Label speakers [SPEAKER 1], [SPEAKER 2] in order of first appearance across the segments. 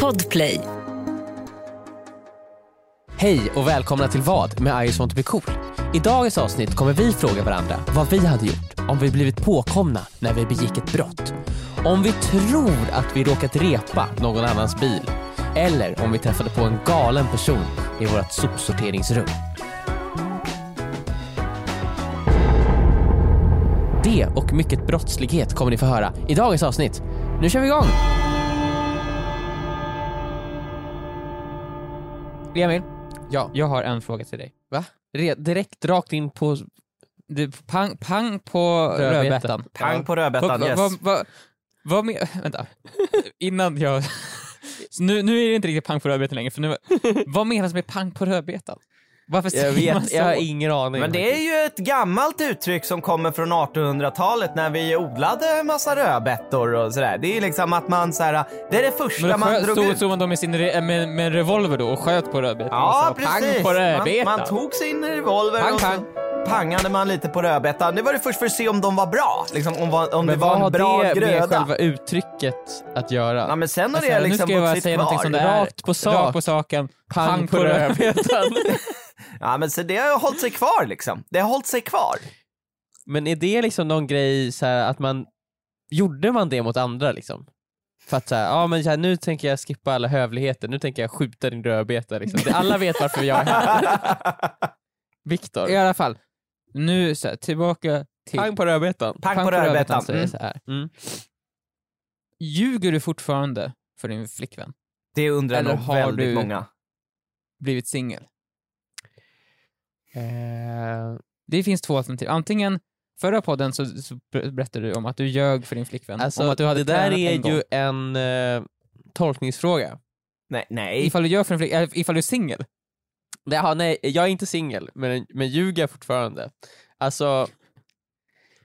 [SPEAKER 1] Podplay.
[SPEAKER 2] Hej och välkomna till Vad med I just want to be cool. I dagens avsnitt kommer vi fråga varandra vad vi hade gjort om vi blivit påkomna när vi begick ett brott. Om vi tror att vi råkat repa någon annans bil. Eller om vi träffade på en galen person i vårt sopsorteringsrum. Det och mycket brottslighet kommer ni få höra i dagens avsnitt. Nu kör vi igång! Emil,
[SPEAKER 3] Ja, jag har en fråga till dig.
[SPEAKER 2] Va? Re- direkt rakt in på...
[SPEAKER 3] Du, pang, pang på
[SPEAKER 2] Rödbetan.
[SPEAKER 3] rödbetan.
[SPEAKER 4] Pang på
[SPEAKER 3] Vad
[SPEAKER 4] rödbetan,
[SPEAKER 3] va,
[SPEAKER 4] yes.
[SPEAKER 3] va, va, vad men- Vänta. Innan jag... Så nu, nu är det inte riktigt pang på rödbetan längre, för nu... Vad menas med pang på rödbetan? Varför säger
[SPEAKER 2] Jag vet,
[SPEAKER 3] man så?
[SPEAKER 2] jag har ingen aning.
[SPEAKER 4] Men det är ju ett gammalt uttryck som kommer från 1800-talet när vi odlade en massa rödbetor och sådär. Det är ju liksom att man såhär, det är det
[SPEAKER 3] Men
[SPEAKER 4] första
[SPEAKER 3] då
[SPEAKER 4] man
[SPEAKER 3] sköt,
[SPEAKER 4] drog
[SPEAKER 3] stod,
[SPEAKER 4] ut.
[SPEAKER 3] stod man då med, sin, re- eh, med, med en revolver då och sköt på rödbetan?
[SPEAKER 4] Ja,
[SPEAKER 3] och sa,
[SPEAKER 4] precis.
[SPEAKER 3] Pang på rödbetan.
[SPEAKER 4] Man, man tog sin revolver
[SPEAKER 3] Pang,
[SPEAKER 4] och så
[SPEAKER 3] pang.
[SPEAKER 4] pangade man lite på rödbetan. Det var det först för att se om de var bra. Liksom om, va- om det
[SPEAKER 3] Men
[SPEAKER 4] var
[SPEAKER 3] vad
[SPEAKER 4] en
[SPEAKER 3] har
[SPEAKER 4] bra
[SPEAKER 3] det med
[SPEAKER 4] gröda.
[SPEAKER 3] själva uttrycket att göra?
[SPEAKER 4] Ja, men sen har
[SPEAKER 3] Alltså,
[SPEAKER 4] det
[SPEAKER 3] nu
[SPEAKER 4] liksom
[SPEAKER 3] ska jag bara
[SPEAKER 4] vuxit
[SPEAKER 3] säga någonting
[SPEAKER 4] kvar.
[SPEAKER 3] som det är.
[SPEAKER 2] Rakt på sak.
[SPEAKER 3] Rakt på saken. Pang, på, rödbetan.
[SPEAKER 4] Ja, men så det har hållit sig kvar liksom. Det har hållit sig kvar.
[SPEAKER 2] Men är det liksom någon grej så här, att man gjorde man det mot andra liksom? För att så här, ja men så här, nu tänker jag skippa alla hövligheter, nu tänker jag skjuta din rödbeta liksom. Det, alla vet varför jag är här. Viktor,
[SPEAKER 3] I alla fall, nu så här, tillbaka till...
[SPEAKER 2] pang på rödbetan.
[SPEAKER 4] Pang på
[SPEAKER 3] rödbetan,
[SPEAKER 4] rödbetan.
[SPEAKER 3] säger
[SPEAKER 4] Mm.
[SPEAKER 3] så här.
[SPEAKER 2] Mm.
[SPEAKER 3] Ljuger du fortfarande för din flickvän?
[SPEAKER 4] Det undrar
[SPEAKER 3] Eller
[SPEAKER 4] nog
[SPEAKER 3] har
[SPEAKER 4] väldigt
[SPEAKER 3] du-
[SPEAKER 4] många.
[SPEAKER 3] Blivit singel?
[SPEAKER 2] Eh,
[SPEAKER 3] Det finns två alternativ. Antingen, förra podden så, så ber- berättade du om att du ljög för din flickvän. om
[SPEAKER 2] alltså
[SPEAKER 3] att du hade
[SPEAKER 2] det där
[SPEAKER 3] tränat
[SPEAKER 2] är
[SPEAKER 3] en gång.
[SPEAKER 2] ju en eh, tolkningsfråga.
[SPEAKER 4] Nej, nej.
[SPEAKER 3] Ifall du gör för din flickvän, ifall du är singel.
[SPEAKER 2] Det, ja, nej, jag är inte singel, men, men ljuger jag fortfarande. Alltså,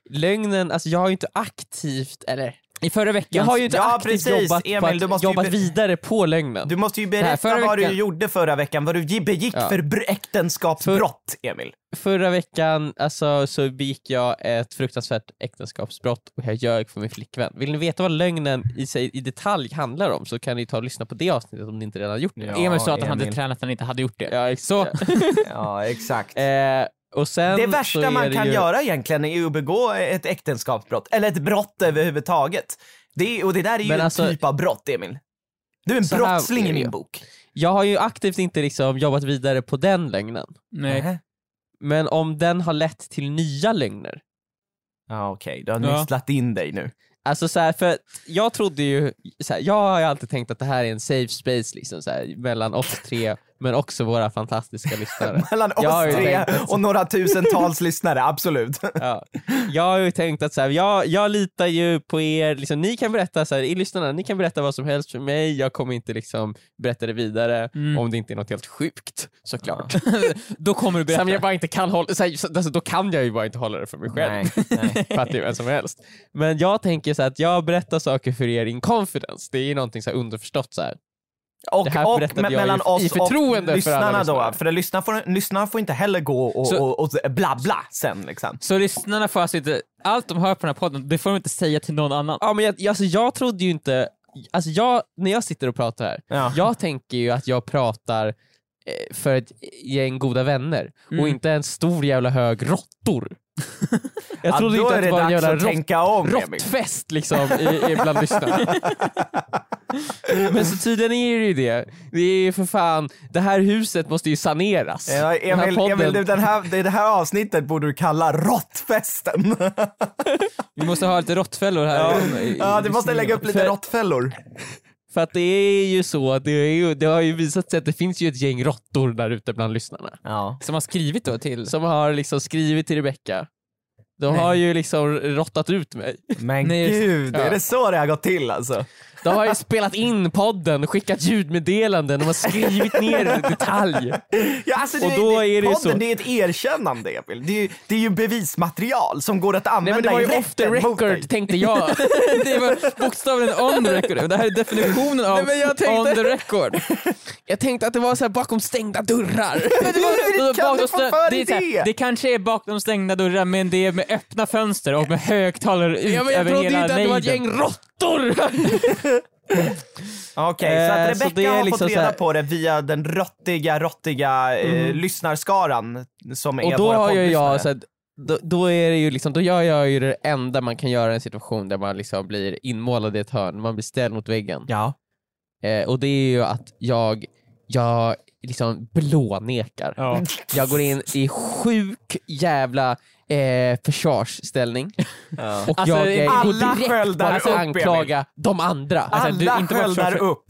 [SPEAKER 2] lögnen, alltså jag har ju inte aktivt, eller
[SPEAKER 3] I förra veckan.
[SPEAKER 2] Jag har ju inte
[SPEAKER 4] Ja,
[SPEAKER 2] aktivt
[SPEAKER 4] precis.
[SPEAKER 2] jobbat, på
[SPEAKER 4] Emil,
[SPEAKER 2] att,
[SPEAKER 4] du måste ju
[SPEAKER 2] jobbat
[SPEAKER 4] be-
[SPEAKER 2] vidare på lögnen.
[SPEAKER 4] Du måste ju
[SPEAKER 3] här,
[SPEAKER 4] berätta
[SPEAKER 3] förra
[SPEAKER 4] vad
[SPEAKER 3] veckan-
[SPEAKER 4] du gjorde förra veckan, vad du ge- begick
[SPEAKER 2] Ja.
[SPEAKER 4] för br- äktenskapsbrott, Emil.
[SPEAKER 2] Förra veckan alltså, så begick jag ett fruktansvärt äktenskapsbrott och jag ljög för min flickvän. Vill ni veta vad lögnen i, sig, i detalj handlar om så kan ni ta och lyssna på det avsnittet om ni inte redan har gjort det.
[SPEAKER 3] Emil sa att han hade
[SPEAKER 4] Emil.
[SPEAKER 3] tränat när han inte hade gjort det.
[SPEAKER 2] Ja,
[SPEAKER 3] Så,
[SPEAKER 2] exakt.
[SPEAKER 4] Ja, exakt.
[SPEAKER 2] Eh, och sen
[SPEAKER 4] Det
[SPEAKER 2] så är
[SPEAKER 4] värsta man
[SPEAKER 2] det
[SPEAKER 4] kan
[SPEAKER 2] ju...
[SPEAKER 4] göra egentligen är att begå ett äktenskapsbrott, eller ett brott överhuvudtaget. Det är, och det där är ju
[SPEAKER 2] Men
[SPEAKER 4] en
[SPEAKER 2] alltså-
[SPEAKER 4] typ av brott, Emil. Du är en
[SPEAKER 2] Så här
[SPEAKER 4] brottsling
[SPEAKER 2] är
[SPEAKER 4] i
[SPEAKER 2] jag.
[SPEAKER 4] min bok.
[SPEAKER 2] Jag har ju aktivt inte liksom jobbat vidare på den lögnen.
[SPEAKER 3] nej.
[SPEAKER 4] Nähä.
[SPEAKER 2] Men om den har lett till nya lögner
[SPEAKER 4] Ja, okej. Du har
[SPEAKER 3] Ja.
[SPEAKER 4] nysslat in dig nu.
[SPEAKER 2] Alltså så här, för jag trodde ju, så här, jag har ju alltid tänkt att det här är en safe space liksom, så här, mellan oss tre, men också våra fantastiska lyssnare.
[SPEAKER 4] Mellan
[SPEAKER 2] Jag har
[SPEAKER 4] oss
[SPEAKER 2] ju
[SPEAKER 4] tre
[SPEAKER 2] tänkt att-
[SPEAKER 4] och några tusentals lyssnare, absolut.
[SPEAKER 2] Ja. Jag har ju tänkt att så här, jag, jag litar ju på er, liksom, ni kan berätta, så här, i lyssnarna, ni kan berätta vad som helst för mig, jag kommer inte liksom, berätta det vidare
[SPEAKER 3] Mm.
[SPEAKER 2] om det inte är något helt sjukt såklart.
[SPEAKER 3] Då kommer du berätta.
[SPEAKER 2] Som jag bara inte kan hålla, så här, så, alltså, då kan jag ju bara inte hålla det för mig själv.
[SPEAKER 4] nej.
[SPEAKER 2] fattar ju vem som helst. Men jag tänker så här att jag berättar saker för er in confidence. Det är ju någonting så här underförstått så här.
[SPEAKER 4] Och,
[SPEAKER 2] Det här
[SPEAKER 4] och
[SPEAKER 2] berättade
[SPEAKER 4] me-
[SPEAKER 2] jag ju
[SPEAKER 4] mellan
[SPEAKER 2] i
[SPEAKER 4] oss
[SPEAKER 2] förtroende för
[SPEAKER 4] och lyssnarna
[SPEAKER 2] alla lyssnare.
[SPEAKER 4] då, för lyssnarna får, lyssnarna får inte heller gå och,
[SPEAKER 3] Så-
[SPEAKER 4] och, och blabla sen liksom.
[SPEAKER 3] Så lyssnarna får alltså inte, allt de hör på den här podden, det får de inte säga till någon annan.
[SPEAKER 2] Ja, men jag, alltså, jag trodde ju inte, alltså jag, när jag sitter och pratar här,
[SPEAKER 4] Ja.
[SPEAKER 2] jag tänker ju att jag pratar eh, för ett gäng goda vänner
[SPEAKER 3] Mm.
[SPEAKER 2] och inte en stor jävla hög råttor. Jag
[SPEAKER 4] Ja,
[SPEAKER 2] trodde
[SPEAKER 4] då
[SPEAKER 2] inte
[SPEAKER 4] är
[SPEAKER 2] att det var en
[SPEAKER 4] dags
[SPEAKER 2] jävla
[SPEAKER 4] att
[SPEAKER 2] rått-
[SPEAKER 4] tänka om, Emil.
[SPEAKER 2] råttfest liksom i, i bland lyssnarna. Men så tydligen är det ju det. Det är ju för fan, det här huset måste ju saneras.
[SPEAKER 4] Ja,
[SPEAKER 2] Den här
[SPEAKER 4] Emil,
[SPEAKER 2] podden-
[SPEAKER 4] Emil du, den här, det, det här avsnittet borde du kalla råttfesten.
[SPEAKER 3] Vi måste ha lite råttfällor här. i- i-
[SPEAKER 4] ja, du
[SPEAKER 3] i
[SPEAKER 4] måste
[SPEAKER 3] studion.
[SPEAKER 4] lägga upp lite
[SPEAKER 2] För-
[SPEAKER 4] råttfällor.
[SPEAKER 2] För att det är ju så, att det, är ju, det har ju visat sig att det finns ju ett gäng råttor där ute bland lyssnarna.
[SPEAKER 4] Ja.
[SPEAKER 3] Som har skrivit då till...
[SPEAKER 2] Som har liksom skrivit till Rebecca. De har ju liksom råttat ut mig.
[SPEAKER 4] Men
[SPEAKER 3] Nej, just-
[SPEAKER 4] gud,
[SPEAKER 2] ja.
[SPEAKER 4] är det så det har gått till alltså?
[SPEAKER 2] De har ju spelat in podden, skickat ljudmeddelanden, de har skrivit ner detalj.
[SPEAKER 4] Ja, alltså det,
[SPEAKER 2] Och då är det ju
[SPEAKER 4] podden,
[SPEAKER 2] så-
[SPEAKER 4] det är ett erkännande Emil. Det är, ju, det är ju bevismaterial som går att
[SPEAKER 2] Nej men det
[SPEAKER 4] använda
[SPEAKER 2] var
[SPEAKER 4] i
[SPEAKER 2] ju off the
[SPEAKER 4] rätten mot dig.
[SPEAKER 2] record tänkte jag.
[SPEAKER 3] det var bokstavligen on the record. Det här är definitionen av
[SPEAKER 2] Nej, men jag tänkte-
[SPEAKER 3] on the record.
[SPEAKER 2] Jag tänkte att det var så här bakom stängda dörrar.
[SPEAKER 4] det var- hur kan
[SPEAKER 3] Bakom
[SPEAKER 4] du få
[SPEAKER 3] stä-
[SPEAKER 4] för
[SPEAKER 3] det,
[SPEAKER 4] dig
[SPEAKER 3] är så här,
[SPEAKER 4] det?
[SPEAKER 3] det kanske är bakom stängda dörrar men det är med öppna fönster och med högtalare ut
[SPEAKER 2] Ja, men jag
[SPEAKER 3] över
[SPEAKER 2] trodde ju
[SPEAKER 3] hela
[SPEAKER 2] inte att det var ett
[SPEAKER 3] nejden.
[SPEAKER 2] gäng råttor!
[SPEAKER 4] Okej, så
[SPEAKER 2] Eh,
[SPEAKER 4] att
[SPEAKER 2] så
[SPEAKER 4] Rebecca
[SPEAKER 2] det är
[SPEAKER 4] har
[SPEAKER 2] liksom
[SPEAKER 4] fått reda
[SPEAKER 2] så här- Mhm.
[SPEAKER 4] på det via den rottiga, rottiga eh, lyssnarskaran som är
[SPEAKER 2] Och då
[SPEAKER 4] våra
[SPEAKER 2] har ju
[SPEAKER 4] poddlyssnare.
[SPEAKER 2] jag, så här, då, då är det ju liksom, då gör jag ju det enda man kan göra i en situation där man liksom blir inmålad i ett hörn, man blir ställd mot väggen.
[SPEAKER 4] Ja.
[SPEAKER 2] Eh, och det är ju att jag, jag liksom blånekar.
[SPEAKER 3] Ja.
[SPEAKER 2] Jag går in i sjuk jävla eh, försvarsställning
[SPEAKER 4] Ja.
[SPEAKER 2] och
[SPEAKER 3] Alltså,
[SPEAKER 2] jag eh,
[SPEAKER 4] alla
[SPEAKER 2] går direkt
[SPEAKER 4] sköldar
[SPEAKER 2] bara att
[SPEAKER 4] upp,
[SPEAKER 2] anklaga de andra.
[SPEAKER 3] Alltså, du-
[SPEAKER 4] Alla
[SPEAKER 3] inte bara
[SPEAKER 4] sköldar
[SPEAKER 3] försvar-
[SPEAKER 4] upp.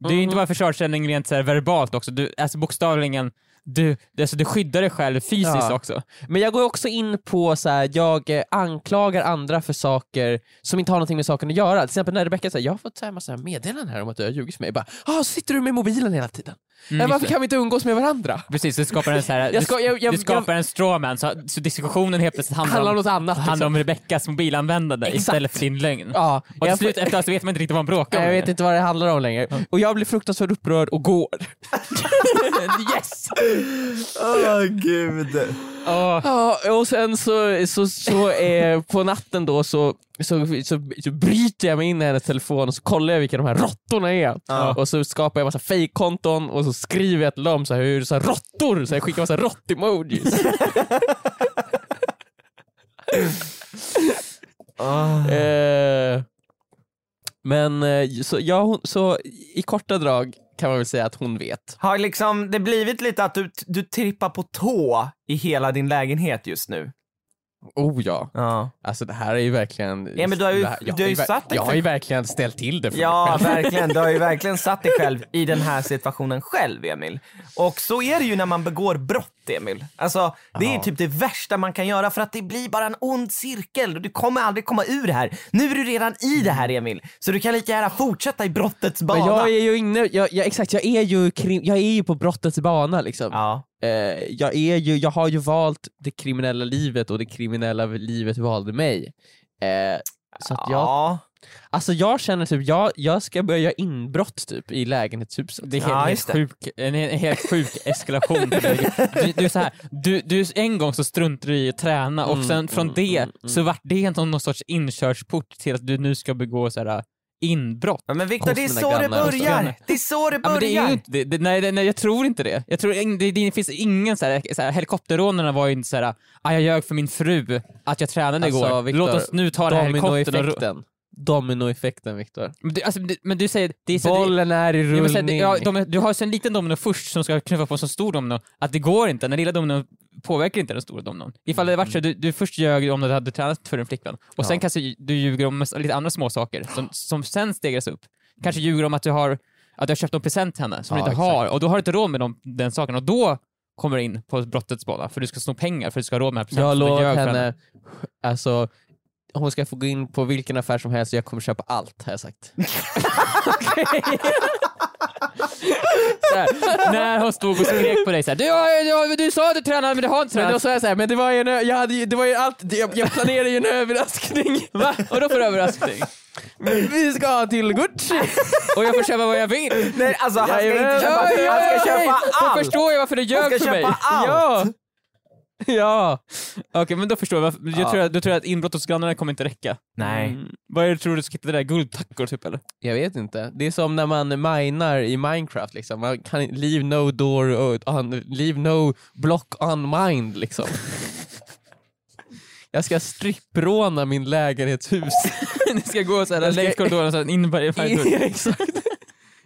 [SPEAKER 3] Det är ju
[SPEAKER 2] Mm.
[SPEAKER 3] inte bara försvarsställning rent så här verbalt också, du, alltså bokstavligen, du, alltså, du skyddar dig själv fysiskt
[SPEAKER 2] Ja.
[SPEAKER 3] också.
[SPEAKER 2] Men jag går också in på så här, jag eh, anklagar andra för saker som inte har någonting med saken att göra. Till exempel när Rebecca säger jag har fått så här massa meddelanden här om att du har ljugit för mig. Jag Bara, ah, sitter du med mobilen hela tiden? Men varför kan vi inte umgås med varandra?
[SPEAKER 3] Precis, det skapar en, så här,
[SPEAKER 2] Jag ska- jag- jag-
[SPEAKER 3] du skapar en strawman så, så diskussionen helt plötsligt handlar,
[SPEAKER 2] Handlar om
[SPEAKER 3] om,
[SPEAKER 2] något annat.
[SPEAKER 3] handlar
[SPEAKER 2] Liksom.
[SPEAKER 3] om Rebeckas mobilanvändande
[SPEAKER 2] Exakt.
[SPEAKER 3] istället för din lögn.
[SPEAKER 2] Ja,
[SPEAKER 3] Och till
[SPEAKER 2] jag, Eh,
[SPEAKER 3] slut efteråt så vet man inte riktigt vad man bråkar om.
[SPEAKER 2] jag vet inte vad det handlar om längre. Och jag blir fruktansvärt upprörd och går. yes!
[SPEAKER 4] Åh gud.
[SPEAKER 3] Åh,
[SPEAKER 2] Ja, och sen så, så, så eh, på natten då så, så, så, så bryter jag mig in i hennes telefon och så kollar jag vilka de här råttorna är.
[SPEAKER 4] Ja.
[SPEAKER 2] Och så skapar jag massa fejkkonton och så skriver jag till dem så här, hur så här, råttor, så jag skickar massa rått-emojis.
[SPEAKER 4] Ah.
[SPEAKER 2] eh, men eh, så, ja, hon, så i korta drag kan man väl säga att hon vet.
[SPEAKER 4] Har liksom det blivit lite att du, du trippar på tå i hela din lägenhet just nu?
[SPEAKER 2] Oh ja.
[SPEAKER 4] Ja.
[SPEAKER 2] Alltså det här är ju verkligen...
[SPEAKER 4] Ja, men du har ju-
[SPEAKER 2] det här- jag
[SPEAKER 4] du har ju
[SPEAKER 2] ver-
[SPEAKER 4] satt dig
[SPEAKER 2] Jag
[SPEAKER 4] för-
[SPEAKER 2] har ju verkligen ställt till det för mig
[SPEAKER 4] Ja,
[SPEAKER 2] själv.
[SPEAKER 4] verkligen. Du har ju verkligen satt dig själv i den här situationen själv, Emil. Och så är det ju när man begår brott, Emil. Alltså, det är ju typ det värsta man kan göra för att det blir bara en ond cirkel och du kommer aldrig komma ur det här. Nu är du redan i det här, Emil. Så du kan lika gärna fortsätta i brottets bana.
[SPEAKER 2] Men jag är ju inne, jag, jag, exakt, jag är ju, krim, jag är ju på brottets bana liksom.
[SPEAKER 4] Ja.
[SPEAKER 2] Eh, jag, är ju, jag har ju valt det kriminella livet och det kriminella livet valde mig. Eh, så att jag,
[SPEAKER 4] Ja.
[SPEAKER 2] alltså jag känner typ, jag, jag ska börja göra inbrott typ i lägenhetshuset.
[SPEAKER 3] Det är
[SPEAKER 4] Ja,
[SPEAKER 3] helt,
[SPEAKER 4] just
[SPEAKER 3] helt
[SPEAKER 4] det.
[SPEAKER 3] sjuk, en he- helt sjuk eskalation. du, du, är så här, du, du, en gång så struntade du i att träna och
[SPEAKER 2] Mm,
[SPEAKER 3] sen från
[SPEAKER 2] mm,
[SPEAKER 3] det
[SPEAKER 2] mm,
[SPEAKER 3] så vart det någon, någon sorts inkörsport till att du nu ska begå så här, äh, inbrott.
[SPEAKER 4] Ja, Men Viktor,
[SPEAKER 2] Hos
[SPEAKER 4] det är
[SPEAKER 2] mina
[SPEAKER 4] så det
[SPEAKER 2] grannar och så.
[SPEAKER 4] börjar. Det är så det
[SPEAKER 3] Ja, men
[SPEAKER 4] börjar.
[SPEAKER 3] det är ju inte, det, det, nej, det, nej, jag tror inte det. Jag tror, in- det, det finns ingen så här, så här helikopterrånarna var ju inte så här, ah, jag ljög för min fru att jag tränade
[SPEAKER 2] Alltså,
[SPEAKER 3] igår.
[SPEAKER 2] Viktor,
[SPEAKER 3] Låt oss nu ta den här helikoptern och... ro-"
[SPEAKER 2] Dominoeffekten. Dominoeffekten Viktor.
[SPEAKER 3] Men du, alltså, det, men du säger, det är så, det,
[SPEAKER 2] Bollen är i
[SPEAKER 3] Ja, men så här, det-
[SPEAKER 2] rullning.
[SPEAKER 3] ja, de, är- du har ju så en liten domino först som ska knuffa på en så stor domino att det går inte, den lilla domino påverkar inte den stora domnon. Ifall det hade varit
[SPEAKER 2] Mm.
[SPEAKER 3] så, du, du först ljög om att du hade tränat för din flickvän och sen kanske du ljuger om massa- lite andra små saker som, som sen stegras upp. Kanske ljuger om att du har, att du har köpt någon present till henne som
[SPEAKER 2] Ja,
[SPEAKER 3] du inte
[SPEAKER 2] exakt.
[SPEAKER 3] har och då har du inte råd med dem, den saken och då kommer du in på brottets bana för du ska sno pengar för du ska ha råd med den här
[SPEAKER 2] Jag
[SPEAKER 3] presenten.
[SPEAKER 2] har
[SPEAKER 3] som du
[SPEAKER 2] lovat
[SPEAKER 3] ljög för
[SPEAKER 2] henne, alltså hon ska få gå in på vilken affär som helst och jag kommer köpa allt har jag sagt.
[SPEAKER 3] Så här, när hon stod och skrek på dig såhär, du, har- du, har- du sa att du tränade men du har inte
[SPEAKER 2] Men
[SPEAKER 3] tränat.
[SPEAKER 2] då sa jag såhär, men det var ju, en, ö- jag, hade ju, det var ju allt, jag, jag planerade ju en överraskning.
[SPEAKER 3] Va? Och då får du överraskning?
[SPEAKER 2] Vi ska till Gucci.
[SPEAKER 3] Och jag får köpa vad jag vill.
[SPEAKER 4] Nej, alltså, han ska inte
[SPEAKER 2] Jajamän.
[SPEAKER 4] köpa, han
[SPEAKER 2] Ja, ja,
[SPEAKER 4] ska
[SPEAKER 2] ja,
[SPEAKER 4] köpa
[SPEAKER 3] Då
[SPEAKER 4] allt.
[SPEAKER 3] förstår jag varför du ljög
[SPEAKER 4] ska
[SPEAKER 3] för mig.
[SPEAKER 4] köpa
[SPEAKER 2] Ja.
[SPEAKER 4] allt.
[SPEAKER 2] Ja.
[SPEAKER 3] Okej, men då förstår jag. varför- Jag tror, då tror jag att inbrott hos grannarna kommer inte räcka.
[SPEAKER 4] Nej.
[SPEAKER 2] Mm,
[SPEAKER 3] Vad är det, tror du, ska hitta det där guldtackor typ eller?
[SPEAKER 2] Jag vet inte. Det är som när man minar i Minecraft liksom. Man kan leave no door on, leave no block unmined liksom. Jag ska strippråna min lägenhetshus.
[SPEAKER 3] Ni ska gå såhär
[SPEAKER 2] ska-
[SPEAKER 3] längs korridoren så här, in i varje varje dörr.
[SPEAKER 2] Ja, Exakt.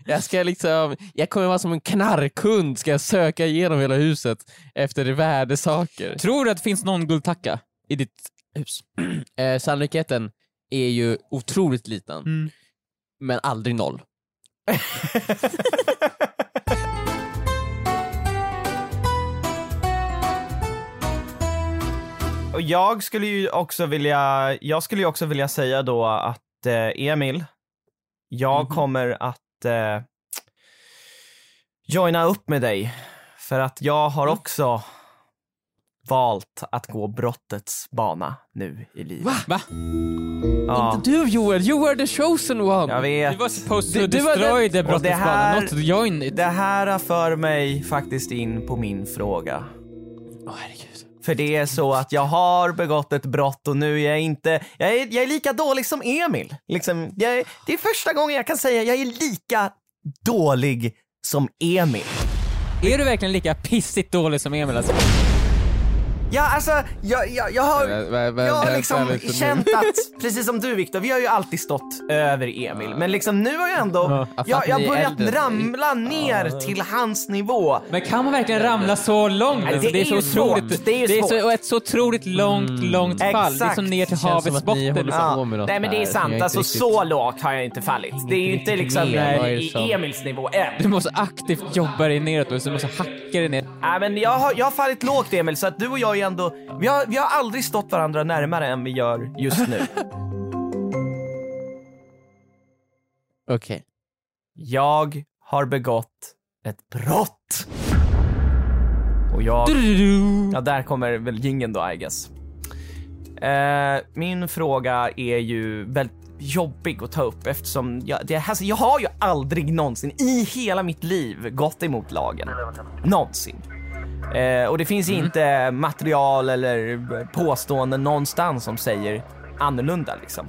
[SPEAKER 2] Jag ska liksom, jag kommer vara som en knarkhund, ska jag söka igenom hela huset efter värdesaker.
[SPEAKER 3] Tror du att det finns någon guldtacka i ditt hus?
[SPEAKER 2] Eh, sannolikheten är ju otroligt liten,
[SPEAKER 3] Mm.
[SPEAKER 2] men aldrig noll.
[SPEAKER 4] Och jag skulle ju också vilja, jag skulle ju också vilja säga då att eh, Emil, jag
[SPEAKER 3] Mhm.
[SPEAKER 4] kommer att eh, joina upp med dig. För att jag har
[SPEAKER 3] Mm.
[SPEAKER 4] också valt att gå brottets bana nu i livet.
[SPEAKER 2] Va?
[SPEAKER 3] Va?
[SPEAKER 4] Ja,
[SPEAKER 2] Du Joel, you are the chosen one!
[SPEAKER 4] jag
[SPEAKER 3] Du
[SPEAKER 4] vet.
[SPEAKER 3] var supposed to
[SPEAKER 2] Det- det var den-
[SPEAKER 3] destroy the
[SPEAKER 4] Och det
[SPEAKER 3] brottets
[SPEAKER 4] här-
[SPEAKER 3] bana, not join it.
[SPEAKER 4] Det här för mig faktiskt in på min fråga.
[SPEAKER 2] Åh, herregud.
[SPEAKER 4] För det är så att jag har begått ett brott och nu är jag inte, jag är, jag är lika dålig som Emil. Liksom, jag är, det är första gången jag kan säga jag är lika dålig som Emil.
[SPEAKER 3] Är du verkligen lika pissigt dålig som Emil alltså?
[SPEAKER 4] Ja, alltså, jag, jag, jag har, jag har liksom känt att, precis som du Viktor, vi har ju alltid stått över Emil. Men liksom nu har jag ändå,
[SPEAKER 2] Ja, för
[SPEAKER 4] jag,
[SPEAKER 2] att
[SPEAKER 4] jag
[SPEAKER 2] ni är
[SPEAKER 4] börjat
[SPEAKER 2] äldre.
[SPEAKER 4] ramla ner till hans nivå.
[SPEAKER 3] Men kan man verkligen ramla så långt?
[SPEAKER 4] det
[SPEAKER 3] Alltså,
[SPEAKER 4] är ju svårt. Det är ju
[SPEAKER 3] så,
[SPEAKER 4] svårt.
[SPEAKER 3] och ett så otroligt långt, långt fall. Mm. Det är
[SPEAKER 4] Exakt.
[SPEAKER 3] som ner till
[SPEAKER 4] Känns
[SPEAKER 2] som
[SPEAKER 3] havets
[SPEAKER 2] att ni
[SPEAKER 3] botten.
[SPEAKER 2] håller
[SPEAKER 3] liksom.
[SPEAKER 2] på med något
[SPEAKER 4] Nej men det är
[SPEAKER 2] där som jag
[SPEAKER 4] sant,
[SPEAKER 2] inte
[SPEAKER 4] alltså
[SPEAKER 2] riktigt-
[SPEAKER 4] så lågt har jag inte fallit. Det är ju inte liksom
[SPEAKER 2] Nej,
[SPEAKER 4] eh,
[SPEAKER 2] det är så.
[SPEAKER 4] i Emils nivå än.
[SPEAKER 3] Du måste aktivt jobba dig neråt och så måste hacka dig ner.
[SPEAKER 4] Nej, men jag, har, jag har fallit lågt Emil, så att du och jag är ändå... Vi har, vi har aldrig stått varandra närmare än vi gör just nu.
[SPEAKER 2] Okej.
[SPEAKER 4] jag har begått ett brott. Och jag...
[SPEAKER 3] Mm.
[SPEAKER 4] Ja, där kommer väl jingeln då, I guess. Eh, min fråga är ju väldigt jobbig att ta upp eftersom jag, det, alltså, jag har ju aldrig någonsin i hela mitt liv gått emot lagen. Någonsin. Eh, och det finns inte material eller påståenden någonstans som säger annorlunda liksom.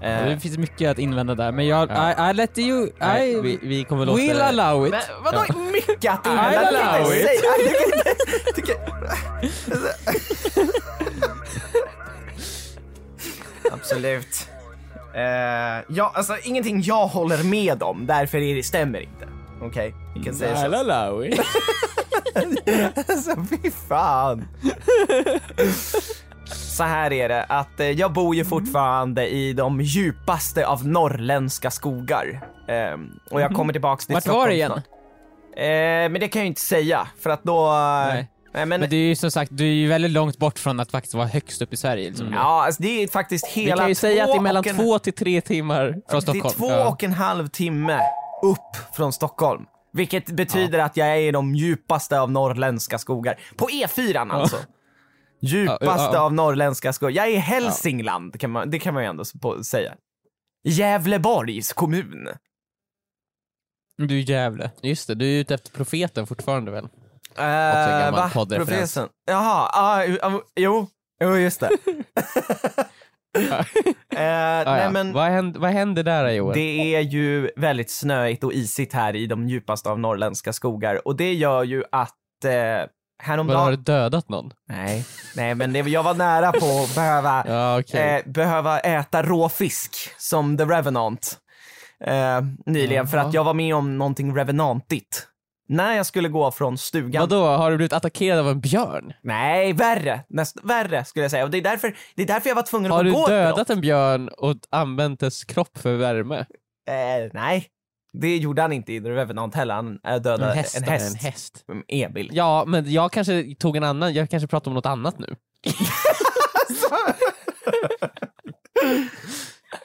[SPEAKER 4] Eh,
[SPEAKER 3] Det finns mycket att invända där, men jag... I, I let you... I
[SPEAKER 2] Nej, vi, vi kommer låta...
[SPEAKER 3] will allow it.
[SPEAKER 4] Men vadå mycket att
[SPEAKER 3] I
[SPEAKER 4] invända? Jag kan
[SPEAKER 3] allow
[SPEAKER 4] inte
[SPEAKER 3] it.
[SPEAKER 4] säga- jag kan inte- tycker- Absolut. Eh, ja, alltså ingenting jag håller med om, därför är det stämmer inte. Okej, vi
[SPEAKER 3] Mm.
[SPEAKER 4] kan säga så.
[SPEAKER 2] allow it.
[SPEAKER 4] Alltså fy fan. Så här är det att eh, jag bor
[SPEAKER 2] Mm.
[SPEAKER 4] ju fortfarande i de djupaste av norrländska skogar. Eh, och
[SPEAKER 2] Mm.
[SPEAKER 4] jag kommer tillbaks till
[SPEAKER 3] Vart var det
[SPEAKER 4] Stockholm
[SPEAKER 3] igen?
[SPEAKER 4] snart. Eh, men det kan jag ju inte säga för att då... eh,
[SPEAKER 3] Nej.
[SPEAKER 4] Nej. men,
[SPEAKER 3] Men det är ju som sagt, du är ju väldigt långt bort från att faktiskt vara högst upp i Sverige. Liksom.
[SPEAKER 4] ja, alltså, det är faktiskt
[SPEAKER 2] Vi
[SPEAKER 4] hela
[SPEAKER 2] kan ju säga att det är
[SPEAKER 4] två
[SPEAKER 2] mellan
[SPEAKER 4] och en,
[SPEAKER 2] två till tre timmar.
[SPEAKER 3] Från
[SPEAKER 4] Det är
[SPEAKER 3] Stockholm.
[SPEAKER 4] två
[SPEAKER 3] Ja.
[SPEAKER 4] och en halv timme upp från Stockholm. Vilket betyder att jag är i de djupaste av norrländska skogar. På E4 alltså. Djupaste
[SPEAKER 3] Ja, ja, ja.
[SPEAKER 4] av norrländska skogar. Jag är i Hälsingland, kan man, det kan man ju ändå s- på, säga. Gävleborgs kommun. Eh,
[SPEAKER 3] Du är jävla.
[SPEAKER 2] Just det, du är ute efter profeten fortfarande väl?
[SPEAKER 4] Uh,
[SPEAKER 2] gammal poddreferens.
[SPEAKER 4] Jaha, ah, ju- ah, jo, jo, just det. Eh,
[SPEAKER 2] Ah,
[SPEAKER 4] nej,
[SPEAKER 2] ja.
[SPEAKER 4] men,
[SPEAKER 2] vad, händer, vad händer där Joel?
[SPEAKER 4] Det är ju väldigt snöigt och isigt här i de djupaste av norrländska skogar och det gör ju att eh,
[SPEAKER 2] Vad, har
[SPEAKER 4] häromdagen...
[SPEAKER 2] du dödat någon?
[SPEAKER 4] Nej, nej men det, jag var nära på att behöva,
[SPEAKER 2] Ja okej.
[SPEAKER 4] eh, behöva äta rå fisk som The Revenant eh, nyligen för
[SPEAKER 2] Jaha.
[SPEAKER 4] att jag var med om någonting revenantigt. När jag skulle gå från stugan
[SPEAKER 2] Vadå, har du blivit attackerad av en björn?
[SPEAKER 4] Nej, värre. Näst, värre skulle jag säga. Och det är därför, det är därför jag var tvungen
[SPEAKER 2] Har
[SPEAKER 4] att
[SPEAKER 2] du
[SPEAKER 4] gå
[SPEAKER 2] dödat en björn och använt dess kropp för värme?
[SPEAKER 4] Eh, nej, det gjorde han inte i The Revenant heller. Han eh, dödade en häst.
[SPEAKER 2] En häst. En häst.
[SPEAKER 4] Mm, Emil.
[SPEAKER 2] Ja, men jag kanske tog en annan, jag kanske pratar om något annat nu.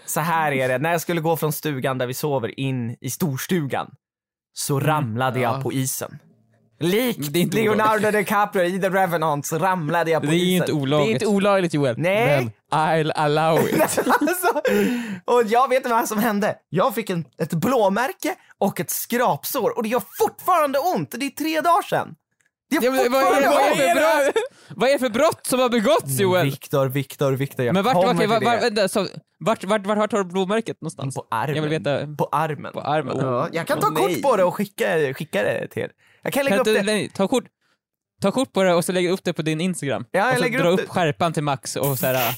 [SPEAKER 4] Så här är det, när jag skulle gå från stugan där vi sover in i storstugan så ramlade jag
[SPEAKER 2] ja.
[SPEAKER 4] på isen. Likt
[SPEAKER 3] Mm. Det är inte
[SPEAKER 4] Leonardo DiCaprio i The Revenant så ramlade jag på
[SPEAKER 3] Det är
[SPEAKER 4] isen.
[SPEAKER 3] ju inte
[SPEAKER 2] Det är
[SPEAKER 3] olagligt.
[SPEAKER 2] inte olagligt Joel,
[SPEAKER 4] Nej.
[SPEAKER 2] men I'll allow it.
[SPEAKER 4] alltså, och jag vet vad som hände. Jag fick en, ett blåmärke och ett skrapsår och det gör fortfarande ont. Det är tre dagar sedan. Det
[SPEAKER 3] Ja,
[SPEAKER 4] gör
[SPEAKER 3] men vad, är,
[SPEAKER 4] fortfarande
[SPEAKER 3] vad, är
[SPEAKER 4] ont.
[SPEAKER 3] det för brott, vad är det för brott som har begåtts Joel?
[SPEAKER 4] Viktor, Viktor, Viktor. Jag
[SPEAKER 3] Men vart,
[SPEAKER 4] kommer
[SPEAKER 3] okej,
[SPEAKER 4] till
[SPEAKER 3] var, var,
[SPEAKER 4] det.
[SPEAKER 3] vänta, så, vart, vart, vart, vart har du blåmärket någonstans?
[SPEAKER 4] På armen.
[SPEAKER 3] Jag vill veta.
[SPEAKER 4] På armen.
[SPEAKER 3] På armen.
[SPEAKER 4] Ja, jag kan ta
[SPEAKER 3] Åh, nej.
[SPEAKER 4] kort på det och skicka, skicka det till er. Jag kan lägga
[SPEAKER 3] Kan
[SPEAKER 4] upp
[SPEAKER 3] inte,
[SPEAKER 4] det.
[SPEAKER 3] nej, ta, kort, ta kort på det och så lägger du upp det på din Instagram.
[SPEAKER 4] Ja, jag
[SPEAKER 3] och så
[SPEAKER 4] lägger
[SPEAKER 3] Alltså, dra
[SPEAKER 4] upp
[SPEAKER 3] upp,
[SPEAKER 4] det.
[SPEAKER 3] skärpan till max och så här,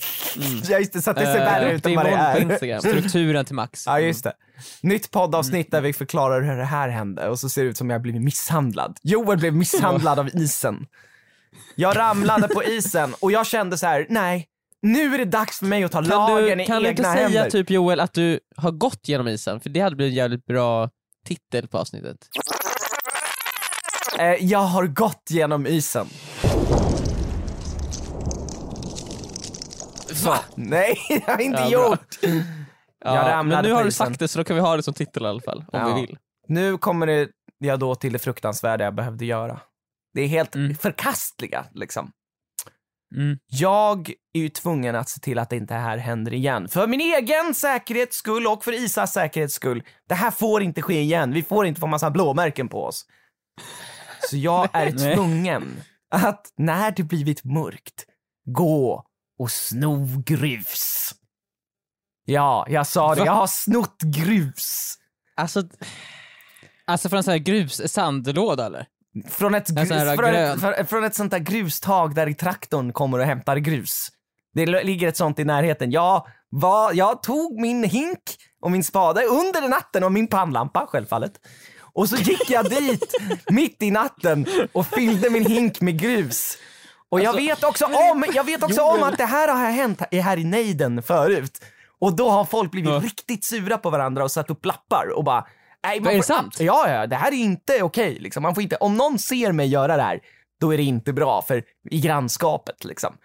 [SPEAKER 4] Ja, just det, så att det ser
[SPEAKER 3] eh,
[SPEAKER 4] värre
[SPEAKER 3] upp
[SPEAKER 4] ut
[SPEAKER 3] det
[SPEAKER 4] än vad det
[SPEAKER 3] imorgon på
[SPEAKER 4] är.
[SPEAKER 3] Instagram. Strukturen till max.
[SPEAKER 4] Ja, just det. Nytt poddavsnitt där vi förklarar hur det här hände och så ser det ut som jag blivit misshandlad. Joel blev misshandlad av isen. Jag ramlade på isen och jag kände så här: nej, nu är det dags för mig att ta
[SPEAKER 2] Kan
[SPEAKER 4] lagen
[SPEAKER 2] du,
[SPEAKER 4] i
[SPEAKER 2] kan du
[SPEAKER 4] egna
[SPEAKER 2] inte säga
[SPEAKER 4] händer.
[SPEAKER 2] typ Joel att du har gått genom isen? För det hade blivit en jävligt bra titel på avsnittet.
[SPEAKER 4] Eh, jag har gått genom isen.
[SPEAKER 2] Va?
[SPEAKER 4] Nej, jag har inte
[SPEAKER 2] Ja, bra.
[SPEAKER 4] gjort.
[SPEAKER 2] Ja,
[SPEAKER 4] ramlade
[SPEAKER 2] men nu
[SPEAKER 4] på
[SPEAKER 2] har du
[SPEAKER 4] isen.
[SPEAKER 2] sagt det så då kan vi ha det som titel i alla fall, om
[SPEAKER 4] Ja.
[SPEAKER 2] vi vill.
[SPEAKER 4] Nu kommer det, jag då till det fruktansvärda jag behövde göra. Det är helt
[SPEAKER 3] Mm.
[SPEAKER 4] förkastliga liksom.
[SPEAKER 3] Mm.
[SPEAKER 4] Jag är ju tvungen att se till att det inte här händer igen. För min egen säkerhets skull och för Isas säkerhets skull. Det här får inte ske igen. Vi får inte få massa blåmärken på oss. Så jag är
[SPEAKER 3] Nej.
[SPEAKER 4] tvungen att när det blivit mörkt, gå och sno grus. Ja, jag sa det.
[SPEAKER 3] Va?
[SPEAKER 4] Jag har snott grus.
[SPEAKER 2] Alltså,
[SPEAKER 3] Alltså från en sån här grus-sandlåda eller?
[SPEAKER 4] Från ett,
[SPEAKER 3] En
[SPEAKER 4] grus,
[SPEAKER 3] sån här
[SPEAKER 4] från,
[SPEAKER 3] grön.
[SPEAKER 4] ett, för, från ett sånt där grustag där traktorn kommer och hämtar grus. Det l- ligger ett sånt i närheten. Jag, var, jag tog min hink och min spade under natten och min pannlampa självfallet. Och så gick jag dit mitt i natten och fyllde min hink med grus. Och
[SPEAKER 3] Alltså,
[SPEAKER 4] jag vet också om, jag vet också om att det här har hänt här- här i nejden förut. Och då har folk blivit
[SPEAKER 3] Ja.
[SPEAKER 4] riktigt sura på varandra och satt upp lappar och bara Nej, man
[SPEAKER 3] Är det
[SPEAKER 4] får-
[SPEAKER 3] sant?
[SPEAKER 4] Ja, ja, det här är inte okej. Liksom. Man får inte, om någon ser mig göra det här, då är det inte bra för i grannskapet. Liksom.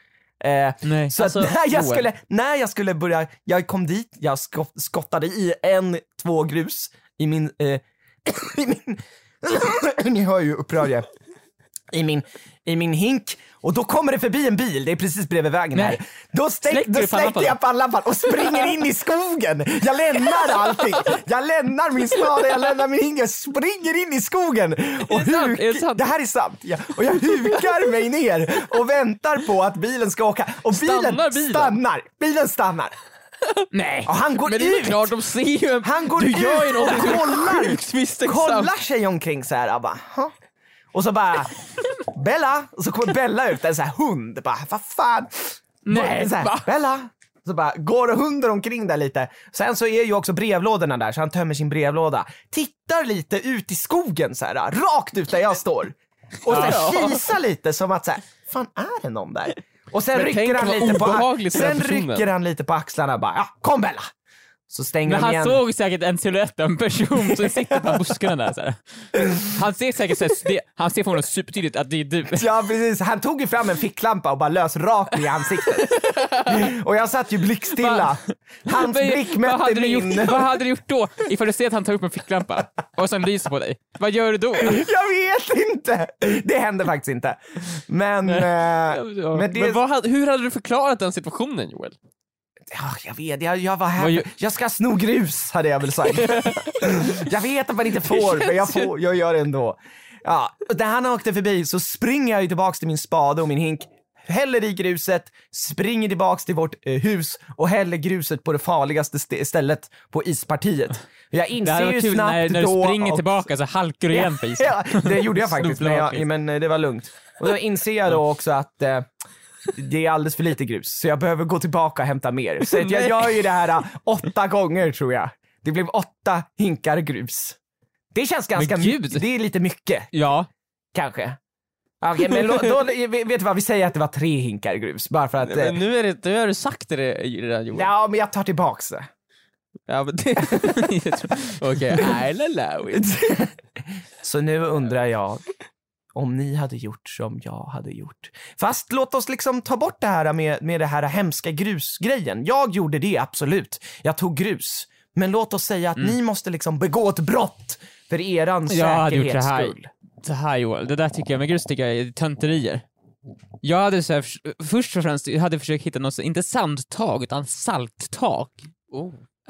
[SPEAKER 4] Eh,
[SPEAKER 3] Nej.
[SPEAKER 4] så
[SPEAKER 2] Alltså,
[SPEAKER 4] att när, jag
[SPEAKER 2] Joel.
[SPEAKER 4] skulle, när jag skulle börja, jag kom dit, jag skott, skottade i en, två grus i min, eh, i min ni hör ju upprörd jag är. i min, i min hink och då kommer det förbi en bil, det är precis bredvid vägen
[SPEAKER 3] Nej.
[SPEAKER 4] här. Då, stäck,
[SPEAKER 3] Släcker
[SPEAKER 4] då
[SPEAKER 3] du pannlampan
[SPEAKER 4] släckte jag pannlampan och springer in i skogen. Jag lämnar allting. Jag lämnar min spade, jag lämnar min hink, jag springer in i skogen. Och
[SPEAKER 3] det sant? Är det sant?
[SPEAKER 4] det här är sant. Ja. Och jag hukar mig ner och väntar på att bilen ska åka. Och bilen
[SPEAKER 3] Stannar bilen?
[SPEAKER 4] stannar. Bilen stannar.
[SPEAKER 3] Nej!
[SPEAKER 4] Och han går
[SPEAKER 3] Men det är väl
[SPEAKER 4] ut.
[SPEAKER 3] klart, de ser ju en...
[SPEAKER 4] Han går
[SPEAKER 3] du
[SPEAKER 4] ut
[SPEAKER 3] gör ju
[SPEAKER 4] och
[SPEAKER 3] någonting som är
[SPEAKER 4] kollar.
[SPEAKER 3] sjukt misstänksamt.
[SPEAKER 4] kollar sig omkring så här. jag Bara, "Ha?" och så bara Bella, och så kommer Bella ut, en så här hund. Bara, vad fan?
[SPEAKER 3] Nej,
[SPEAKER 4] så här,
[SPEAKER 3] va?
[SPEAKER 4] Bella. Så bara går hunden omkring där lite. Sen så är ju också brevlådorna där, så han tömmer sin brevlåda. Tittar lite ut i skogen så här, rakt ut där jag står. Och sen kisar lite som att så här, fan är det någon där? Och sen
[SPEAKER 3] Men
[SPEAKER 4] rycker
[SPEAKER 3] tänk
[SPEAKER 4] han
[SPEAKER 3] vad
[SPEAKER 4] lite på,
[SPEAKER 3] obehagligt för den
[SPEAKER 4] sen
[SPEAKER 3] personen.
[SPEAKER 4] rycker han lite på axlarna bara, ja, kom Bella. Så stänger
[SPEAKER 3] Men
[SPEAKER 4] de
[SPEAKER 3] han
[SPEAKER 4] igen.
[SPEAKER 3] såg säkert en silhuett av en person som sitter bland buskarna där. Så här. Han ser säkert så här, det, han ser förmodligen supertydligt att det är du.
[SPEAKER 4] Ja precis, han tog ju fram en ficklampa och bara lös rakt i ansiktet. och jag satt ju blickstilla. Hans
[SPEAKER 3] Men
[SPEAKER 4] blick
[SPEAKER 3] vad, hade
[SPEAKER 4] mötte
[SPEAKER 3] du
[SPEAKER 4] min.
[SPEAKER 3] gjort, vad hade du gjort då? Ifall du ser att han tar upp en ficklampa och sen lyser på dig. Vad gör du då?
[SPEAKER 4] Jag vet inte! Det hände faktiskt inte. Men, eh,
[SPEAKER 3] Ja.
[SPEAKER 4] men det...
[SPEAKER 3] Men vad hade- hur hade du förklarat den situationen Joel?
[SPEAKER 4] Ja, jag vet, jag, jag var här.
[SPEAKER 3] Vad ju-
[SPEAKER 4] för- Jag ska sno grus, hade jag väl sagt. jag vet att man inte får, men jag, får, jag gör det ändå. Ja, och när han åkte förbi så springer jag ju tillbaks till min spade och min hink, häller i gruset, springer tillbaks till vårt eh, hus och häller gruset på det farligaste st- stället, på ispartiet. Jag
[SPEAKER 3] Det hade
[SPEAKER 4] inser ju
[SPEAKER 3] varit kul
[SPEAKER 4] snabbt
[SPEAKER 3] när, när du
[SPEAKER 4] då
[SPEAKER 3] springer
[SPEAKER 4] också-
[SPEAKER 3] tillbaka så halkar du igen på isen.
[SPEAKER 4] Ja, det gjorde jag faktiskt, men,
[SPEAKER 3] Snubblar
[SPEAKER 4] jag,
[SPEAKER 3] rakt
[SPEAKER 4] men eh, det var lugnt. Och då inser jag då också att eh, det är alldeles för lite grus, så jag behöver gå tillbaka och hämta mer. Så att jag
[SPEAKER 3] Nej.
[SPEAKER 4] gör ju det här eh, åtta gånger tror jag. Det blev åtta hinkar grus. Det känns ganska
[SPEAKER 3] Men gud.
[SPEAKER 4] mycket. Det är lite mycket
[SPEAKER 3] Ja,
[SPEAKER 4] kanske. Okej, men lå- då, vet du vad, vi säger att det var tre hinkar grus bara för att... eh,
[SPEAKER 2] men nu, är det, nu har du sagt det redan Joel.
[SPEAKER 4] Ja, men jag tar tillbaks det.
[SPEAKER 2] Ja, men det... Okej, I'll allow it.
[SPEAKER 4] Så nu undrar jag om ni hade gjort som jag hade gjort. Fast låt oss liksom ta bort det här med, med det här hemska grusgrejen. Jag gjorde det, absolut. Jag tog grus. Men låt oss säga att ni måste liksom begå ett brott för eran
[SPEAKER 3] Mm. Jag hade gjort
[SPEAKER 4] säkerhets
[SPEAKER 3] det här.
[SPEAKER 4] skull.
[SPEAKER 3] så här Joel, det där tycker jag med grus tycker jag är tönterier. Jag hade så här, förs- först och främst jag hade försökt hitta något, så- inte sandtag utan salttak.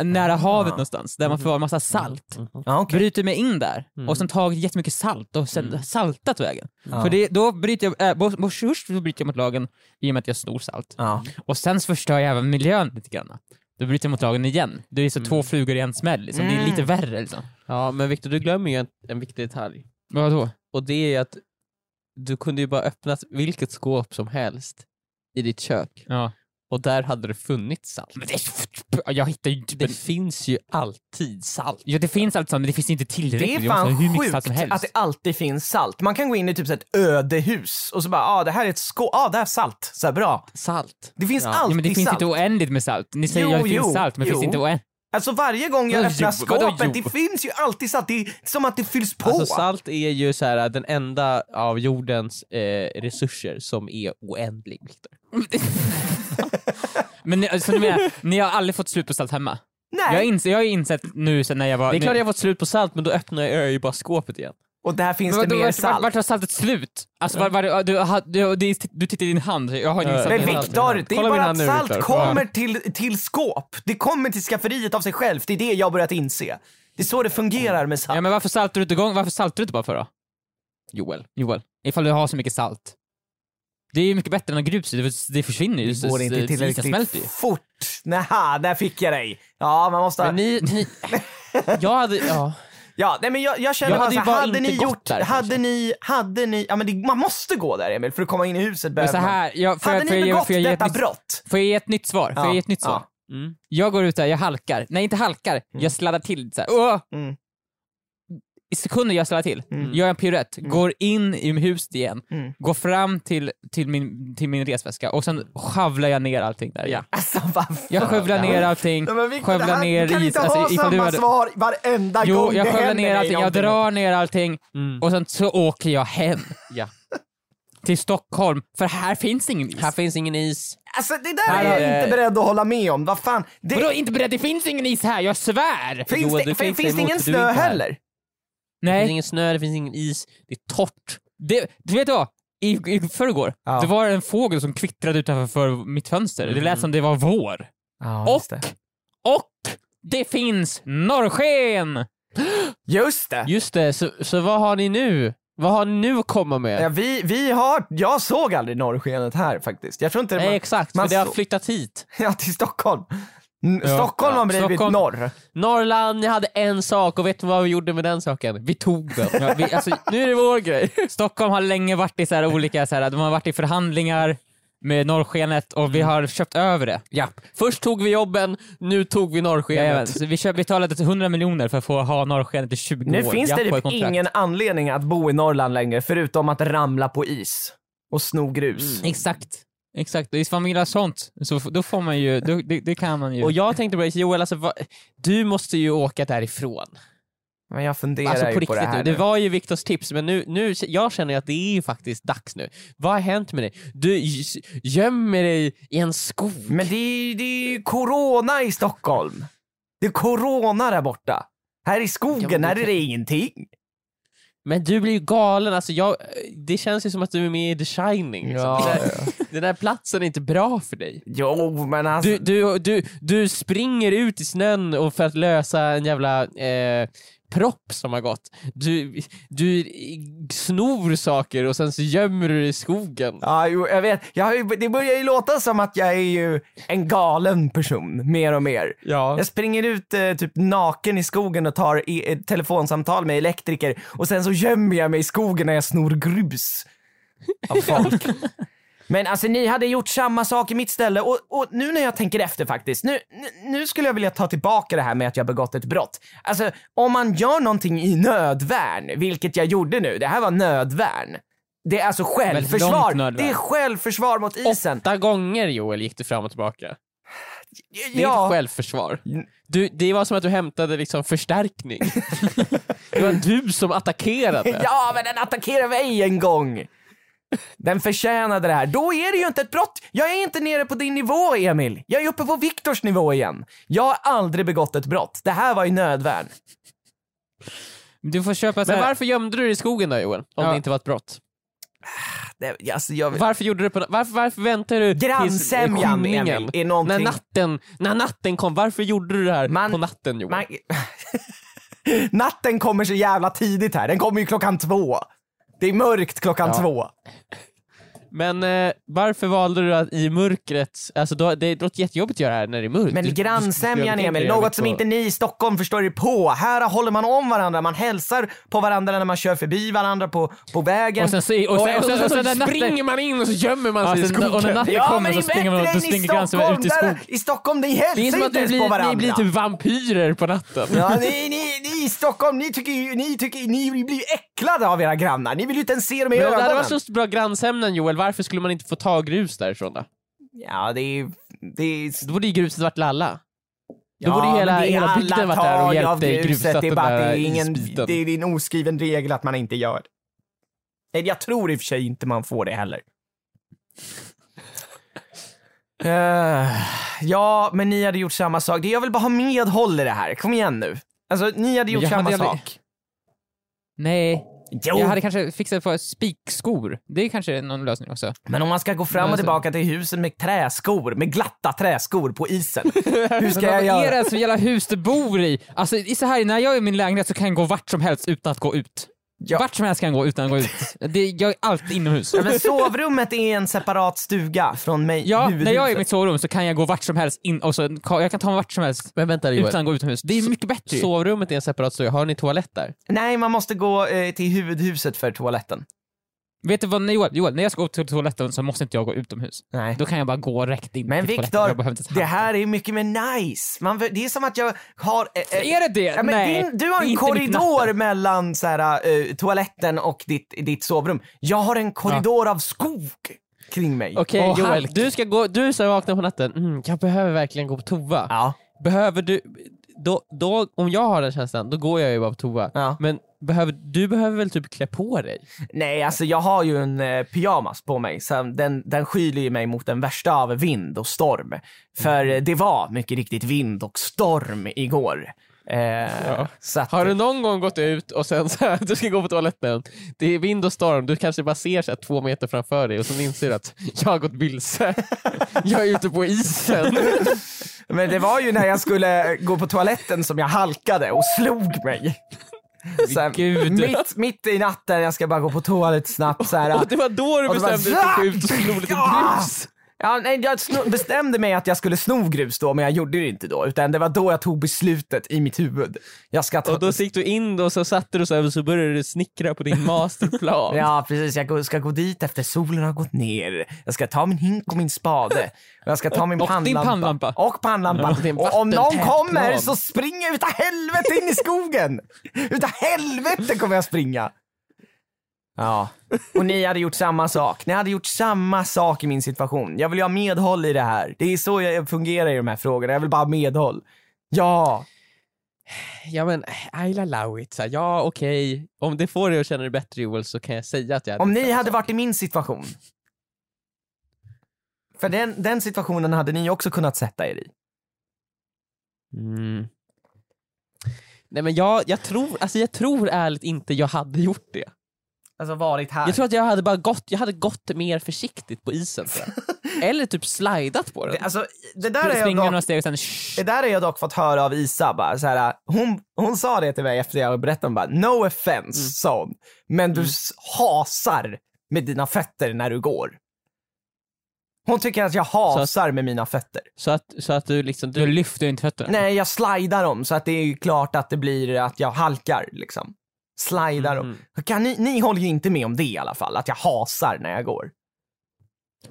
[SPEAKER 3] Nära havet någonstans, där man förvarar massa salt.
[SPEAKER 4] Ja, okej.
[SPEAKER 3] Bryter mig in där och sen tagit jättemycket salt och sen saltat vägen. För det, då bryter jag, äh, bo- bo- först så bryter jag mot lagen i och med att jag snor salt.
[SPEAKER 4] Ja.
[SPEAKER 3] Och sen så förstör jag även miljön lite grann. Då bryter jag mot lagen igen. Det är så två flugor i en smäll liksom. Det är lite värre liksom.
[SPEAKER 2] Ja, men Viktor, du glömmer ju en, en viktig detalj.
[SPEAKER 3] Vadå?
[SPEAKER 2] Och det är att du kunde ju bara öppna vilket skåp som helst i ditt kök
[SPEAKER 3] Ja.
[SPEAKER 2] och där hade det funnits salt.
[SPEAKER 3] Men det, är- jag hittar ju inte...
[SPEAKER 2] Det finns ju alltid salt.
[SPEAKER 3] Ja, det finns allt sånt, men det finns inte tillräckligt.
[SPEAKER 4] Det
[SPEAKER 3] Vi
[SPEAKER 4] är
[SPEAKER 3] måste ha
[SPEAKER 4] fan
[SPEAKER 3] hur mycket
[SPEAKER 4] sjukt
[SPEAKER 3] salt som helst.
[SPEAKER 4] att det alltid finns salt. Man kan gå in i typ så här ett ödehus och så bara, ah, det här är ett skåp, ah, där är salt. Så här, bra.
[SPEAKER 2] Salt.
[SPEAKER 4] Det finns
[SPEAKER 3] ja,
[SPEAKER 4] alltid
[SPEAKER 3] men det finns
[SPEAKER 4] salt.
[SPEAKER 3] inte oändligt med salt. Ni säger
[SPEAKER 4] Jo,
[SPEAKER 3] att det
[SPEAKER 4] jo,
[SPEAKER 3] finns salt, men det finns
[SPEAKER 4] jo.
[SPEAKER 3] inte oändligt.
[SPEAKER 4] Alltså varje gång jag
[SPEAKER 3] Vadå
[SPEAKER 4] öppnar
[SPEAKER 3] jo? Vadå
[SPEAKER 4] skåpet,
[SPEAKER 3] jo?
[SPEAKER 4] det finns ju alltid salt. Det är som att det fylls på.
[SPEAKER 2] Alltså salt är ju så här, den enda av jordens eh, resurser som är oändlig. Viktor.
[SPEAKER 3] Men ni, alltså, ni, menar, ni har aldrig fått slut på salt hemma?
[SPEAKER 4] Nej.
[SPEAKER 3] Jag, har ins- jag har insett nu sen när jag var...
[SPEAKER 2] Det är klart
[SPEAKER 3] nu,
[SPEAKER 2] jag har fått slut på salt men då öppnar jag ju bara skåpet igen.
[SPEAKER 4] Och där finns
[SPEAKER 3] Men
[SPEAKER 4] det
[SPEAKER 3] vadå,
[SPEAKER 4] mer
[SPEAKER 3] vart,
[SPEAKER 4] salt.
[SPEAKER 3] Vart, vart tar saltet slut? Alltså, var, var, du, har- du, du, du tittar i din hand, jag har ingen
[SPEAKER 2] Ja.
[SPEAKER 3] salt. i
[SPEAKER 4] men
[SPEAKER 3] min hand.
[SPEAKER 4] Viktor, Mm. det är
[SPEAKER 2] Kolla min
[SPEAKER 4] bara
[SPEAKER 2] hand
[SPEAKER 4] att
[SPEAKER 2] nu,
[SPEAKER 4] salt
[SPEAKER 2] Viktor.
[SPEAKER 4] kommer till, till skåp. Det kommer till skafferiet av sig självt. Det är det jag har börjat inse. Det är så det fungerar
[SPEAKER 3] Ja,
[SPEAKER 4] med salt.
[SPEAKER 3] men varför saltar du inte igång? Varför saltar du inte bara för då?
[SPEAKER 2] Joel.
[SPEAKER 3] Joel, ifall du har så mycket salt. Det är ju mycket bättre än att grups det, det försvinner ju.
[SPEAKER 4] Det går inte
[SPEAKER 3] Isen smälter ju.
[SPEAKER 4] tillräckligt fort. Näha, där fick jag dig. Ja, man måste... ha-
[SPEAKER 2] Men ni, ni,
[SPEAKER 3] Jag hade, ja.
[SPEAKER 4] Ja, nej, men jag, jag känner
[SPEAKER 2] Jag
[SPEAKER 4] bara
[SPEAKER 2] hade
[SPEAKER 4] så
[SPEAKER 2] ju
[SPEAKER 4] här,
[SPEAKER 2] bara
[SPEAKER 4] hade
[SPEAKER 2] inte
[SPEAKER 4] ni
[SPEAKER 2] gått
[SPEAKER 4] gjort...
[SPEAKER 2] där,
[SPEAKER 4] hade
[SPEAKER 2] kanske.
[SPEAKER 4] ni, hade ni... Ja, men det, man måste gå där Emil för att komma in i huset.
[SPEAKER 3] Men
[SPEAKER 4] behöver
[SPEAKER 3] så
[SPEAKER 4] man.
[SPEAKER 3] här, jag, får,
[SPEAKER 4] hade
[SPEAKER 3] jag, får,
[SPEAKER 4] ni
[SPEAKER 3] jag, ge-
[SPEAKER 4] begått
[SPEAKER 3] får, jag ge ett
[SPEAKER 4] detta
[SPEAKER 3] nytt,
[SPEAKER 4] brott?
[SPEAKER 3] får jag ge ett nytt svar? Får
[SPEAKER 4] Ja,
[SPEAKER 3] jag ge ett nytt svar?
[SPEAKER 4] ja. Mm.
[SPEAKER 3] Jag går ut där, jag halkar. Nej, inte halkar. Jag sladdar till. Så här. Åh!
[SPEAKER 4] Mm.
[SPEAKER 3] I sekunder jag sladdar till,
[SPEAKER 4] Mm.
[SPEAKER 3] gör en piruett, går in i huset igen,
[SPEAKER 4] Mm.
[SPEAKER 3] går fram till, till, min, till min resväska och sen shavlar jag ner allting där. igen.
[SPEAKER 4] Alltså vad
[SPEAKER 3] Jag skövlar ner allting,
[SPEAKER 4] Nej, men Victor, det
[SPEAKER 3] skövlar
[SPEAKER 4] här-
[SPEAKER 3] ner
[SPEAKER 4] du kan
[SPEAKER 3] is. alltså,
[SPEAKER 4] inte ha
[SPEAKER 3] ifall du
[SPEAKER 4] samma
[SPEAKER 3] hade-
[SPEAKER 4] svar varenda
[SPEAKER 3] Jo,
[SPEAKER 4] gång
[SPEAKER 3] jag
[SPEAKER 4] det
[SPEAKER 3] skövlar
[SPEAKER 4] händer
[SPEAKER 3] ner
[SPEAKER 4] dig
[SPEAKER 3] allting, jag
[SPEAKER 4] någonting.
[SPEAKER 3] drar ner allting
[SPEAKER 2] Mm.
[SPEAKER 3] och sen så åker jag hem.
[SPEAKER 2] Ja.
[SPEAKER 3] Till Stockholm, för här finns ingen is.
[SPEAKER 2] här finns ingen is.
[SPEAKER 4] Alltså det där
[SPEAKER 3] Här
[SPEAKER 4] är jag
[SPEAKER 3] är-
[SPEAKER 4] inte beredd att hålla med om. Vad fan. Det,
[SPEAKER 3] Vadå inte beredd? Det finns ingen is här, jag svär!
[SPEAKER 4] finns,
[SPEAKER 2] Joel,
[SPEAKER 4] det,
[SPEAKER 2] du kan
[SPEAKER 4] finns,
[SPEAKER 2] inte
[SPEAKER 4] det
[SPEAKER 2] emot
[SPEAKER 4] ingen
[SPEAKER 2] för du är
[SPEAKER 4] snö
[SPEAKER 2] inte här.
[SPEAKER 4] heller?
[SPEAKER 2] Det finns
[SPEAKER 3] Nej,
[SPEAKER 2] ingen snö, det finns ingen is. Det är torrt.
[SPEAKER 3] det, du vet vad? I, i förrgår,
[SPEAKER 4] Ja.
[SPEAKER 3] det var en fågel som kvittrade utanför för mitt fönster. Det
[SPEAKER 2] Mm.
[SPEAKER 3] lät som det var vår.
[SPEAKER 4] Ja,
[SPEAKER 3] och, och det finns norrsken!
[SPEAKER 4] Just det.
[SPEAKER 2] Just det, så, så vad har ni nu? Vad har ni nu att komma med?
[SPEAKER 4] Ja, vi, vi har, jag såg aldrig norrskenet här faktiskt. Jag tror inte det
[SPEAKER 2] Nej
[SPEAKER 4] var,
[SPEAKER 2] exakt,
[SPEAKER 4] man
[SPEAKER 2] för det har
[SPEAKER 4] så-
[SPEAKER 2] flyttat hit.
[SPEAKER 4] ja, till Stockholm. N- Stockholm har blivit
[SPEAKER 3] Stockholm-
[SPEAKER 4] norr.
[SPEAKER 2] Norrland, ni hade en sak och vet du vad vi gjorde med den saken? Vi tog den.
[SPEAKER 3] Ja, vi, alltså,
[SPEAKER 2] nu är det vår grej.
[SPEAKER 3] Stockholm har länge varit i så här olika, så här, de har varit i förhandlingar med norrskenet och vi har köpt över det.
[SPEAKER 2] Ja. Först tog vi jobben, nu tog vi
[SPEAKER 3] Jajamän,
[SPEAKER 2] norrskenet.
[SPEAKER 3] så vi köp- betalade 100 miljoner för att få ha norrskenet i 20
[SPEAKER 4] Nu
[SPEAKER 3] år.
[SPEAKER 4] finns
[SPEAKER 3] Ja,
[SPEAKER 4] det
[SPEAKER 3] på
[SPEAKER 4] typ
[SPEAKER 3] ett kontrakt.
[SPEAKER 4] ingen anledning att bo i Norrland längre förutom att ramla på is och sno grus.
[SPEAKER 3] Mm. Exakt. Exakt, och ifall man gillar sånt, så f- då får man ju, då, det, det kan man ju.
[SPEAKER 2] Och jag tänkte bara, Joel, alltså, vad- du måste ju åka därifrån.
[SPEAKER 4] Men jag funderar
[SPEAKER 2] Alltså
[SPEAKER 4] ju
[SPEAKER 2] på
[SPEAKER 4] på,
[SPEAKER 2] riktigt
[SPEAKER 4] det här
[SPEAKER 2] nu. Det var ju Viktors tips, men nu, nu, jag känner ju att det är ju faktiskt dags nu. Vad har hänt med dig? Du j- gömmer dig i en skog.
[SPEAKER 4] Men det är, ju- det är ju corona i Stockholm. Det är corona där borta. Här i
[SPEAKER 2] Ja, men
[SPEAKER 4] skogen,
[SPEAKER 2] det
[SPEAKER 4] här är
[SPEAKER 2] kan-
[SPEAKER 4] det ingenting.
[SPEAKER 2] Men du blir ju galen, alltså jag, det känns ju som att du är med i The Shining. liksom.
[SPEAKER 4] Ja,
[SPEAKER 2] Den, där, den där platsen är inte bra för dig.
[SPEAKER 4] Jo, men alltså.
[SPEAKER 2] Du, du, du, du springer ut i snön och för att lösa en jävla eh, propp som har gått. Du, du snor saker och sen så gömmer du dig i skogen.
[SPEAKER 4] Ja, jo, jag vet. Jag har ju, det börjar ju låta som att jag är ju en galen person, mer och mer.
[SPEAKER 2] Ja.
[SPEAKER 4] Jag springer ut eh, typ naken i skogen och tar i, ett telefonsamtal med elektriker och sen så gömmer jag mig i skogen när jag snor grus av folk. Men alltså ni hade gjort samma sak i mitt ställe och, och nu när jag tänker efter faktiskt, nu, nu- nu skulle jag vilja ta tillbaka det här med att jag begått ett brott. Alltså om man gör någonting i nödvärn, vilket jag gjorde nu, det här var nödvärn. Det är alltså
[SPEAKER 3] långt
[SPEAKER 4] självförsvar.
[SPEAKER 3] nödvärn.
[SPEAKER 4] Det är självförsvar mot isen.
[SPEAKER 2] Åtta gånger Joel gick du fram och tillbaka. Det är
[SPEAKER 4] Ja.
[SPEAKER 2] inte självförsvar. Du, det var som att du hämtade liksom förstärkning. det var du som attackerade.
[SPEAKER 4] Ja, men den attackerade mig en gång! Den förtjänade det här. Då är det ju inte ett brott! Jag är inte nere på din nivå, Emil. Jag är uppe på Viktors nivå igen. Jag har aldrig begått ett brott. Det här var ju nödvärn.
[SPEAKER 3] Du får köpa så
[SPEAKER 2] Men
[SPEAKER 3] här,
[SPEAKER 2] varför gömde du dig i skogen då Joel? Om
[SPEAKER 3] Ja.
[SPEAKER 2] det inte var ett brott.
[SPEAKER 4] Det, alltså, jag...
[SPEAKER 2] Varför, gjorde du på, varför, varför väntade du tills eh,
[SPEAKER 4] Grannsämjan,
[SPEAKER 2] skymningen?
[SPEAKER 4] Emil, är
[SPEAKER 2] när,
[SPEAKER 4] någonting...
[SPEAKER 2] natten, när natten kom, varför gjorde du det här
[SPEAKER 4] Man-
[SPEAKER 2] på natten Joel?
[SPEAKER 4] Man... Natten kommer så jävla tidigt här. Den kommer ju klockan två. Det är mörkt klockan
[SPEAKER 2] Ja.
[SPEAKER 4] två.
[SPEAKER 2] Men eh, varför valde du att i mörkret, alltså då, det låter jättejobbigt att göra det här när det är mörkt. Du-
[SPEAKER 4] Men
[SPEAKER 2] du- du-
[SPEAKER 4] grannsämjan
[SPEAKER 2] du- du- du-
[SPEAKER 4] Emil,
[SPEAKER 2] du-
[SPEAKER 4] något som
[SPEAKER 2] på-
[SPEAKER 4] inte ni i Stockholm förstår er på. Här håller man om varandra, man hälsar på varandra när man kör förbi varandra på, på vägen.
[SPEAKER 3] Och sen, så- och sen, och sen, och sen, den natten,
[SPEAKER 2] springer man in och så gömmer man
[SPEAKER 3] Ja,
[SPEAKER 2] sig i
[SPEAKER 3] sen- och när
[SPEAKER 2] skogen.
[SPEAKER 3] natten kommer så springer man
[SPEAKER 4] bättre
[SPEAKER 3] då
[SPEAKER 4] än
[SPEAKER 3] springer
[SPEAKER 4] i
[SPEAKER 3] grannsämjan ut i
[SPEAKER 4] Stockholm,
[SPEAKER 3] skogen.
[SPEAKER 4] där- I Stockholm, ni hälsar
[SPEAKER 2] Det är som att ni
[SPEAKER 4] inte ens på
[SPEAKER 2] blir,
[SPEAKER 4] varandra.
[SPEAKER 2] ni blir typ vampyrer på natten.
[SPEAKER 4] Ja, ni, ni, ni i Stockholm, ni tycker ju, ni tycker, ni blir ju äcklade av era grannar. Ni vill ju inte ens se dem i
[SPEAKER 2] Men om det hade
[SPEAKER 4] ögonen.
[SPEAKER 2] varit så bra grannsämnen Joel, varför skulle man inte få ta grus därifrån då?
[SPEAKER 4] Ja, det är, det är
[SPEAKER 2] Då borde ju gruset varit lalla. Då
[SPEAKER 4] Ja,
[SPEAKER 2] borde ju hela,
[SPEAKER 4] men det är
[SPEAKER 2] hela
[SPEAKER 4] alla
[SPEAKER 2] bygden varit där och
[SPEAKER 4] tag
[SPEAKER 2] hjälpt
[SPEAKER 4] av
[SPEAKER 2] dig
[SPEAKER 4] gruset.
[SPEAKER 2] gruset
[SPEAKER 4] Det är, bara,
[SPEAKER 2] den
[SPEAKER 4] att det,
[SPEAKER 2] där
[SPEAKER 4] är ingen,
[SPEAKER 2] isbiten.
[SPEAKER 4] det är en oskriven regel att man inte gör det. Nej, Jag tror i och för sig inte man får det heller. Eh, ja, men ni hade gjort samma sak. Det Jag vill bara ha medhåll i det här. Kom igen nu. Alltså, ni hade gjort
[SPEAKER 3] jag
[SPEAKER 4] samma
[SPEAKER 3] hade aldrig-
[SPEAKER 4] sak.
[SPEAKER 3] Nej,
[SPEAKER 4] Jo,
[SPEAKER 3] jag hade kanske fixat på spikskor. Det är kanske någon lösning också.
[SPEAKER 4] men om man ska gå fram och
[SPEAKER 3] Alltså-
[SPEAKER 4] tillbaka till husen med träskor, med glatta träskor på isen. Hur ska
[SPEAKER 3] Men
[SPEAKER 4] jag
[SPEAKER 3] vad är det
[SPEAKER 4] göra?
[SPEAKER 3] ens för jävla hus du bor i? Alltså i så här, när jag är i min lägenhet så kan jag gå vart som helst utan att gå ut.
[SPEAKER 4] Ja.
[SPEAKER 3] Vart som helst kan jag gå utan att gå ut. Det, jag är alltid inomhus.
[SPEAKER 4] Ja, men sovrummet är en separat stuga från mig,
[SPEAKER 3] Ja, när
[SPEAKER 4] huvudhuset.
[SPEAKER 3] jag är i mitt sovrum så kan jag gå vart som helst in, och så, jag kan ta mig vart som helst
[SPEAKER 2] Men vänta Joel,
[SPEAKER 3] utan att gå utomhus. Det är mycket bättre ju.
[SPEAKER 2] sovrummet är en separat stuga, har ni toalett där?
[SPEAKER 4] Nej, man måste gå eh, till huvudhuset för toaletten.
[SPEAKER 3] Vet du vad, när Joel, Joel, när jag ska gå till toaletten så måste inte jag gå utomhus.
[SPEAKER 4] Nej.
[SPEAKER 3] Då kan jag bara gå rätt in
[SPEAKER 4] Men
[SPEAKER 3] till toaletten. Jag behöver
[SPEAKER 4] Viktor,
[SPEAKER 3] inte ta
[SPEAKER 4] det
[SPEAKER 3] hand om
[SPEAKER 4] här är mycket mer nice. Man, det är som att jag har... eh, eh,
[SPEAKER 3] Är det det?
[SPEAKER 4] Ja, men
[SPEAKER 3] Nej.
[SPEAKER 4] din, du har
[SPEAKER 3] det är
[SPEAKER 4] en
[SPEAKER 3] inte mitt
[SPEAKER 4] korridor mellan så här, eh, toaletten och ditt, ditt sovrum. Jag har en korridor av skog kring mig.
[SPEAKER 2] Okej
[SPEAKER 3] Och
[SPEAKER 2] Joel,
[SPEAKER 3] halk.
[SPEAKER 2] du ska gå, du ska vakna på natten, mm, jag behöver verkligen gå på toa.
[SPEAKER 4] Ja.
[SPEAKER 2] Behöver du, då, då, om jag har den känslan, då går jag ju bara på toa.
[SPEAKER 4] Ja.
[SPEAKER 2] Men behöver, du behöver väl typ klä på dig?
[SPEAKER 4] Nej, alltså jag har ju en eh, pyjamas på mig. Så den, den skyler ju mig mot den värsta av vind och storm. För
[SPEAKER 3] Mm.
[SPEAKER 4] eh, det var mycket riktigt vind och storm igår. Eh, så att,
[SPEAKER 2] Har du någon gång gått ut och sen så här, du ska gå på toaletten, det är vind och storm, du kanske bara ser så här, två meter framför dig och sen inser du att jag har gått vilse. Jag är ute på isen.
[SPEAKER 4] Men det var ju när jag skulle gå på toaletten som jag halkade och slog mig. Så här,
[SPEAKER 3] Gud.
[SPEAKER 4] mitt, mitt i natten, jag ska bara gå på toa lite snabbt. Så här,
[SPEAKER 2] Och det var då du
[SPEAKER 4] Och det var
[SPEAKER 2] bestämde dig för att gå ut och sno lite
[SPEAKER 4] Ja!
[SPEAKER 2] grus.
[SPEAKER 4] Ja, nej, jag sno- bestämde mig att jag skulle sno grus då, men jag gjorde det inte då. Utan det var då jag tog beslutet i mitt huvud. Jag ska ta...
[SPEAKER 2] Och då gick du in och så satte du så här och så började du snickra på din masterplan.
[SPEAKER 4] Ja, precis. Jag gå- ska gå dit efter solen har gått ner. Jag ska ta min hink och min spade. Och jag ska ta min
[SPEAKER 3] Och din
[SPEAKER 4] pannlampa.
[SPEAKER 3] pannlampa.
[SPEAKER 4] Och pannlampan.
[SPEAKER 2] det är en
[SPEAKER 4] och om någon
[SPEAKER 2] vattentät
[SPEAKER 4] kommer
[SPEAKER 2] plan.
[SPEAKER 4] så springer jag utav helvete in i skogen. utav helvete kommer jag springa. Ja, och ni hade gjort samma sak. Ni hade gjort samma sak i min situation. Jag vill ju ha medhåll i det här. Det är så jag fungerar i de här frågorna. Jag vill bara ha medhåll. Ja,
[SPEAKER 2] ja men I'll allow it. Så här, ja okej, om det får dig att känna dig bättre Joel så kan jag säga att jag hade
[SPEAKER 4] om
[SPEAKER 2] gjort
[SPEAKER 4] ni
[SPEAKER 2] samma
[SPEAKER 4] hade
[SPEAKER 2] sak.
[SPEAKER 4] varit i min situation. För den, den situationen hade ni också kunnat sätta er i.
[SPEAKER 2] Mm. Nej men jag, jag, tror, alltså jag tror ärligt inte jag hade gjort det.
[SPEAKER 4] Alltså varit här.
[SPEAKER 2] Jag tror att jag hade bara gått, jag hade gått mer försiktigt på isen. tror jag. Eller typ slidat på den.
[SPEAKER 4] det, alltså, det, där är jag
[SPEAKER 3] Springa några
[SPEAKER 4] dock,
[SPEAKER 3] steg och sen shh.
[SPEAKER 4] det där är jag dock fått höra av Isa. Bara, så här, hon, hon sa det till mig efter jag berättade. Hon bara, no offense, sa hon. Men du s- hasar med dina fötter när du går. Hon tycker att jag hasar med mina fötter.
[SPEAKER 3] Mm.
[SPEAKER 2] Så, att, så att du liksom...
[SPEAKER 3] Du
[SPEAKER 2] Du,
[SPEAKER 3] lyfter inte fötterna.
[SPEAKER 4] Nej, jag slidar dem så att det är ju klart att det blir att jag halkar. Liksom. Slidar dem. Kan ni, ni håller ju inte med om det i alla fall, att jag hasar när jag går.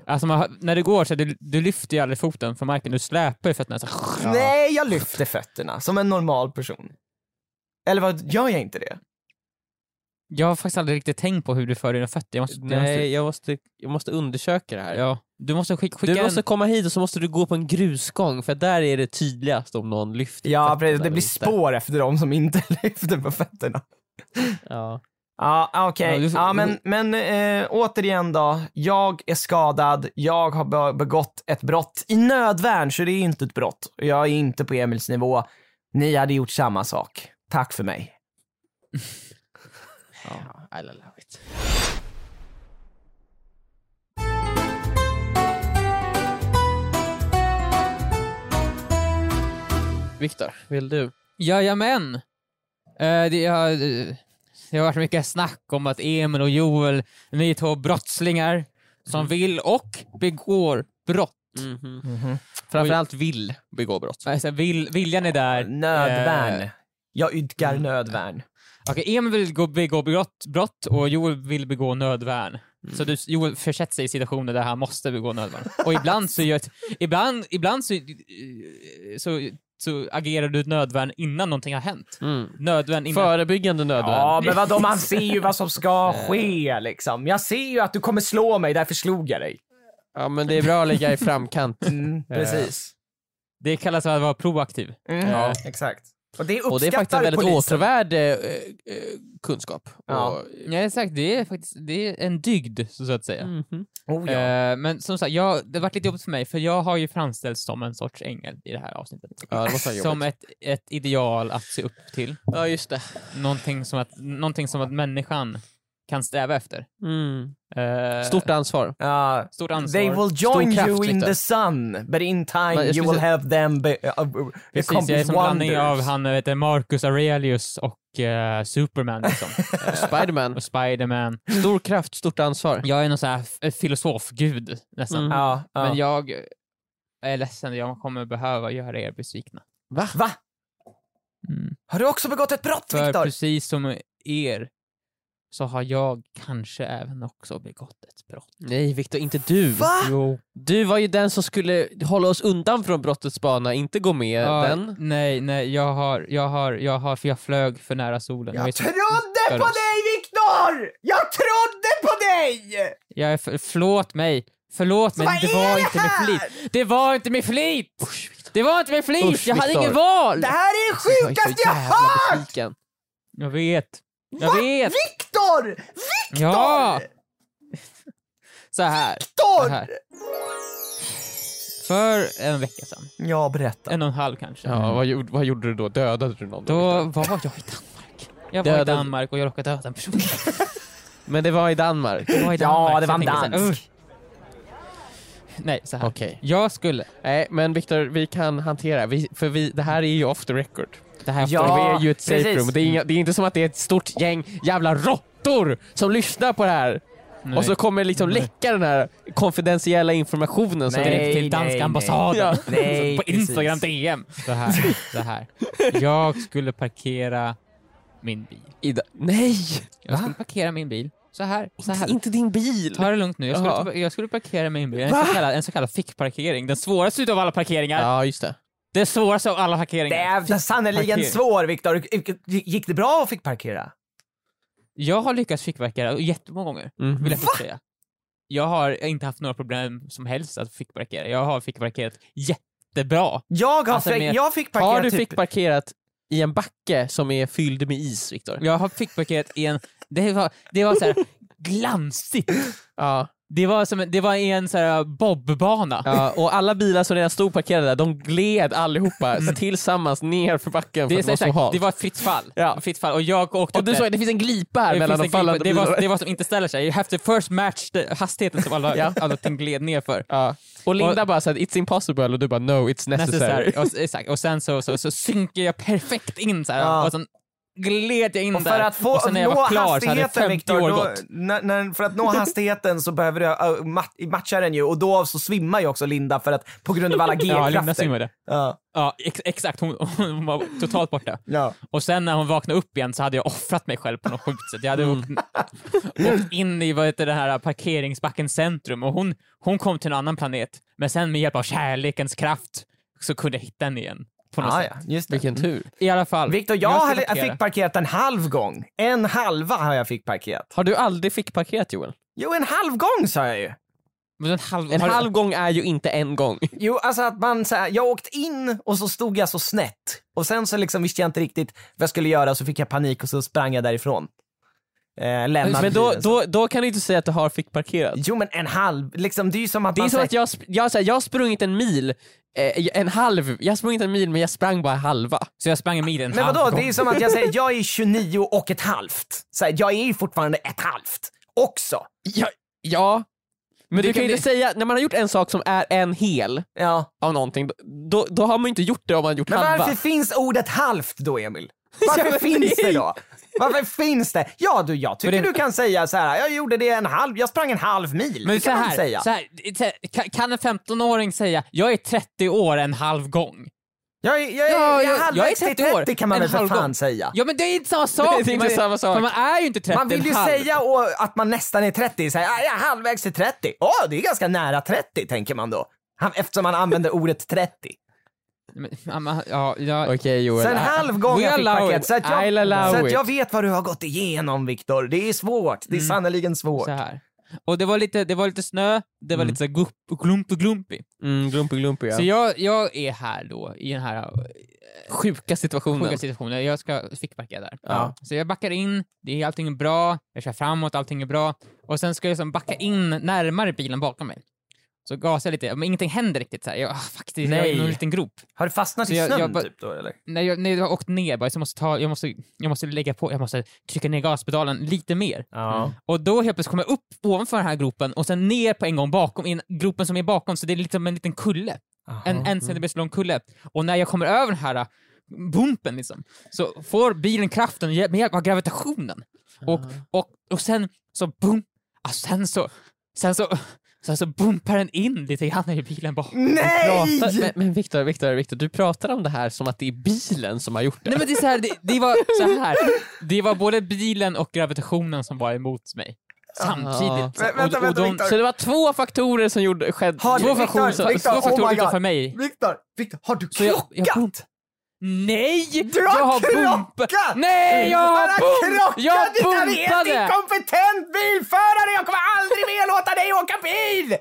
[SPEAKER 3] Alltså man, när du går så du, du lyfter ju aldrig foten från marken, du släpar ju fötterna så.
[SPEAKER 4] Nej, jag lyfter fötterna som en normal person. Eller vad, gör jag inte det?
[SPEAKER 3] Jag har faktiskt aldrig riktigt tänkt på hur du för dina fötter. Jag måste, jag måste,
[SPEAKER 2] nej, jag måste, jag måste undersöka det här.
[SPEAKER 3] ja. Du måste skick, skicka
[SPEAKER 2] Du måste
[SPEAKER 3] en...
[SPEAKER 2] komma hit och så måste du gå på en grusgång för där är det tydligast om någon lyfter
[SPEAKER 4] Ja,
[SPEAKER 2] fötterna
[SPEAKER 4] precis. Det
[SPEAKER 2] eller
[SPEAKER 4] blir
[SPEAKER 2] inte.
[SPEAKER 4] spår efter dem som inte lyfter på fötterna.
[SPEAKER 2] Ja.
[SPEAKER 4] Ja, ah, okej.
[SPEAKER 3] Ja, du får-
[SPEAKER 4] Ja, men, men eh, återigen då. Jag är skadad. Jag har be- begått ett brott. I nödvärn, så det är inte ett brott. Jag är inte på Emils nivå. Ni hade gjort samma sak. Tack för mig.
[SPEAKER 2] Ja, I love it. Viktor, vill du?
[SPEAKER 3] Jajamän! Uh, det har, eh, det har varit mycket snack om att Emil och Joel, ni är två brottslingar som
[SPEAKER 2] Mm.
[SPEAKER 3] vill och begår brott.
[SPEAKER 2] Mhm. Framförallt vill begå brott.
[SPEAKER 3] Alltså, vill, viljan är där.
[SPEAKER 4] Nödvärn.
[SPEAKER 3] Eh,
[SPEAKER 4] Jag idkar
[SPEAKER 2] Mm.
[SPEAKER 4] nödvärn.
[SPEAKER 3] Okej, Emil vill gå, begå brott, brott och Joel vill begå nödvärn. Så du, Joel försätter sig i situationer där han måste begå nödvärn. Och ibland så, gör ett, ibland, ibland så, eh, så, så agerar du ett nödvärn innan någonting har hänt. Nödvärn innan...
[SPEAKER 2] Förebyggande nödvärn.
[SPEAKER 4] Ja, men vadå, man ser ju vad som ska
[SPEAKER 2] Eh.
[SPEAKER 4] ske liksom. Jag ser ju att du kommer slå mig, därför slog jag dig.
[SPEAKER 2] Ja, men det är bra att ligga i framkant.
[SPEAKER 4] Mm, precis.
[SPEAKER 3] Det kallas att vara proaktiv.
[SPEAKER 4] Mm. Ja, exakt. Och det uppskattar
[SPEAKER 2] Och det är faktiskt en väldigt
[SPEAKER 4] polisen.
[SPEAKER 2] återvärd eh, eh, kunskap.
[SPEAKER 4] Ja.
[SPEAKER 2] Och,
[SPEAKER 3] Ja, exakt. Det är faktiskt det är en dygd, så så att säga.
[SPEAKER 4] Oh, ja.
[SPEAKER 3] Eh, men som sagt, jag, det har varit lite jobbigt för mig, för jag har ju framställts som en sorts ängel i det här avsnittet.
[SPEAKER 2] ja, det måste vara
[SPEAKER 3] som
[SPEAKER 2] jobbigt.
[SPEAKER 3] ett, ett ideal att se upp till.
[SPEAKER 2] Ja, just det.
[SPEAKER 3] Någonting som att, någonting som att människan kan sträva efter.
[SPEAKER 2] Mm.
[SPEAKER 3] Eh,
[SPEAKER 2] Stort ansvar.
[SPEAKER 4] Ja,
[SPEAKER 3] stort ansvar.
[SPEAKER 4] They will join
[SPEAKER 2] kraft,
[SPEAKER 4] you in
[SPEAKER 2] Victor.
[SPEAKER 4] the sun, but in time
[SPEAKER 2] Men jag
[SPEAKER 4] you
[SPEAKER 2] skulle
[SPEAKER 4] will
[SPEAKER 2] säga-
[SPEAKER 4] have them be, uh, uh,
[SPEAKER 3] Precis, jag är
[SPEAKER 4] accomplish
[SPEAKER 3] som en blandning
[SPEAKER 4] wonders.
[SPEAKER 3] av han, vet, du, Marcus Aurelius och eh, Superman liksom. Eh,
[SPEAKER 2] Spiderman.
[SPEAKER 3] och Spiderman.
[SPEAKER 2] Stor kraft, stort ansvar.
[SPEAKER 3] Jag är någon sån här f- eh, filosofgud nästan.
[SPEAKER 2] Mm.
[SPEAKER 4] Ja, ja.
[SPEAKER 3] Men jag är ledsen, jag kommer behöva göra er besvikna.
[SPEAKER 2] Va?
[SPEAKER 4] Va? Har du också begått ett brott,
[SPEAKER 3] Mm. För
[SPEAKER 4] Viktor?
[SPEAKER 3] precis som er så har jag kanske även också begått ett brott. Eh,
[SPEAKER 2] Nej Viktor, inte du.
[SPEAKER 4] Va?
[SPEAKER 3] Jo.
[SPEAKER 2] Du var ju den som skulle hålla oss undan från brottets bana, inte gå med
[SPEAKER 4] Eh,
[SPEAKER 3] Ja,
[SPEAKER 2] den.
[SPEAKER 3] Nej, nej, jag har, jag har, jag har, för jag flög för nära solen. Jag, är
[SPEAKER 4] Jag
[SPEAKER 3] så-
[SPEAKER 4] trodde på dig, Viktor! Jag trodde på dig!
[SPEAKER 3] jag är för, förlåt mig, förlåt mig,
[SPEAKER 4] vad
[SPEAKER 3] det
[SPEAKER 4] är
[SPEAKER 3] var
[SPEAKER 4] det
[SPEAKER 3] inte med
[SPEAKER 4] här?
[SPEAKER 3] flit. Det var inte med flit! det var inte med flit,
[SPEAKER 2] Usch,
[SPEAKER 3] jag hade
[SPEAKER 2] Viktor.
[SPEAKER 3] ingen val!
[SPEAKER 4] Det här är
[SPEAKER 3] Alltså,
[SPEAKER 4] det sjukaste jag
[SPEAKER 2] jävla
[SPEAKER 4] hört!
[SPEAKER 2] besviken.
[SPEAKER 3] Jag vet, jag
[SPEAKER 4] Va?
[SPEAKER 3] vet.
[SPEAKER 4] Viktor! Viktor!
[SPEAKER 3] Ja! Så här,
[SPEAKER 4] Viktor!
[SPEAKER 3] så här. För en vecka sedan,
[SPEAKER 4] Ja, berätta.
[SPEAKER 3] en och en halv kanske.
[SPEAKER 2] Ja, vad, gjorde, vad gjorde du Mm. då? Dödade du någon?
[SPEAKER 3] Då var jag i Danmark. Jag var i
[SPEAKER 2] Dödade-
[SPEAKER 3] Danmark och jag råkade döda en person.
[SPEAKER 2] Men det var i Danmark.
[SPEAKER 3] Jag var i Danmark,
[SPEAKER 4] Ja, det
[SPEAKER 3] så
[SPEAKER 4] var en
[SPEAKER 3] jag tänkte så här,
[SPEAKER 4] dansk.
[SPEAKER 3] "Ugh." Nej, så här.
[SPEAKER 2] Okej.
[SPEAKER 3] Jag skulle...
[SPEAKER 2] Nej, men Viktor, vi kan hantera. Vi, för vi, det här är ju off the record.
[SPEAKER 3] Det här
[SPEAKER 4] Ja,
[SPEAKER 2] Och vi är ju ett safe
[SPEAKER 4] precis.
[SPEAKER 2] room. Det är, inga, det är inte som att det är ett stort gäng jävla råttor som lyssnar på det här.
[SPEAKER 3] Nej.
[SPEAKER 2] Och så kommer liksom
[SPEAKER 3] Nej.
[SPEAKER 2] läcka den här konfidentiella informationen. Som
[SPEAKER 4] Nej,
[SPEAKER 2] direkt-
[SPEAKER 3] direkt till danska
[SPEAKER 4] nej,
[SPEAKER 3] ambassaden.
[SPEAKER 2] nej.
[SPEAKER 4] Nej,
[SPEAKER 3] på
[SPEAKER 4] precis.
[SPEAKER 3] Instagram DM. Så här, så här. Jag skulle parkera min bil.
[SPEAKER 2] Ida- Nej!
[SPEAKER 3] Jag skulle parkera min bil så här. Så här.
[SPEAKER 2] Inte, inte din bil!
[SPEAKER 3] Ta det lugnt nu. Jag
[SPEAKER 2] Jaha.
[SPEAKER 3] skulle, typ, jag skulle parkera min bil. En så kallad, en så kallad fickparkering. Den svåraste utav alla parkeringar.
[SPEAKER 2] Ja, just det.
[SPEAKER 3] Den svåraste av alla
[SPEAKER 4] Det
[SPEAKER 3] parkeringar.
[SPEAKER 4] är sannerligen
[SPEAKER 3] Parkering.
[SPEAKER 4] svår, Viktor. Gick det bra och fick parkera?
[SPEAKER 3] Jag har lyckats fickparkera jättemånga gånger,
[SPEAKER 2] Mhm.
[SPEAKER 3] vill jag faktiskt säga. Jag har inte haft några problem som helst att fickparkera. Jag har fickparkerat jättebra.
[SPEAKER 4] Jag, har
[SPEAKER 3] Alltså,
[SPEAKER 4] fick-
[SPEAKER 3] men-
[SPEAKER 4] jag fick parkera
[SPEAKER 2] Har du
[SPEAKER 4] typ...
[SPEAKER 2] fick parkerat i en backe som är fylld med is, Viktor?
[SPEAKER 3] Jag har fickparkerat i en... Det var, det var så här glansigt.
[SPEAKER 2] Ja.
[SPEAKER 3] Det var, som, en- det var i en så här bobbana.
[SPEAKER 2] ja. Och alla bilar som redan stod parkerade där, de gled allihopa tillsammans ner för backen för
[SPEAKER 3] Mm. Det,
[SPEAKER 2] att det
[SPEAKER 3] det,
[SPEAKER 2] var så halt.
[SPEAKER 3] det var ett fritt fall.
[SPEAKER 2] Ja.
[SPEAKER 3] Fritt fall. Och jag åkte
[SPEAKER 2] Och
[SPEAKER 3] upp
[SPEAKER 2] du
[SPEAKER 3] där.
[SPEAKER 2] såg att det finns en glipa här
[SPEAKER 3] Det
[SPEAKER 2] mellan
[SPEAKER 3] finns
[SPEAKER 2] de
[SPEAKER 3] en klipp-
[SPEAKER 2] fallande
[SPEAKER 3] det,
[SPEAKER 2] bilarna.
[SPEAKER 3] var, det var som inte ställer sig. You have to first match the hastigheten som alla,
[SPEAKER 2] Ja.
[SPEAKER 3] alla ting gled ner för.
[SPEAKER 2] Ja. Och Linda bara såhär, it's impossible och du bara no, it's necessary.
[SPEAKER 3] Necessary. Och, exakt. och sen så, så, så synkar jag perfekt in så här.
[SPEAKER 4] Ja.
[SPEAKER 3] och sen gled jag in
[SPEAKER 4] Och
[SPEAKER 3] där.
[SPEAKER 4] för att få
[SPEAKER 3] och sen när jag
[SPEAKER 4] nå
[SPEAKER 3] var klar så hade
[SPEAKER 4] hastigheten,
[SPEAKER 3] 50
[SPEAKER 4] Viktor,
[SPEAKER 3] år
[SPEAKER 4] då-
[SPEAKER 3] gått.
[SPEAKER 4] när- när- för att nå hastigheten så behöver du uh, mat- matcha den ju och då så svimmar ju också Linda för att på grund av alla
[SPEAKER 3] Ja,
[SPEAKER 4] g-krafter.
[SPEAKER 3] Linda simmade.
[SPEAKER 4] Ja,
[SPEAKER 3] Ja, ex, exakt. Hon, hon var totalt borta.
[SPEAKER 4] ja.
[SPEAKER 3] Och sen när hon vaknade upp igen så hade jag offrat mig själv på något sjukt sätt. Jag hade åkt,
[SPEAKER 4] Mm.
[SPEAKER 3] åkt in i vad heter det här parkeringsbackens centrum och hon, hon kom till en annan planet. Men sen med hjälp av kärlekens kraft så kunde jag hitta henne igen. På något
[SPEAKER 4] Ja,
[SPEAKER 3] sätt.
[SPEAKER 4] ja, just det.
[SPEAKER 2] Vilken tur.
[SPEAKER 3] I alla fall.
[SPEAKER 4] Viktor, jag,
[SPEAKER 3] ska
[SPEAKER 4] hade- jag
[SPEAKER 3] parkera.
[SPEAKER 4] fick parkerat en halv gång. En halva har jag fick parkerat.
[SPEAKER 2] Har du aldrig fick parkerat Joel?
[SPEAKER 4] Jo, en halv gång sa jag ju.
[SPEAKER 3] Men en halv,
[SPEAKER 2] En
[SPEAKER 3] har du-
[SPEAKER 2] halv gång är ju inte en gång.
[SPEAKER 4] Jo, alltså att man så här, jag åkt in och så stod jag så snett. Och sen så liksom visste jag inte riktigt vad jag skulle göra så fick jag panik och så sprang jag därifrån. Eh, lämnade
[SPEAKER 2] Men då,
[SPEAKER 4] bilen.
[SPEAKER 2] då, då kan du inte säga att du har fick parkerat.
[SPEAKER 4] Jo men en halv, liksom det är ju som att
[SPEAKER 2] Det är
[SPEAKER 4] man...
[SPEAKER 2] som
[SPEAKER 4] så
[SPEAKER 2] att jag, sp- jag, såhär, jag har sprungit en mil, eh, en halv, jag har sprungit en mil men jag sprang bara halva.
[SPEAKER 3] Så jag sprang en mil en
[SPEAKER 4] Men
[SPEAKER 3] halv
[SPEAKER 4] vadå,
[SPEAKER 3] gång.
[SPEAKER 4] det är ju som att jag säger jag är 29 och ett halvt. Så här, jag är ju fortfarande ett halvt också.
[SPEAKER 2] Ja, ja. men du
[SPEAKER 3] Det
[SPEAKER 2] kan
[SPEAKER 3] kan
[SPEAKER 2] ju inte säga, när man har gjort en sak som är en hel
[SPEAKER 4] Ja.
[SPEAKER 2] av någonting, då, då har man ju inte gjort det om man har gjort
[SPEAKER 4] Men
[SPEAKER 2] halva.
[SPEAKER 4] varför finns ordet halvt då Emil?
[SPEAKER 2] Ja,
[SPEAKER 4] Varför
[SPEAKER 2] men
[SPEAKER 4] finns
[SPEAKER 2] nej.
[SPEAKER 4] det då? Varför finns det? Ja du, jag tycker
[SPEAKER 3] För det-
[SPEAKER 4] du kan säga så här, jag gjorde det en halv, jag sprang en halv mil.
[SPEAKER 3] Men
[SPEAKER 4] det
[SPEAKER 3] så
[SPEAKER 4] kan man
[SPEAKER 3] här,
[SPEAKER 4] säga.
[SPEAKER 3] så här, så här, kan- kan en 15-åring säga jag är 30 år en halv gång?
[SPEAKER 4] Jag, är- jag, är-
[SPEAKER 3] Ja,
[SPEAKER 4] jag,
[SPEAKER 3] jag-
[SPEAKER 4] är halvvägs
[SPEAKER 3] jag är
[SPEAKER 4] till
[SPEAKER 3] 30 år.
[SPEAKER 4] 30 kan man
[SPEAKER 3] En
[SPEAKER 4] väl för
[SPEAKER 3] halv
[SPEAKER 4] fan
[SPEAKER 3] gång.
[SPEAKER 4] säga.
[SPEAKER 3] Ja men det är inte samma sak!
[SPEAKER 2] Det är inte
[SPEAKER 3] Man-
[SPEAKER 2] samma sak.
[SPEAKER 3] för Man är ju inte 30
[SPEAKER 4] Man vill ju
[SPEAKER 3] en halv.
[SPEAKER 4] säga och, att man nästan är 30, så här, "Ah, jag är halvvägs till 30. Åh, det är ganska nära 30 tänker man då. Han- Eftersom man använder ordet 30.
[SPEAKER 3] Men, ja, men, ja, jag,
[SPEAKER 2] Okej Joel.
[SPEAKER 4] Sen halv gång
[SPEAKER 3] We
[SPEAKER 4] jag fick
[SPEAKER 3] allow
[SPEAKER 4] paket.
[SPEAKER 3] it.
[SPEAKER 4] Så att jag,
[SPEAKER 2] I'll allow
[SPEAKER 4] så att
[SPEAKER 2] it.
[SPEAKER 4] jag vet vad du har gått igenom Viktor. Det är svårt. Det är sannerligen svårt.
[SPEAKER 3] Mm. så här. Och det var lite, det var lite snö, det var lite så här gupp, glump och glumpig.
[SPEAKER 2] Mm, glumpy glumpy ja.
[SPEAKER 3] Så jag, jag är här då, i den här
[SPEAKER 2] Sjuka situationen.
[SPEAKER 3] sjuka situationen. Jag ska fickbacka där.
[SPEAKER 2] Ja.
[SPEAKER 3] Så jag backar in, det är, allting är bra, jag kör framåt, allting är bra. Och sen ska jag liksom backa in närmare bilen bakom mig. Så gasar jag lite, men ingenting händer riktigt. Så här. Jag, ah, fuck, det är
[SPEAKER 4] Nej.
[SPEAKER 3] jag är i någon liten grop.
[SPEAKER 4] Har du fastnat
[SPEAKER 3] Så
[SPEAKER 4] i
[SPEAKER 3] jag-
[SPEAKER 4] snön
[SPEAKER 3] jag bara-
[SPEAKER 4] typ då eller?
[SPEAKER 3] När jag, när jag har åkt ner bara, så jag måste, ta, jag, måste, jag måste lägga på, jag måste trycka ner gaspedalen lite mer.
[SPEAKER 4] Ja.
[SPEAKER 3] Och då helt plötsligt kommer jag upp ovanför den här gropen och sen ner på en gång bakom, in, gropen som är bakom, så det är liksom en liten kulle. En, en centimeter lång kulle. Och när jag kommer över den här bumpen liksom, så får bilen kraften ge- med hjälp av gravitationen. Och, och, och sen så bum, alltså sen så, sen så, sen så bumpar den in lite grann i bilen bak.
[SPEAKER 4] Nej!
[SPEAKER 2] Prata, men men Viktor, Viktor, Viktor, du pratar om det här som att det är bilen som har gjort det.
[SPEAKER 3] Nej men det är så här, det, det var så här. Det var både bilen och gravitationen som var emot mig. Samtidigt.
[SPEAKER 4] Men- vänta,
[SPEAKER 3] Och- och
[SPEAKER 4] vänta,
[SPEAKER 3] de-
[SPEAKER 4] Viktor.
[SPEAKER 2] Så det var två faktorer som gjorde, skedde...
[SPEAKER 4] Har du-
[SPEAKER 3] Två
[SPEAKER 4] Viktor,
[SPEAKER 3] faktorer, som-
[SPEAKER 4] Viktor,
[SPEAKER 3] två
[SPEAKER 4] oh
[SPEAKER 3] faktorer
[SPEAKER 4] my God.
[SPEAKER 3] utanför mig.
[SPEAKER 4] Viktor, Viktor, har du
[SPEAKER 3] Så jag-
[SPEAKER 4] krockat?
[SPEAKER 3] jag bump- Nej!
[SPEAKER 4] Du har
[SPEAKER 3] jag har
[SPEAKER 4] krockat!
[SPEAKER 3] bump- Nej, jag har bump-
[SPEAKER 4] krockat!
[SPEAKER 3] jag
[SPEAKER 4] Du är en helt
[SPEAKER 3] bumpade!
[SPEAKER 4] inkompetent bilförare! Jag kommer aldrig mer låta dig åka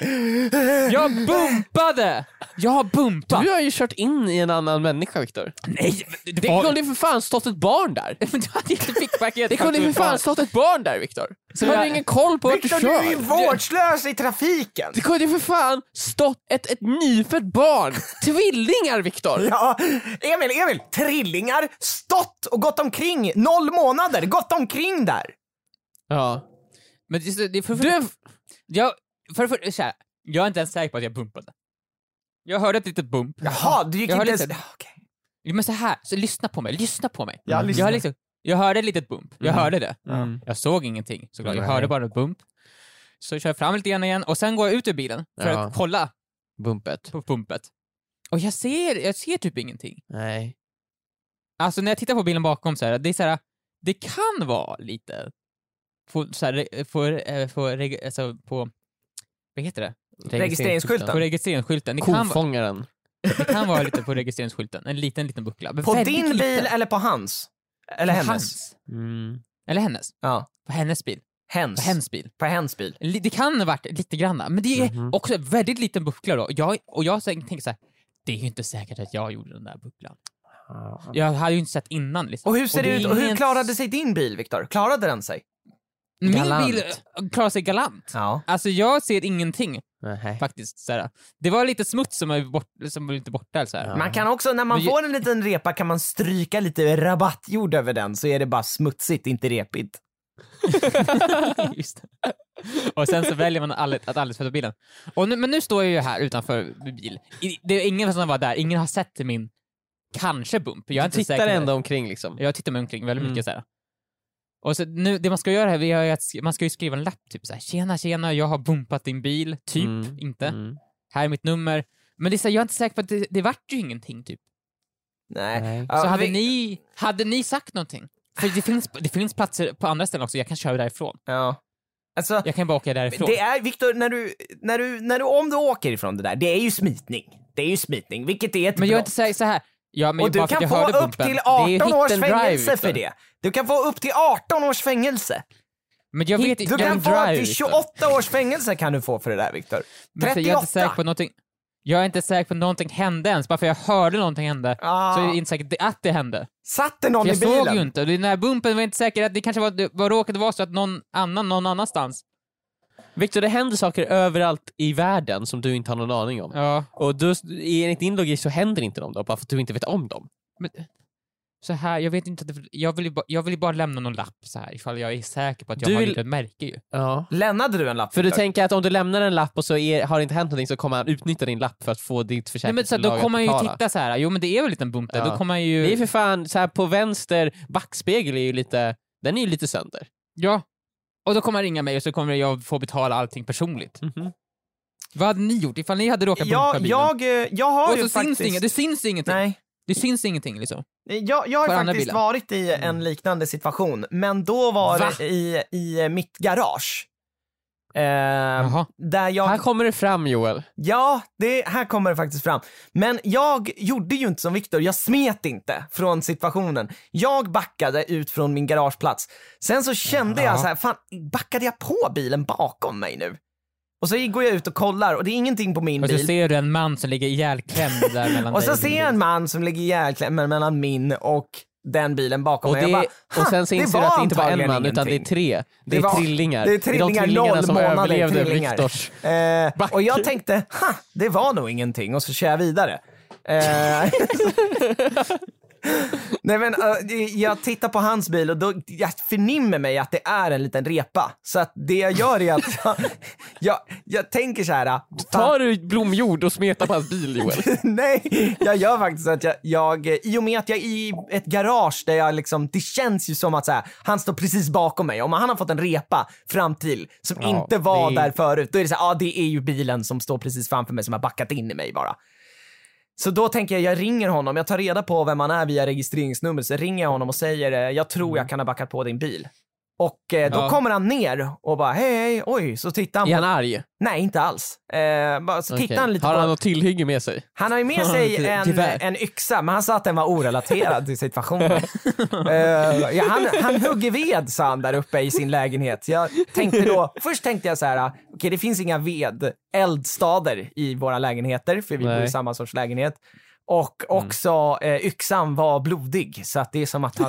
[SPEAKER 4] bil!
[SPEAKER 3] Jag bumpade! Jag har bumpat!
[SPEAKER 2] Du har ju kört in i en annan människa Viktor.
[SPEAKER 3] Nej! Det,
[SPEAKER 2] Det
[SPEAKER 3] var-
[SPEAKER 2] kunde ju för fan stått ett barn där.
[SPEAKER 3] Men du hade inte fickpaket.
[SPEAKER 2] Det kunde ju för fan stått ett barn där Viktor. Så har
[SPEAKER 3] jag-
[SPEAKER 2] du ingen koll på vart du
[SPEAKER 4] Viktor, du är ju
[SPEAKER 2] kör.
[SPEAKER 4] vårdslös i trafiken!
[SPEAKER 2] Det kunde ju för fan stått ett, ett nyfött barn. Tvillingar Viktor.
[SPEAKER 4] Ja, Emil, Emil! Trillingar, stått och gått omkring, noll månader, gått omkring där!
[SPEAKER 2] Ja.
[SPEAKER 3] Men det, det är för, för,
[SPEAKER 2] Du,
[SPEAKER 3] jag, för, för, så här, jag är inte ens säker på att jag bumpade. Jag hörde ett litet bump.
[SPEAKER 4] Jaha, du gick
[SPEAKER 3] Jag har
[SPEAKER 4] inte ens...
[SPEAKER 3] lite-
[SPEAKER 4] Okej.
[SPEAKER 3] Jo, Men så här, så lyssna på mig, lyssna på mig.
[SPEAKER 4] Ja, lyssna.
[SPEAKER 3] Jag, har liksom, jag hörde ett litet bump, jag hörde det.
[SPEAKER 2] Mm.
[SPEAKER 3] Jag såg ingenting såklart, jag
[SPEAKER 2] Nej.
[SPEAKER 3] hörde bara ett bump. Så jag kör fram lite grann igen och sen går jag ut ur bilen för
[SPEAKER 2] Ja.
[SPEAKER 3] att kolla
[SPEAKER 2] Bumpet.
[SPEAKER 3] på bumpet. Och jag ser, jag ser typ ingenting.
[SPEAKER 2] Nej.
[SPEAKER 3] Alltså när jag tittar på bilen bakom så här, det är så här, det kan vara lite på, så här, för, för, alltså, på, vad heter det? På
[SPEAKER 4] Registreringsskylten.
[SPEAKER 3] registreringsskylten. Det kan, vara-
[SPEAKER 2] Kofångaren.
[SPEAKER 3] det kan vara lite på registreringsskylten, en liten liten buckla. Men
[SPEAKER 4] På
[SPEAKER 3] väldigt
[SPEAKER 4] din bil
[SPEAKER 3] liten.
[SPEAKER 4] eller på hans? Eller hennes?
[SPEAKER 3] Hans.
[SPEAKER 2] Mm.
[SPEAKER 3] Eller hennes.
[SPEAKER 4] Ja.
[SPEAKER 3] På hennes bil. På
[SPEAKER 4] Hens.
[SPEAKER 3] hennes bil.
[SPEAKER 4] På hens bil.
[SPEAKER 3] Li- Det kan ha varit lite granna, men det är
[SPEAKER 2] Mhm.
[SPEAKER 3] också en väldigt liten buckla då. Jag, och jag tänk- tänker så här, det är ju inte säkert att jag gjorde den där bucklan. Jag hade ju inte sett innan. Liksom.
[SPEAKER 4] Ah. Och hur ser
[SPEAKER 3] Och det
[SPEAKER 4] det
[SPEAKER 3] är
[SPEAKER 4] ut? Och hur
[SPEAKER 3] inget-
[SPEAKER 4] klarade sig din bil, Viktor? Klarade den sig?
[SPEAKER 3] Min
[SPEAKER 4] galant.
[SPEAKER 3] bil eh, klarar sig galant.
[SPEAKER 4] Ja.
[SPEAKER 3] Alltså jag ser ingenting
[SPEAKER 2] Nej.
[SPEAKER 3] faktiskt. Så här. Det var lite smuts som var, bort, som var inte borta. Så här.
[SPEAKER 2] Ja.
[SPEAKER 4] Man kan också, när man
[SPEAKER 3] Men ju-
[SPEAKER 4] får en liten repa kan man stryka lite rabattjord över den så är det bara smutsigt, inte repigt.
[SPEAKER 3] Just det. Och sen så väljer man aldrig, att aldrig tvätta bilen. Och nu, men nu står jag ju här utanför min bil. I- Det är ingen som var där, ingen har sett min kanske bump. Jag är
[SPEAKER 2] Jag
[SPEAKER 3] inte
[SPEAKER 2] tittar
[SPEAKER 3] säker.
[SPEAKER 2] ändå omkring liksom.
[SPEAKER 3] Jag tittar mig omkring väldigt
[SPEAKER 2] Mm.
[SPEAKER 3] mycket så här. Och så nu, det man ska göra här det är ju att sk- man ska ju skriva en lapp typ så här. Tjena tjena, jag har bumpat din bil. Typ,
[SPEAKER 2] Mm.
[SPEAKER 3] inte.
[SPEAKER 2] Mm.
[SPEAKER 3] Här är mitt nummer. Men det är så här, jag är inte säker på att det, det vart ju ingenting typ.
[SPEAKER 4] Nej.
[SPEAKER 2] Nej.
[SPEAKER 4] Ja,
[SPEAKER 3] så hade,
[SPEAKER 4] vi-
[SPEAKER 3] ni, hade ni sagt någonting? För det finns, det finns platser på andra ställen också, jag kan köra därifrån.
[SPEAKER 4] Ja. Alltså,
[SPEAKER 3] Jag kan bara åka därifrån.
[SPEAKER 4] det är, Viktor, när du, när du, när du, om du åker ifrån det där, det är ju smitning. Det är ju smitning, vilket är ett
[SPEAKER 3] Men jag är
[SPEAKER 4] brott.
[SPEAKER 3] inte säker så här. Ja, men
[SPEAKER 4] Och du
[SPEAKER 3] bara för att
[SPEAKER 4] kan
[SPEAKER 3] jag
[SPEAKER 4] få
[SPEAKER 3] hörde
[SPEAKER 4] upp
[SPEAKER 3] bumpen.
[SPEAKER 4] till
[SPEAKER 3] Det är ju
[SPEAKER 4] 18
[SPEAKER 3] hit
[SPEAKER 4] års
[SPEAKER 3] and drive, liksom.
[SPEAKER 4] fängelse
[SPEAKER 3] Viktor.
[SPEAKER 4] för det. Du kan få upp till 18 års fängelse.
[SPEAKER 3] Men jag vet
[SPEAKER 4] Du
[SPEAKER 3] jag
[SPEAKER 4] kan
[SPEAKER 3] vill
[SPEAKER 4] få upp
[SPEAKER 3] drive, liksom.
[SPEAKER 4] till
[SPEAKER 3] Viktor.
[SPEAKER 4] 28 års fängelse kan du få för det där Viktor.
[SPEAKER 3] Men så Jag är,
[SPEAKER 4] 38!
[SPEAKER 3] inte säker på att någonting, jag är inte säker på att någonting hände ens, bara för jag hörde någonting hända
[SPEAKER 4] Ah.
[SPEAKER 3] så är jag inte säker att det hände.
[SPEAKER 4] Satt det någon
[SPEAKER 3] Jag
[SPEAKER 4] i bilen?
[SPEAKER 3] såg ju inte, och den här bumpen var jag inte säker att det kanske var, det var råkade vara så att någon annan någon annanstans.
[SPEAKER 2] Viktor, det händer saker överallt i världen som du inte har någon aning om.
[SPEAKER 3] Ja,
[SPEAKER 2] Och du, enligt din logik så händer inte de då, bara för att du inte vet om dem.
[SPEAKER 3] men så här, jag vet inte, att det, jag, vill ju bara, jag vill ju bara lämna någon lapp så här ifall jag är säker på att jag
[SPEAKER 2] Du
[SPEAKER 3] har
[SPEAKER 2] vill-
[SPEAKER 3] gjort ett märke ju.
[SPEAKER 2] Ja.
[SPEAKER 4] Lämnade du en lapp?
[SPEAKER 2] För du
[SPEAKER 4] Viktor?
[SPEAKER 2] tänker att om du lämnar en lapp och så är, har det inte hänt någonting så kommer han utnyttja din lapp för att få ditt
[SPEAKER 3] Nej, men så här,
[SPEAKER 2] försäkringsbolag
[SPEAKER 3] då kommer
[SPEAKER 2] att
[SPEAKER 3] jag ju
[SPEAKER 2] betala.
[SPEAKER 3] titta så här, jo men det är väl en liten bump där,
[SPEAKER 2] Ja.
[SPEAKER 3] då kommer jag ju...
[SPEAKER 2] Det är för fan, så här på vänster backspegel är ju lite, den är ju lite sönder.
[SPEAKER 3] Ja. Och då kommer han ringa mig och så kommer jag få betala allting personligt.
[SPEAKER 2] Mhm.
[SPEAKER 3] Vad hade ni gjort ifall ni hade råkat bumpa
[SPEAKER 4] Ja,
[SPEAKER 3] bilen?
[SPEAKER 4] jag, eh, jag har
[SPEAKER 3] och
[SPEAKER 4] ju
[SPEAKER 3] så syns
[SPEAKER 4] faktiskt...
[SPEAKER 3] det inget, det syns ingenting.
[SPEAKER 4] Nej.
[SPEAKER 3] Det syns ingenting liksom.
[SPEAKER 4] Eh, Jag, jag har
[SPEAKER 3] För andra
[SPEAKER 4] faktiskt
[SPEAKER 3] bilar.
[SPEAKER 4] varit i en liknande situation, men då var
[SPEAKER 3] Mm. Va?
[SPEAKER 4] det i, i mitt garage. Eh,
[SPEAKER 3] Jaha.
[SPEAKER 4] där jag,
[SPEAKER 2] Här kommer det fram Joel.
[SPEAKER 4] ja, det, här kommer det faktiskt fram. Men jag gjorde ju inte som Viktor, jag smet inte från situationen. Jag backade ut från min garageplats. Sen så kände jag så här, fan, backade jag på bilen bakom mig nu? Och så går jag ut och kollar och det är ingenting på min
[SPEAKER 3] Och så
[SPEAKER 4] bil.
[SPEAKER 3] ser du en man som ligger ihjälklämd där mellan
[SPEAKER 4] Och
[SPEAKER 3] dig
[SPEAKER 4] så ser jag en man som ligger ihjälklämd mellan min och den bilen bakom
[SPEAKER 2] Och,
[SPEAKER 4] mig.
[SPEAKER 2] det, och
[SPEAKER 4] jag "Ha,
[SPEAKER 2] sen så inser
[SPEAKER 4] var
[SPEAKER 2] du att det inte var en man
[SPEAKER 4] antagligen
[SPEAKER 2] utan det är
[SPEAKER 4] ingenting."
[SPEAKER 2] tre. Det,
[SPEAKER 4] Det
[SPEAKER 2] är
[SPEAKER 4] var-
[SPEAKER 2] trillingar.
[SPEAKER 4] det är trillingar,
[SPEAKER 2] de trillingarna
[SPEAKER 4] noll
[SPEAKER 2] som
[SPEAKER 4] månader
[SPEAKER 2] överlevde
[SPEAKER 4] trillingar.
[SPEAKER 2] Viktors.
[SPEAKER 4] Eh, och jag tänkte, ha, det var nog ingenting och så kör jag vidare. Eh, Nej men eh, jag tittar på hans bil och då, jag förnimmer mig att det är en liten repa. Så att det jag gör är att jag, jag, jag tänker så här. fan,
[SPEAKER 2] Tar du blomjord och smetar på hans bil Joel?
[SPEAKER 4] Nej, jag gör faktiskt att jag, jag, eh, i och med att jag är i ett garage där jag liksom, det känns ju som att så här, han står precis bakom mig. Om han har fått en repa fram till som inte var
[SPEAKER 2] det är-
[SPEAKER 4] där förut, då är det så här, ja ah, det är ju bilen som står precis framför mig som har backat in i mig bara. Så då tänker jag, jag ringer honom, jag tar reda på vem han är via registreringsnummer, så ringer jag honom och säger, eh, jag
[SPEAKER 2] Mm.
[SPEAKER 4] tror jag kan ha backat på din bil. Och eh, då
[SPEAKER 3] Ja.
[SPEAKER 4] kommer han ner och bara, hej, hej, oj, så tittar han
[SPEAKER 2] Är
[SPEAKER 4] på,
[SPEAKER 2] han arg?
[SPEAKER 4] nej inte alls. Eh, bara, så
[SPEAKER 2] Okej.
[SPEAKER 4] tittar han lite
[SPEAKER 2] Har
[SPEAKER 4] på
[SPEAKER 2] han något tillhygge med sig?
[SPEAKER 4] han har ju med
[SPEAKER 3] Han har
[SPEAKER 4] sig
[SPEAKER 3] lite
[SPEAKER 4] en,
[SPEAKER 3] gevär.
[SPEAKER 4] en yxa, men han sa att den var orelaterad till situationen. Eh, ja, han, han hugger ved, sa han där uppe i sin lägenhet. Jag tänkte då, först tänkte jag så här, ah, okej det finns inga ved, eldstader i våra lägenheter, för vi bor i
[SPEAKER 3] Nej.
[SPEAKER 4] samma sorts lägenhet. Och också eh, yxan var blodig, så att det är som att han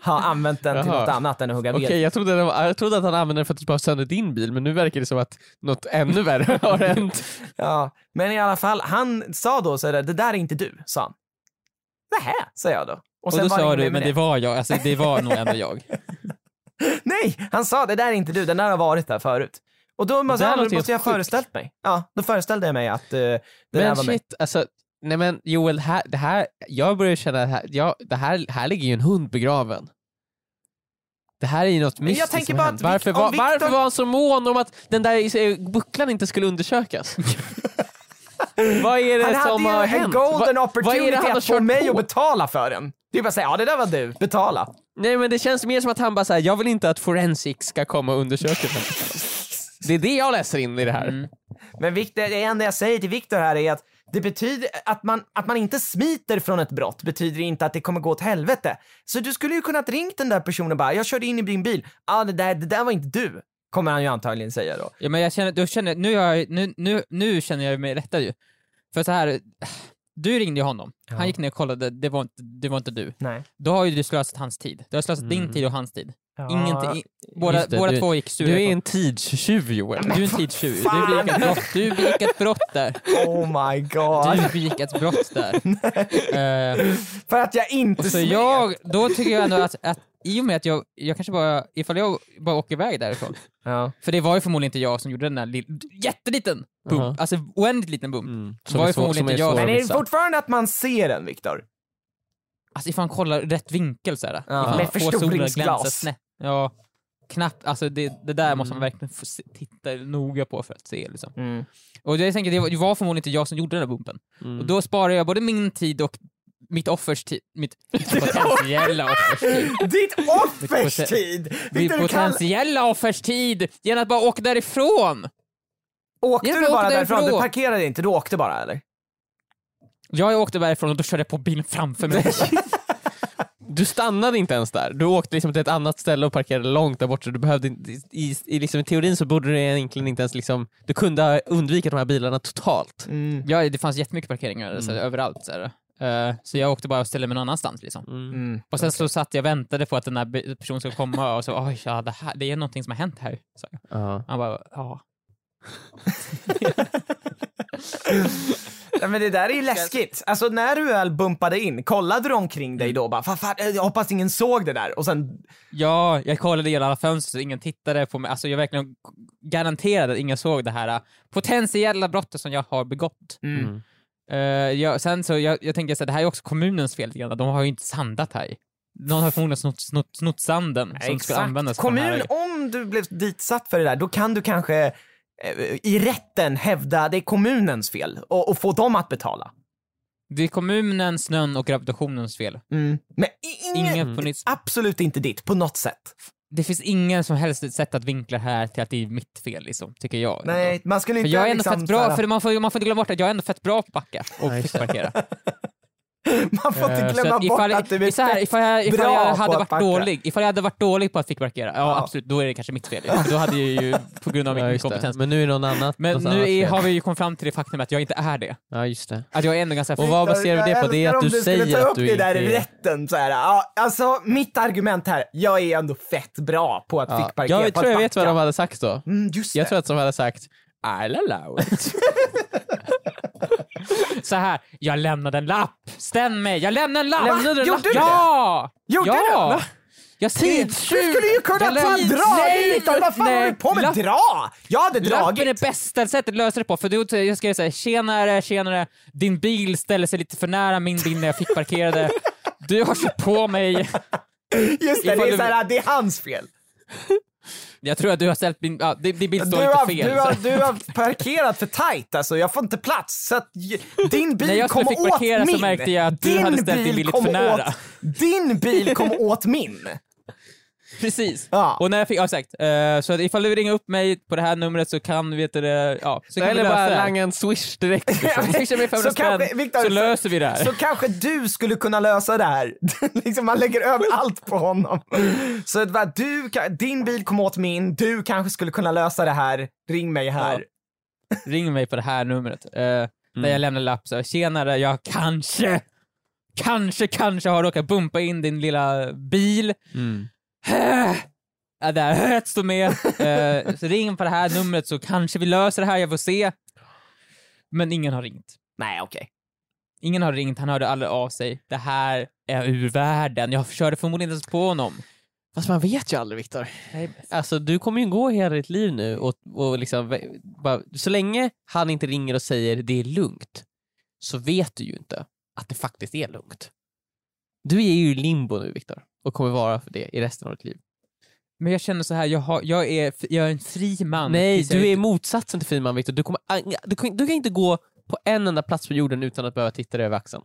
[SPEAKER 4] har använt den till
[SPEAKER 2] Jaha.
[SPEAKER 4] något annat än att hugga ved.
[SPEAKER 2] Okej, jag, trodde det var- jag trodde att han använde den för att spara sönder din bil, men nu verkar det som att något ännu värre har hänt.
[SPEAKER 4] Ja, men i alla fall, han sa då så här, det där är inte du, sa han. Nähä, sa jag då.
[SPEAKER 3] Och då
[SPEAKER 4] var
[SPEAKER 3] sa
[SPEAKER 4] inget
[SPEAKER 3] du,
[SPEAKER 4] mer med
[SPEAKER 3] men det var jag, alltså det var nog ändå jag.
[SPEAKER 4] Nej, han sa det där är inte du, den där har varit där förut. Och då måste,
[SPEAKER 3] där
[SPEAKER 4] jag,
[SPEAKER 3] låter
[SPEAKER 4] måste jag
[SPEAKER 3] helt sjukt.
[SPEAKER 4] föreställt mig. Ja, då föreställde jag mig att eh, det där
[SPEAKER 2] Men
[SPEAKER 4] var mig.
[SPEAKER 2] shit, alltså, nej men Joel, det här, det här, jag börjar känna att här, ja, det här, här ligger ju en hund begraven. Det här är ju något
[SPEAKER 4] jag
[SPEAKER 2] mystiskt
[SPEAKER 4] tänker
[SPEAKER 2] som
[SPEAKER 4] bara
[SPEAKER 2] hänt.
[SPEAKER 4] att Vic-
[SPEAKER 2] varför,
[SPEAKER 4] om
[SPEAKER 2] var,
[SPEAKER 4] Victor-
[SPEAKER 2] varför var han så mån om att den där eh, bucklan inte skulle undersökas? Vad är
[SPEAKER 4] Han
[SPEAKER 2] det
[SPEAKER 4] hade
[SPEAKER 2] som
[SPEAKER 4] ju
[SPEAKER 2] har
[SPEAKER 4] en
[SPEAKER 2] hänt?
[SPEAKER 4] golden
[SPEAKER 2] Vad- vad är det
[SPEAKER 4] opportunity
[SPEAKER 2] han har
[SPEAKER 4] att få
[SPEAKER 2] kört
[SPEAKER 4] mig
[SPEAKER 2] på?
[SPEAKER 4] att betala för den. Det är bara att säga, ja det där var du, betala.
[SPEAKER 2] Nej men det känns mer som att han bara säger jag vill inte att forensic ska komma och undersöka den. Det är det jag läser in i det här.
[SPEAKER 4] Men Victor, det enda jag säger till Victor här är att det betyder att man, att man inte smiter från ett brott betyder inte att det kommer gå åt helvete. Så du skulle ju kunnat ringt den där personen och bara, jag körde in i din bil. Ja, ah, det, där, det där var inte du, kommer han ju antagligen säga då.
[SPEAKER 3] Ja, men jag känner, då känner, nu, har jag, nu, nu, nu känner jag mig lättad ju. För så här, du ringde ju honom, han gick ner och kollade, det var inte, det var inte du.
[SPEAKER 4] Nej.
[SPEAKER 3] Då har ju du slösat hans tid. Du har slösat din tid och hans tid. Ingenting, i- båda
[SPEAKER 2] Mm. Just det,
[SPEAKER 3] båda
[SPEAKER 2] du-
[SPEAKER 3] två gick sura.
[SPEAKER 2] Du är
[SPEAKER 3] ifrån.
[SPEAKER 2] en tidstjuv Joel.
[SPEAKER 3] du är en tidstjuv. Du begick ett brott, du begick ett brott där.
[SPEAKER 4] Oh my god.
[SPEAKER 3] Du begick ett brott där. Eh,
[SPEAKER 4] För att jag inte
[SPEAKER 3] Så
[SPEAKER 4] smet.
[SPEAKER 3] jag, då tycker jag ändå att, att i och med att jag, jag kanske bara, ifall jag bara åker iväg därifrån.
[SPEAKER 4] Ja.
[SPEAKER 3] För det var ju förmodligen inte jag som gjorde den där lill, jätteliten bump,
[SPEAKER 2] Aha.
[SPEAKER 3] alltså oändligt liten bump.
[SPEAKER 4] Mm.
[SPEAKER 2] Mm. Som
[SPEAKER 3] var
[SPEAKER 2] är
[SPEAKER 3] ju
[SPEAKER 2] svår-
[SPEAKER 3] förmodligen
[SPEAKER 2] som
[SPEAKER 3] inte
[SPEAKER 2] är
[SPEAKER 3] jag.
[SPEAKER 2] svår
[SPEAKER 4] Men
[SPEAKER 2] att
[SPEAKER 4] är det
[SPEAKER 2] missa.
[SPEAKER 4] fortfarande att man ser den, Viktor?
[SPEAKER 3] Alltså ifall han kollar rätt vinkel såhär.
[SPEAKER 4] Ja.
[SPEAKER 3] Ifall
[SPEAKER 4] Med
[SPEAKER 3] man får solen
[SPEAKER 4] förstoringsglas.
[SPEAKER 3] glänsa snett. Ja. Knappt, alltså det, det där måste
[SPEAKER 4] Mm.
[SPEAKER 3] man verkligen få se, titta noga på för att se liksom. Och jag tänker, det var- det var förmodligen inte jag som gjorde den där bumpen.
[SPEAKER 4] Mm.
[SPEAKER 3] Och då sparar jag både min tid och mitt offers tid, mitt potentiella offers tid.
[SPEAKER 4] Ditt offers
[SPEAKER 3] poten-
[SPEAKER 4] tid!
[SPEAKER 3] Mitt
[SPEAKER 4] Victor, du kan...
[SPEAKER 3] potentiella offers tid genom att bara åka därifrån!
[SPEAKER 4] Åkte
[SPEAKER 3] Jag
[SPEAKER 4] du bara
[SPEAKER 3] åkte
[SPEAKER 4] därifrån? Du
[SPEAKER 3] därifrån.
[SPEAKER 4] parkerade inte, du åkte bara eller?
[SPEAKER 3] Jag åkte därifrån och då körde jag på bilen framför mig.
[SPEAKER 2] Du stannade inte ens där. Du åkte liksom till ett annat ställe och parkerade långt där borta. Du behövde inte, i, i, liksom, I teorin så borde du egentligen inte ens liksom, du kunde ha undvikit de här bilarna totalt.
[SPEAKER 3] Mm.
[SPEAKER 4] Mm,
[SPEAKER 3] ja, det fanns jättemycket parkeringar så
[SPEAKER 2] Mm.
[SPEAKER 3] här, överallt. Så, här. Eh, så jag åkte bara och ställde mig någon annanstans. Liksom.
[SPEAKER 4] Mm.
[SPEAKER 3] Och sen så satt jag och väntade på att den här be- personen skulle komma och så oj, ja, det, här, det är någonting som har hänt här. Så
[SPEAKER 2] Ja.
[SPEAKER 3] han bara, ja.
[SPEAKER 4] Nej, men det där är ju läskigt. Alltså när du väl bumpade in, kollade du omkring
[SPEAKER 3] Mm.
[SPEAKER 4] dig då bara, fan, fan, eh, jag hoppas ingen såg det där och sen,
[SPEAKER 3] Ja, jag kollade i alla fönster så ingen tittade på mig. Alltså jag verkligen garanterade att ingen såg det här eh, potentiella brottet som jag har begått.
[SPEAKER 2] Mm.
[SPEAKER 3] Eh, jag, sen så, jag, jag tänker så här, det här är också kommunens fel lite grann. De har ju inte sandat här. Någon har förmodligen snott, snott, snott sanden som skulle användas. på den här
[SPEAKER 4] Kommun,
[SPEAKER 3] vägen.
[SPEAKER 4] om du blev ditsatt för det där, då kan du kanske eh, i rätten hävda det är kommunens fel och, och få dem att betala.
[SPEAKER 3] Det är kommunens, snön och gravitationens fel.
[SPEAKER 4] Mm. Men i- ingen,
[SPEAKER 3] Ingen på nytt.
[SPEAKER 4] absolut inte ditt på något sätt.
[SPEAKER 3] Det finns ingen som helst sätt att vinkla här till att det är mitt fel, liksom, tycker jag.
[SPEAKER 4] Nej, man skulle
[SPEAKER 3] För
[SPEAKER 4] inte
[SPEAKER 3] jag är ändå
[SPEAKER 4] liksom
[SPEAKER 3] fett
[SPEAKER 4] så
[SPEAKER 3] bra,
[SPEAKER 4] här-
[SPEAKER 3] för man får, man får inte glömma bort att jag är ändå fett bra på att backa och
[SPEAKER 2] Nej, Eh, just det.
[SPEAKER 3] parkera.
[SPEAKER 4] Man får inte
[SPEAKER 3] Eh, Så
[SPEAKER 4] glömma
[SPEAKER 3] att
[SPEAKER 4] bort att du är
[SPEAKER 3] så här,
[SPEAKER 4] fett
[SPEAKER 3] ifall jag, ifall
[SPEAKER 4] bra
[SPEAKER 3] jag
[SPEAKER 4] på
[SPEAKER 3] hade
[SPEAKER 4] att
[SPEAKER 3] varit
[SPEAKER 4] backa.
[SPEAKER 3] dålig, ifall jag hade varit dålig på att fickparkera, ja, absolut, då är det kanske mitt fel. ja. För då hade jag ju, på grund av min
[SPEAKER 2] Ja, just det.
[SPEAKER 3] kompetens.
[SPEAKER 2] Men nu är det någon annan.
[SPEAKER 3] Men
[SPEAKER 2] något
[SPEAKER 3] nu
[SPEAKER 2] annat
[SPEAKER 3] är,
[SPEAKER 2] fel.
[SPEAKER 3] har vi ju kommit fram till det faktum att jag inte är det.
[SPEAKER 2] Ja, just det.
[SPEAKER 3] Att jag är ändå ganska...
[SPEAKER 2] Och vad baserar du det på? Det är
[SPEAKER 4] Jag
[SPEAKER 2] att du
[SPEAKER 4] älskar om skulle
[SPEAKER 2] säger
[SPEAKER 4] ta
[SPEAKER 2] att
[SPEAKER 4] upp
[SPEAKER 2] du
[SPEAKER 4] det
[SPEAKER 2] inte
[SPEAKER 4] där i
[SPEAKER 2] är...
[SPEAKER 4] rätten så här. Ja, alltså mitt argument här, jag är ändå fett bra på att
[SPEAKER 2] Ja.
[SPEAKER 4] fickparkera.
[SPEAKER 2] Jag
[SPEAKER 4] på att
[SPEAKER 2] tror jag vet vad
[SPEAKER 4] backa.
[SPEAKER 2] de hade sagt då.
[SPEAKER 4] Mm, just
[SPEAKER 2] Jag
[SPEAKER 4] det.
[SPEAKER 2] tror att de hade sagt I'll allow it.
[SPEAKER 3] Så här, jag lämnade en lapp. Stäm mig, jag lämnade en lapp.
[SPEAKER 4] Lämnade du en Gjorde lapp? du det?
[SPEAKER 3] ja!
[SPEAKER 4] Gjorde
[SPEAKER 3] ja! Jag skrev...
[SPEAKER 4] Du skulle ju kunna
[SPEAKER 3] Jag
[SPEAKER 4] ta
[SPEAKER 3] lämnade-
[SPEAKER 4] en dra
[SPEAKER 3] Nej,
[SPEAKER 4] lite! Vad fan håller
[SPEAKER 3] nej.
[SPEAKER 4] du på med?
[SPEAKER 3] Lapp-
[SPEAKER 4] Dra! Jag hade
[SPEAKER 3] Lappen
[SPEAKER 4] dragit.
[SPEAKER 3] är bästa sättet att lösa det på. För du, jag skrev såhär, tjenare, tjenare, din bil ställer sig lite för nära min bil när jag fick parkerade. Du har kört på mig.
[SPEAKER 4] Just det, det
[SPEAKER 3] ifall
[SPEAKER 4] är,
[SPEAKER 3] du-
[SPEAKER 4] så här, det är hans fel.
[SPEAKER 3] Jag tror att du har ställt min... Ja, din, din bil
[SPEAKER 4] Du
[SPEAKER 3] står
[SPEAKER 4] har,
[SPEAKER 3] inte fel.
[SPEAKER 4] du,
[SPEAKER 3] så
[SPEAKER 4] har,
[SPEAKER 3] här.
[SPEAKER 4] du har parkerat för tajt alltså, jag får inte plats. Så att j- din bil
[SPEAKER 3] När jag skulle
[SPEAKER 4] kom
[SPEAKER 3] fick
[SPEAKER 4] åt
[SPEAKER 3] parkera så
[SPEAKER 4] min.
[SPEAKER 3] märkte jag att du
[SPEAKER 4] din
[SPEAKER 3] hade ställt din bil lite
[SPEAKER 4] kom
[SPEAKER 3] för nära.
[SPEAKER 4] Åt, din bil kom åt min.
[SPEAKER 3] Precis.
[SPEAKER 4] Ja.
[SPEAKER 3] Och när jag fick... Ja, exakt. Eh, så att ifall du ringer upp mig på det här numret så kan vi... Vet du, det, ja, så kan vi
[SPEAKER 2] Eller
[SPEAKER 3] lösa
[SPEAKER 2] bara
[SPEAKER 3] det här.
[SPEAKER 2] langa en swish direkt.
[SPEAKER 4] Ja, men-
[SPEAKER 3] Swisha mig 500
[SPEAKER 4] så kanske-
[SPEAKER 3] spänn
[SPEAKER 4] Viktor,
[SPEAKER 3] så löser vi det här.
[SPEAKER 4] Så kanske du skulle kunna lösa det här. liksom man lägger över allt på honom. Så att bara, du, kan- din bil kom åt min, du kanske skulle kunna lösa det här. Ring mig här.
[SPEAKER 3] Ring mig på det här numret. eh,
[SPEAKER 4] Mm.
[SPEAKER 3] Där jag lämnar lapp. Så här, Tjenare, jag kanske, kanske, kanske har råkat bumpa in din lilla bil.
[SPEAKER 2] Mm.
[SPEAKER 3] Ja, där höet står med. Eh, så ring på det här numret så kanske vi löser det här, jag får se. Men ingen har ringt.
[SPEAKER 4] Nej, okej.
[SPEAKER 3] Ingen har ringt, han hörde aldrig av sig. Det här är ur världen. Jag körde förmodligen inte ens på honom.
[SPEAKER 2] Fast man vet ju aldrig Viktor. Alltså du kommer ju gå hela ditt liv nu och, och liksom, vä- bara, så länge han inte ringer och säger det är lugnt så vet du ju inte att det faktiskt är lugnt. Du är ju i limbo nu Viktor och kommer vara för det i resten av ditt liv.
[SPEAKER 3] Men jag känner så här, jag, har, jag, är, jag är en fri man.
[SPEAKER 2] Nej,
[SPEAKER 3] Tills jag
[SPEAKER 2] du är
[SPEAKER 3] inte-
[SPEAKER 2] motsatsen till fin man Viktor. Du, kommer ang- du, kan- du kan inte gå på en enda plats på jorden utan att behöva titta dig över axeln.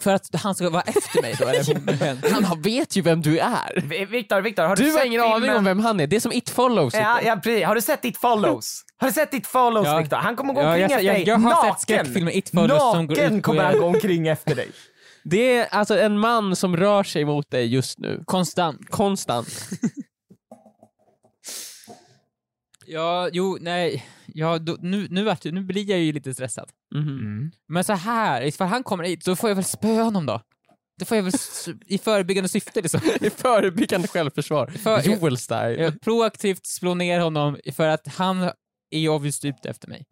[SPEAKER 3] För att han ska vara efter mig då, eller hon.
[SPEAKER 2] Han har- vet ju vem du är.
[SPEAKER 4] Okay. Viktor, Viktor, har
[SPEAKER 2] Du har ingen aning om vem han är. Det är som It Follows.
[SPEAKER 4] Ja,
[SPEAKER 2] Viktor.
[SPEAKER 4] ja, precis. Har du sett ditt follows? Har du sett ditt follows
[SPEAKER 3] Ja.
[SPEAKER 4] Viktor? Han kommer gå
[SPEAKER 3] Ja,
[SPEAKER 4] omkring
[SPEAKER 3] jag-
[SPEAKER 4] efter
[SPEAKER 3] jag-
[SPEAKER 4] dig
[SPEAKER 3] jag har sett
[SPEAKER 4] naken.
[SPEAKER 3] skräckfilmen It Follows som går
[SPEAKER 4] naken
[SPEAKER 3] ut på
[SPEAKER 4] kommer han
[SPEAKER 3] er.
[SPEAKER 4] gå omkring efter dig.
[SPEAKER 2] Det är alltså en man som rör sig mot dig just nu.
[SPEAKER 3] Konstant.
[SPEAKER 2] Konstant.
[SPEAKER 3] Ja, jo, nej. Ja, då, nu, nu, vart- nu blir jag ju lite stressad.
[SPEAKER 4] Mm.
[SPEAKER 3] Men så här, ifall han kommer hit, då får jag väl spöa honom då. Det får jag väl s- i förebyggande syfte liksom.
[SPEAKER 2] I förebyggande självförsvar.
[SPEAKER 3] För-
[SPEAKER 2] Joel style.
[SPEAKER 3] Jag proaktivt slå ner honom för att han är ju obviously ute efter mig.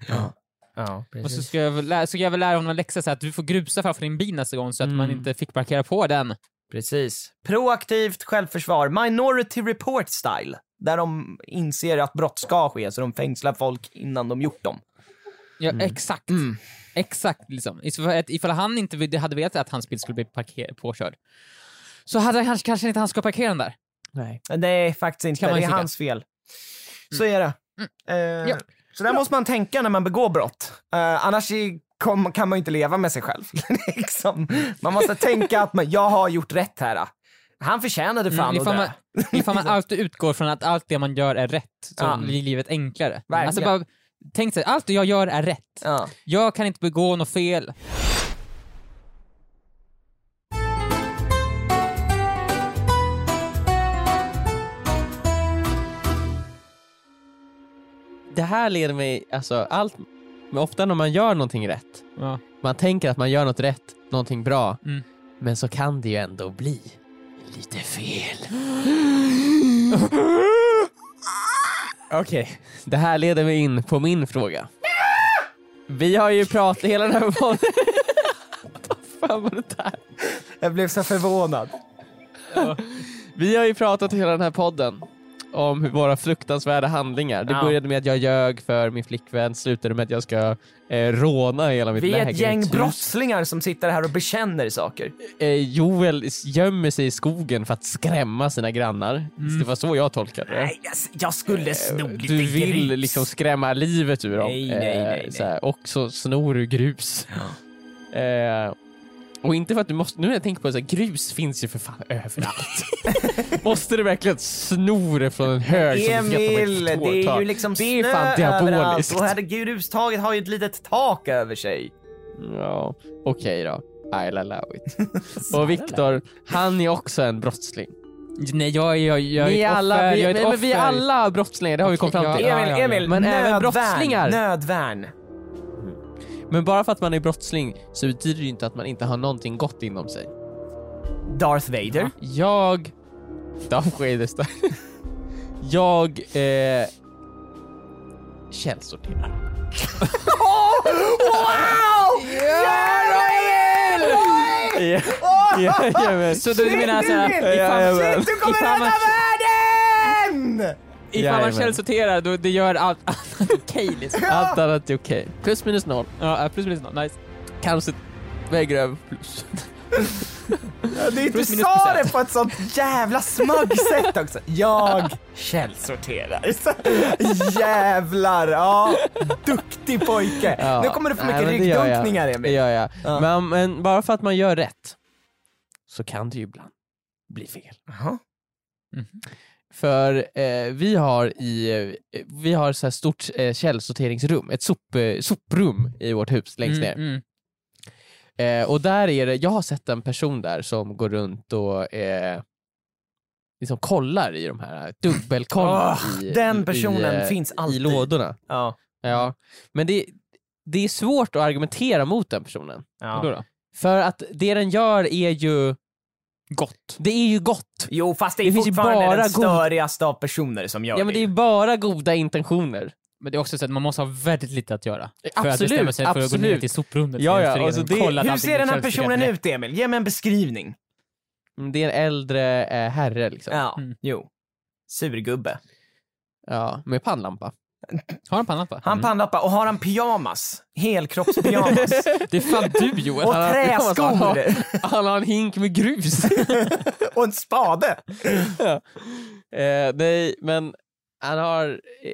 [SPEAKER 4] Ja,
[SPEAKER 3] Och så ska jag väl lära, så ska jag väl lära honom en läxa så att du får grusa framför din bil nästa gång så att man inte fick parkera på den.
[SPEAKER 4] Precis. Proaktivt självförsvar, minority report style. Där de inser att brott ska ske, så de fängslar folk innan de gjort dem.
[SPEAKER 3] Ja, exakt. Exakt liksom. Ifall, att- ifall han inte vid- hade vetat att hans bil skulle bli parker, påkörd så hade han kanske, kanske inte han ska parkera den där.
[SPEAKER 2] Nej.
[SPEAKER 4] Men Det är faktiskt inte,
[SPEAKER 3] Kan man
[SPEAKER 4] det är
[SPEAKER 3] tycka.
[SPEAKER 4] hans fel. Så är det. Eh,
[SPEAKER 3] Ja.
[SPEAKER 4] Så där måste man tänka när man begår brott. Eh, annars är, kom, kan man ju inte leva med sig själv. liksom. Man måste tänka att man, jag har gjort rätt här. ah. Han förtjänade fan att
[SPEAKER 3] Mm, ifall,
[SPEAKER 4] dö.
[SPEAKER 3] man, ifall man alltid utgår från att allt det man gör är rätt så
[SPEAKER 4] Ja.
[SPEAKER 3] blir livet enklare.
[SPEAKER 4] Verkligen.
[SPEAKER 3] Alltså bara, tänk så här, allt jag gör är rätt.
[SPEAKER 4] Ja.
[SPEAKER 3] Jag kan inte begå något fel.
[SPEAKER 2] Det här leder mig, alltså allt, men ofta när man gör någonting rätt,
[SPEAKER 3] Ja.
[SPEAKER 2] man tänker att man gör något rätt, någonting bra,
[SPEAKER 3] Mm.
[SPEAKER 2] men så kan det ju ändå bli lite fel. Okej, det här leder mig in på min fråga. Vi har ju pratat hela den här podden... Vad fan var det där?
[SPEAKER 4] Jag blev så förvånad.
[SPEAKER 2] Vi har ju pratat hela den här podden om hur våra fruktansvärda handlingar. Det
[SPEAKER 4] Ja.
[SPEAKER 2] började med att jag ljög för min flickvän, slutade med att jag ska eh, råna hela mitt
[SPEAKER 4] Vi är ett gäng
[SPEAKER 2] lägenhetshus.
[SPEAKER 4] brottslingar som sitter här och bekänner saker.
[SPEAKER 2] Eh, Joel s- gömmer sig i skogen för att skrämma sina grannar.
[SPEAKER 4] Mm.
[SPEAKER 2] Det var så jag tolkade det.
[SPEAKER 4] Nej, jag, jag skulle sno lite
[SPEAKER 2] Eh, Du vill
[SPEAKER 4] gris.
[SPEAKER 2] liksom skrämma livet ur dem.
[SPEAKER 4] Nej, nej,
[SPEAKER 2] Eh,
[SPEAKER 4] nej,
[SPEAKER 2] så här. Och så snor du grus. Eh, och inte för att du måste, nu när jag tänker på det, så här, grus finns ju för fan överallt. måste du verkligen sno det från en hög? som du vet att man
[SPEAKER 4] Emil,
[SPEAKER 2] inte får
[SPEAKER 4] det är
[SPEAKER 2] ta?
[SPEAKER 4] ju liksom
[SPEAKER 2] Det är
[SPEAKER 4] snö
[SPEAKER 2] fan
[SPEAKER 4] överallt
[SPEAKER 2] diaboliskt.
[SPEAKER 4] och herregud, hustaket har ju ett litet tak över sig.
[SPEAKER 2] Ja, okej då. I'll allow it. och Viktor, han är också en brottsling.
[SPEAKER 3] Nej, jag, är- jag, jag är
[SPEAKER 2] Ni
[SPEAKER 3] ett
[SPEAKER 2] är alla,
[SPEAKER 3] offer.
[SPEAKER 2] vi,
[SPEAKER 3] jag är ett
[SPEAKER 2] nej, men vi är
[SPEAKER 3] offer.
[SPEAKER 2] alla brottslingar, det har vi kommit fram till.
[SPEAKER 3] Ja,
[SPEAKER 4] Emil,
[SPEAKER 3] ja, ja.
[SPEAKER 4] Emil,
[SPEAKER 2] Men även
[SPEAKER 4] nödvärn,
[SPEAKER 2] brottslingar.
[SPEAKER 4] Nödvärn.
[SPEAKER 2] Men bara för att man är brottsling så betyder det ju inte att man inte har någonting gott inom sig.
[SPEAKER 4] Darth Vader.
[SPEAKER 2] Jag... Darth Vader står- Jag... Eh, källsorterar.
[SPEAKER 4] Åh, wow! Ja!
[SPEAKER 1] Jajamän.
[SPEAKER 3] Så du menar
[SPEAKER 2] alltså
[SPEAKER 3] såhär,
[SPEAKER 1] Ja,
[SPEAKER 3] ifall,
[SPEAKER 1] jajamän.
[SPEAKER 4] Shit, du kommer
[SPEAKER 3] Ifall man-
[SPEAKER 4] rädda världen!
[SPEAKER 3] ifall man
[SPEAKER 1] Jajamän.
[SPEAKER 3] källsorterar, då det gör allt annat okej liksom.
[SPEAKER 2] Allt annat är okej. Plus minus noll.
[SPEAKER 3] Ja, äh, plus minus noll. Nice.
[SPEAKER 2] Kanske väger över plus.
[SPEAKER 4] Ja, Det är inte
[SPEAKER 3] Plus minus
[SPEAKER 4] sa
[SPEAKER 3] procent.
[SPEAKER 4] det på ett sånt jävla smugg sätt också. Jag källsorterar. Så, Jävlar, ja. Duktig pojke.
[SPEAKER 2] Ja.
[SPEAKER 4] Nu kommer du få
[SPEAKER 2] Nej,
[SPEAKER 4] mycket
[SPEAKER 2] men det gör jag.
[SPEAKER 4] ryggdunkningar
[SPEAKER 2] Det
[SPEAKER 4] Emil.
[SPEAKER 2] gör jag.
[SPEAKER 4] Ja.
[SPEAKER 2] Men, men bara för att man gör rätt så kan det ju ibland bli fel.
[SPEAKER 4] Jaha.
[SPEAKER 2] För eh, vi har i eh, vi har så här stort eh, källsorteringsrum, ett sop, eh, soprum i vårt hus längst ner.
[SPEAKER 3] Mm, mm.
[SPEAKER 2] Eh, och där är det, jag har sett en person där som går runt och eh, liksom kollar i de här, dubbelkollar
[SPEAKER 4] Åh,
[SPEAKER 2] i,
[SPEAKER 4] Ah, den
[SPEAKER 2] i-
[SPEAKER 4] personen
[SPEAKER 2] i, eh,
[SPEAKER 4] finns
[SPEAKER 2] i
[SPEAKER 4] alltid.
[SPEAKER 2] lådorna.
[SPEAKER 4] Ja.
[SPEAKER 2] Ja. Men det, det är svårt att argumentera mot den personen.
[SPEAKER 4] ja.
[SPEAKER 3] Vadå då?
[SPEAKER 2] För att det den gör är ju,
[SPEAKER 3] Gott.
[SPEAKER 2] det är ju gott.
[SPEAKER 4] Jo fast det är
[SPEAKER 2] Det finns ju
[SPEAKER 4] fortfarande
[SPEAKER 2] bara
[SPEAKER 4] den
[SPEAKER 2] god-
[SPEAKER 4] störigaste av personer som gör
[SPEAKER 2] Ja men det är ju bara goda intentioner.
[SPEAKER 3] Men det är också så att man måste ha väldigt lite att göra. För att
[SPEAKER 2] Absolut,
[SPEAKER 3] bestämma sig för att gå ner
[SPEAKER 2] absolut.
[SPEAKER 3] till soprummet.
[SPEAKER 2] Ja,
[SPEAKER 3] för
[SPEAKER 2] ja,
[SPEAKER 3] att
[SPEAKER 2] alltså
[SPEAKER 3] föreningen
[SPEAKER 2] det-
[SPEAKER 3] kollat
[SPEAKER 4] Hur
[SPEAKER 3] allting
[SPEAKER 4] ser den här
[SPEAKER 3] och källsorterat
[SPEAKER 4] personen
[SPEAKER 3] rätt.
[SPEAKER 4] ut Emil? Ge mig en beskrivning.
[SPEAKER 2] Mm, Det är en äldre eh, herre liksom. Ja.
[SPEAKER 4] Ja,
[SPEAKER 3] Mm.
[SPEAKER 4] jo. Surgubbe.
[SPEAKER 2] med pannlampa.
[SPEAKER 3] Har han pannan på?
[SPEAKER 4] Han pannlappa och har han pyjamas? Helkroppspyjamas.
[SPEAKER 3] Det är fan du
[SPEAKER 4] och
[SPEAKER 3] Joel!
[SPEAKER 2] han har- han
[SPEAKER 4] träskor.
[SPEAKER 2] har- Han har en hink med grus.
[SPEAKER 4] och en spade.
[SPEAKER 2] eh, nej, men han har eh,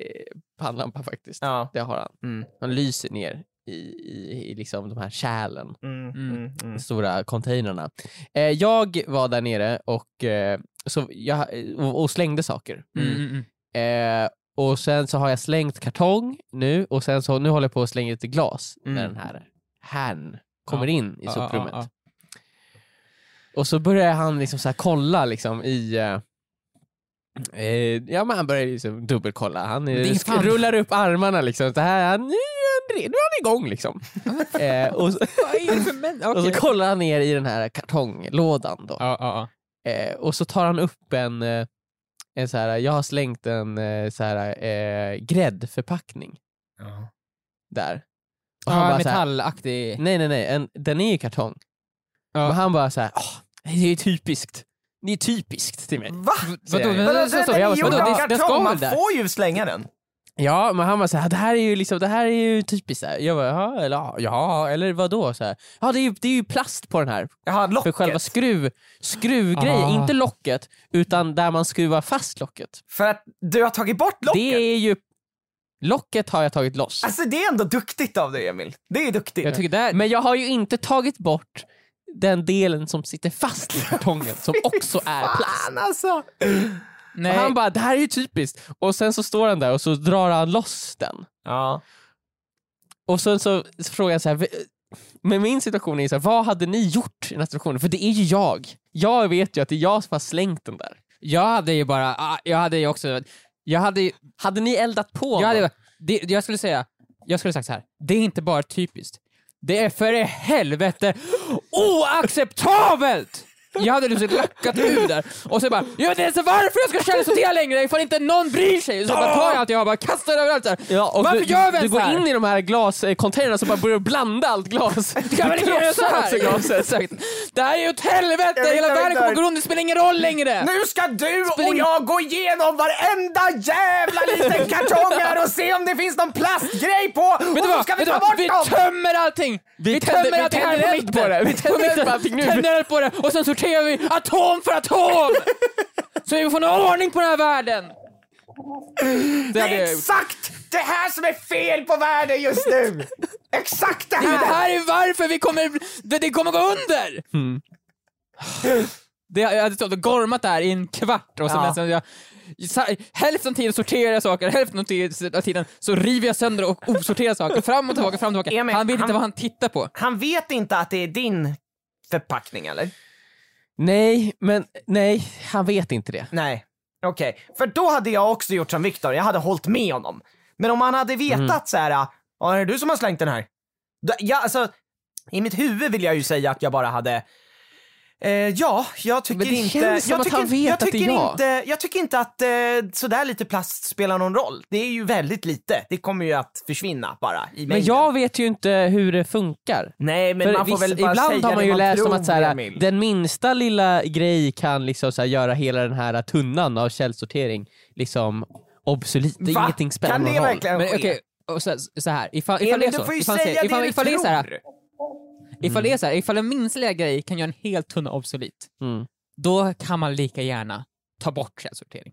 [SPEAKER 2] pannlampa faktiskt.
[SPEAKER 4] Ja.
[SPEAKER 2] Det har han.
[SPEAKER 4] Mm.
[SPEAKER 2] Han lyser ner i, i, i liksom de här kärlen,
[SPEAKER 4] Mm, mm, mm.
[SPEAKER 2] de stora containrarna. Eh, jag var där nere och, eh, så jag, eh, och, och slängde saker.
[SPEAKER 3] Mm, mm, mm.
[SPEAKER 2] Eh, och sen så har jag slängt kartong nu och sen så nu håller jag på att slänga lite glas när
[SPEAKER 4] Mm.
[SPEAKER 2] den här herrn kommer in i
[SPEAKER 3] Ja,
[SPEAKER 2] soprummet.
[SPEAKER 3] ja,
[SPEAKER 2] Och så börjar han liksom så här kolla liksom i eh, Eh, ja men han börjar liksom dubbelkolla, han eh,
[SPEAKER 3] Det är
[SPEAKER 2] sk-
[SPEAKER 3] fan-
[SPEAKER 2] rullar upp armarna liksom, så här, han, nu, är han, re- nu är han igång liksom. eh, och, så,
[SPEAKER 3] Vad är det för män? Okej.
[SPEAKER 2] och så kollar han ner i den här kartonglådan då.
[SPEAKER 3] Ja, ja,
[SPEAKER 2] Eh, och så tar han upp en, eh, en så här, jag har slängt en eh, så här, eh, gräddförpackning där. Och
[SPEAKER 3] ja.
[SPEAKER 2] han bara så här,
[SPEAKER 3] metallaktig...
[SPEAKER 2] nej nej nej, en, den är ju kartong.
[SPEAKER 3] Ja.
[SPEAKER 2] Men han bara så här, "Åh, det är typiskt. Det är typiskt till mig.
[SPEAKER 4] Va?
[SPEAKER 2] säger
[SPEAKER 3] Vadå?
[SPEAKER 2] han ju.
[SPEAKER 3] Men-
[SPEAKER 4] Vadå,
[SPEAKER 3] men- så-
[SPEAKER 4] den
[SPEAKER 3] så-
[SPEAKER 4] är
[SPEAKER 3] jag bara,
[SPEAKER 4] gjord
[SPEAKER 3] vadå,
[SPEAKER 4] av
[SPEAKER 3] det- den ska
[SPEAKER 4] kartong,
[SPEAKER 3] väl
[SPEAKER 4] man
[SPEAKER 3] där?
[SPEAKER 4] får ju slänga den.
[SPEAKER 2] Ja, men han var så här, det här är ju liksom, det här är ju typiskt så här. Jag bara, "Jaha, eller ja, ja, eller vadå? Så här. Ja, det är, ju, det är ju plast på den här.
[SPEAKER 4] Jaha,
[SPEAKER 2] För
[SPEAKER 4] locket.
[SPEAKER 2] själva skruv, skruvgrejen,
[SPEAKER 3] Ah.
[SPEAKER 2] inte locket, utan där man skruvar fast locket.
[SPEAKER 4] För att du har tagit bort locket.
[SPEAKER 2] Det är ju... Locket har jag tagit loss.
[SPEAKER 4] Alltså det är ändå duktigt av dig Emil. Det är duktigt.
[SPEAKER 3] Jag tycker där...
[SPEAKER 2] Men jag har ju inte tagit bort den delen som sitter fast i kartongen som också är plast.
[SPEAKER 4] Fan alltså.
[SPEAKER 2] Och
[SPEAKER 3] nej.
[SPEAKER 2] han bara, det här är ju typiskt. Och sen så står han där och så drar han loss den.
[SPEAKER 4] Ja.
[SPEAKER 2] Och sen så frågar jag så här, men min situation är så här, vad hade ni gjort i den här situationen? För det är ju jag. Jag vet ju att det är jag som har slängt den där.
[SPEAKER 3] Jag hade ju bara... ah, Jag hade ju också... Jag hade ju...
[SPEAKER 2] Hade ni eldat på
[SPEAKER 3] Jag,
[SPEAKER 2] någon?
[SPEAKER 3] hade, det, jag skulle säga, jag skulle sagt så här. det är inte bara typiskt. Det är för i helvete oacceptabelt! Jag hade liksom lackat ur där och så bara, jag vet inte ens varför jag ska källsortera längre ifall inte någon bryr sig. Så bara tar jag allt jag har bara kastar det överallt där.
[SPEAKER 2] Ja, och
[SPEAKER 3] Varför
[SPEAKER 2] du,
[SPEAKER 3] gör vi
[SPEAKER 2] Du
[SPEAKER 3] ens så
[SPEAKER 2] går
[SPEAKER 3] här?
[SPEAKER 2] in i de här glascontainrarna och bara börjar blanda allt glas. Du alltså
[SPEAKER 3] Kan man inte göra så här? Exakt. Det här är ju åt helvete,
[SPEAKER 4] Jag vet,
[SPEAKER 3] hela
[SPEAKER 4] jag vet,
[SPEAKER 3] världen kommer
[SPEAKER 4] jag
[SPEAKER 3] gå
[SPEAKER 4] vet.
[SPEAKER 3] runt, det spelar ingen roll längre!
[SPEAKER 4] Nu ska du och
[SPEAKER 3] Spring-
[SPEAKER 4] jag gå igenom varenda jävla liten kartong här och se om det finns någon plastgrej på.
[SPEAKER 3] Vet
[SPEAKER 4] och
[SPEAKER 3] du
[SPEAKER 4] så
[SPEAKER 3] vad?
[SPEAKER 4] ska vi
[SPEAKER 3] Vet du
[SPEAKER 4] ta
[SPEAKER 3] vad?
[SPEAKER 4] bort
[SPEAKER 3] Vi
[SPEAKER 4] dem.
[SPEAKER 3] tömmer allting!
[SPEAKER 2] tänder-
[SPEAKER 3] Vi, tömmer
[SPEAKER 2] vi
[SPEAKER 3] allting här
[SPEAKER 2] tänder
[SPEAKER 3] på
[SPEAKER 2] eld
[SPEAKER 3] mitten!
[SPEAKER 2] på det. Vi tänder eld på
[SPEAKER 3] mitten.
[SPEAKER 2] allting nu.
[SPEAKER 3] Tänder eld på det och sen sorterar vi atom för atom! Så vi får någon ordning på den här världen! Det hade
[SPEAKER 4] Det
[SPEAKER 3] jag
[SPEAKER 4] är
[SPEAKER 3] gjort.
[SPEAKER 4] exakt det här som är fel på världen just nu. Exakt det
[SPEAKER 3] Det
[SPEAKER 4] här.
[SPEAKER 3] här är varför vi kommer... Det, det kommer gå under! Det, jag hade stått och gormat där i en kvart och sen
[SPEAKER 4] Ja.
[SPEAKER 3] nästan jag, sa- hälften av tiden sorterar jag saker, hälften av tiden- av tiden så river jag sönder och osorterar saker. Fram och tillbaka, fram och tillbaka.
[SPEAKER 4] Emil,
[SPEAKER 3] han vet
[SPEAKER 4] han-
[SPEAKER 3] inte vad han tittar på.
[SPEAKER 4] Han vet inte att det är din förpackning eller?
[SPEAKER 2] Nej, men nej, han vet inte det.
[SPEAKER 4] Nej. Okej, för då hade jag också gjort som Viktor, jag hade hållit med honom. Men om han hade vetat
[SPEAKER 2] Mm.
[SPEAKER 4] så här, "Ja, är det du som har slängt den här? Då, jag, alltså, I mitt huvud vill jag ju säga att jag bara hade Eh, ja, jag tycker
[SPEAKER 2] Men det
[SPEAKER 4] inte...
[SPEAKER 2] känns som
[SPEAKER 4] jag
[SPEAKER 2] att
[SPEAKER 4] tycker,
[SPEAKER 2] han vet
[SPEAKER 4] jag
[SPEAKER 2] att det är
[SPEAKER 4] tycker
[SPEAKER 2] jag.
[SPEAKER 4] Inte, jag tycker inte att eh, sådär lite plast spelar någon roll. Det är ju väldigt lite. Det kommer ju att försvinna bara i
[SPEAKER 2] Men
[SPEAKER 4] mängden.
[SPEAKER 2] jag vet ju inte hur det funkar.
[SPEAKER 4] Nej, men
[SPEAKER 2] För
[SPEAKER 4] man får
[SPEAKER 2] viss-
[SPEAKER 4] väl bara säga
[SPEAKER 2] ibland har man
[SPEAKER 4] det
[SPEAKER 2] ju
[SPEAKER 4] man
[SPEAKER 2] läst om
[SPEAKER 4] tror,
[SPEAKER 2] att så här,
[SPEAKER 4] Emil.
[SPEAKER 2] den minsta lilla grej kan liksom så här, göra hela den här tunnan av källsortering liksom obsolet. Det är
[SPEAKER 4] Va?
[SPEAKER 2] ingenting spelar
[SPEAKER 4] Kan
[SPEAKER 2] någon
[SPEAKER 4] det
[SPEAKER 2] roll.
[SPEAKER 4] verkligen
[SPEAKER 3] Men
[SPEAKER 4] ske?
[SPEAKER 3] okej, och så, så här. ifall, ifall det är
[SPEAKER 4] Emil,
[SPEAKER 3] så.
[SPEAKER 4] du får ju
[SPEAKER 3] ifall,
[SPEAKER 4] säga
[SPEAKER 3] ifall,
[SPEAKER 4] det
[SPEAKER 3] ifall
[SPEAKER 4] du
[SPEAKER 3] det är så här,
[SPEAKER 4] tror.
[SPEAKER 3] ifall det är så här, ifall den minsta lilla grej kan göra en hel tunna obsolet,
[SPEAKER 2] Mm.
[SPEAKER 3] då kan man lika gärna ta bort källsortering.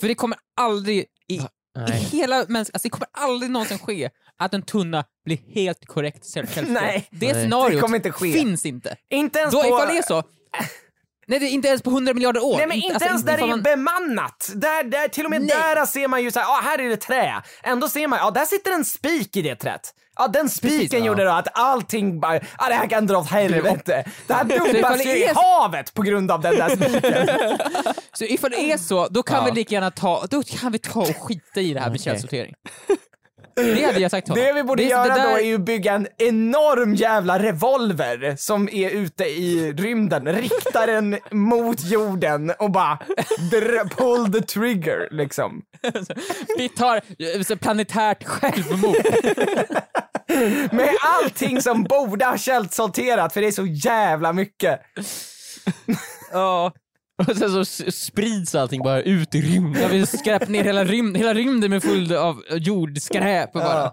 [SPEAKER 3] För det kommer aldrig i, i
[SPEAKER 2] Nej.
[SPEAKER 3] hela mäns- alltså det kommer aldrig någonsin ske att en tunna blir helt korrekt käll- källsorterad.
[SPEAKER 4] Nej.
[SPEAKER 3] det
[SPEAKER 2] Nej.
[SPEAKER 3] scenariot
[SPEAKER 4] Det kommer inte ske.
[SPEAKER 3] finns inte.
[SPEAKER 4] Inte ens
[SPEAKER 3] Då,
[SPEAKER 4] på...
[SPEAKER 3] ifall det är så, nej det är inte ens på 100 miljarder år.
[SPEAKER 4] Nej men inte
[SPEAKER 3] alltså,
[SPEAKER 4] ens där det
[SPEAKER 3] ifall
[SPEAKER 4] är
[SPEAKER 3] man-
[SPEAKER 4] bemannat. Där, där, till och med
[SPEAKER 3] Nej.
[SPEAKER 4] där ser man ju så här, ah, här är det trä. Ändå ser man, ja ah, där sitter en spik i det träet. Ja ah, den spiken
[SPEAKER 2] ja.
[SPEAKER 4] gjorde då att allting bara, ah, det här kan dra åt helvete. Det här
[SPEAKER 3] ifall E
[SPEAKER 4] dumpas
[SPEAKER 3] det
[SPEAKER 4] ju i
[SPEAKER 3] är så-
[SPEAKER 4] havet på grund av den där spiken.
[SPEAKER 3] Så ifall det är så, då kan
[SPEAKER 2] Ja.
[SPEAKER 3] vi lika gärna ta, då kan vi ta och skita i det här med
[SPEAKER 2] Okej.
[SPEAKER 3] källsortering. Det hade jag sagt till honom.
[SPEAKER 4] Det vi borde
[SPEAKER 3] är-
[SPEAKER 4] göra
[SPEAKER 3] där-
[SPEAKER 4] då är ju bygga en enorm jävla revolver som är ute i rymden, riktar den mot jorden och bara dr- pull the trigger liksom.
[SPEAKER 3] Vi tar eh, så planetärt självmord.
[SPEAKER 4] Med allting som borde ha källsorterat för det är så jävla mycket.
[SPEAKER 3] Ja.
[SPEAKER 2] Och sen så s- sprids allting bara ut i rymden.
[SPEAKER 3] Jag vill skräpa ner hela rymden, hela rymden med full av jordskräp och bara.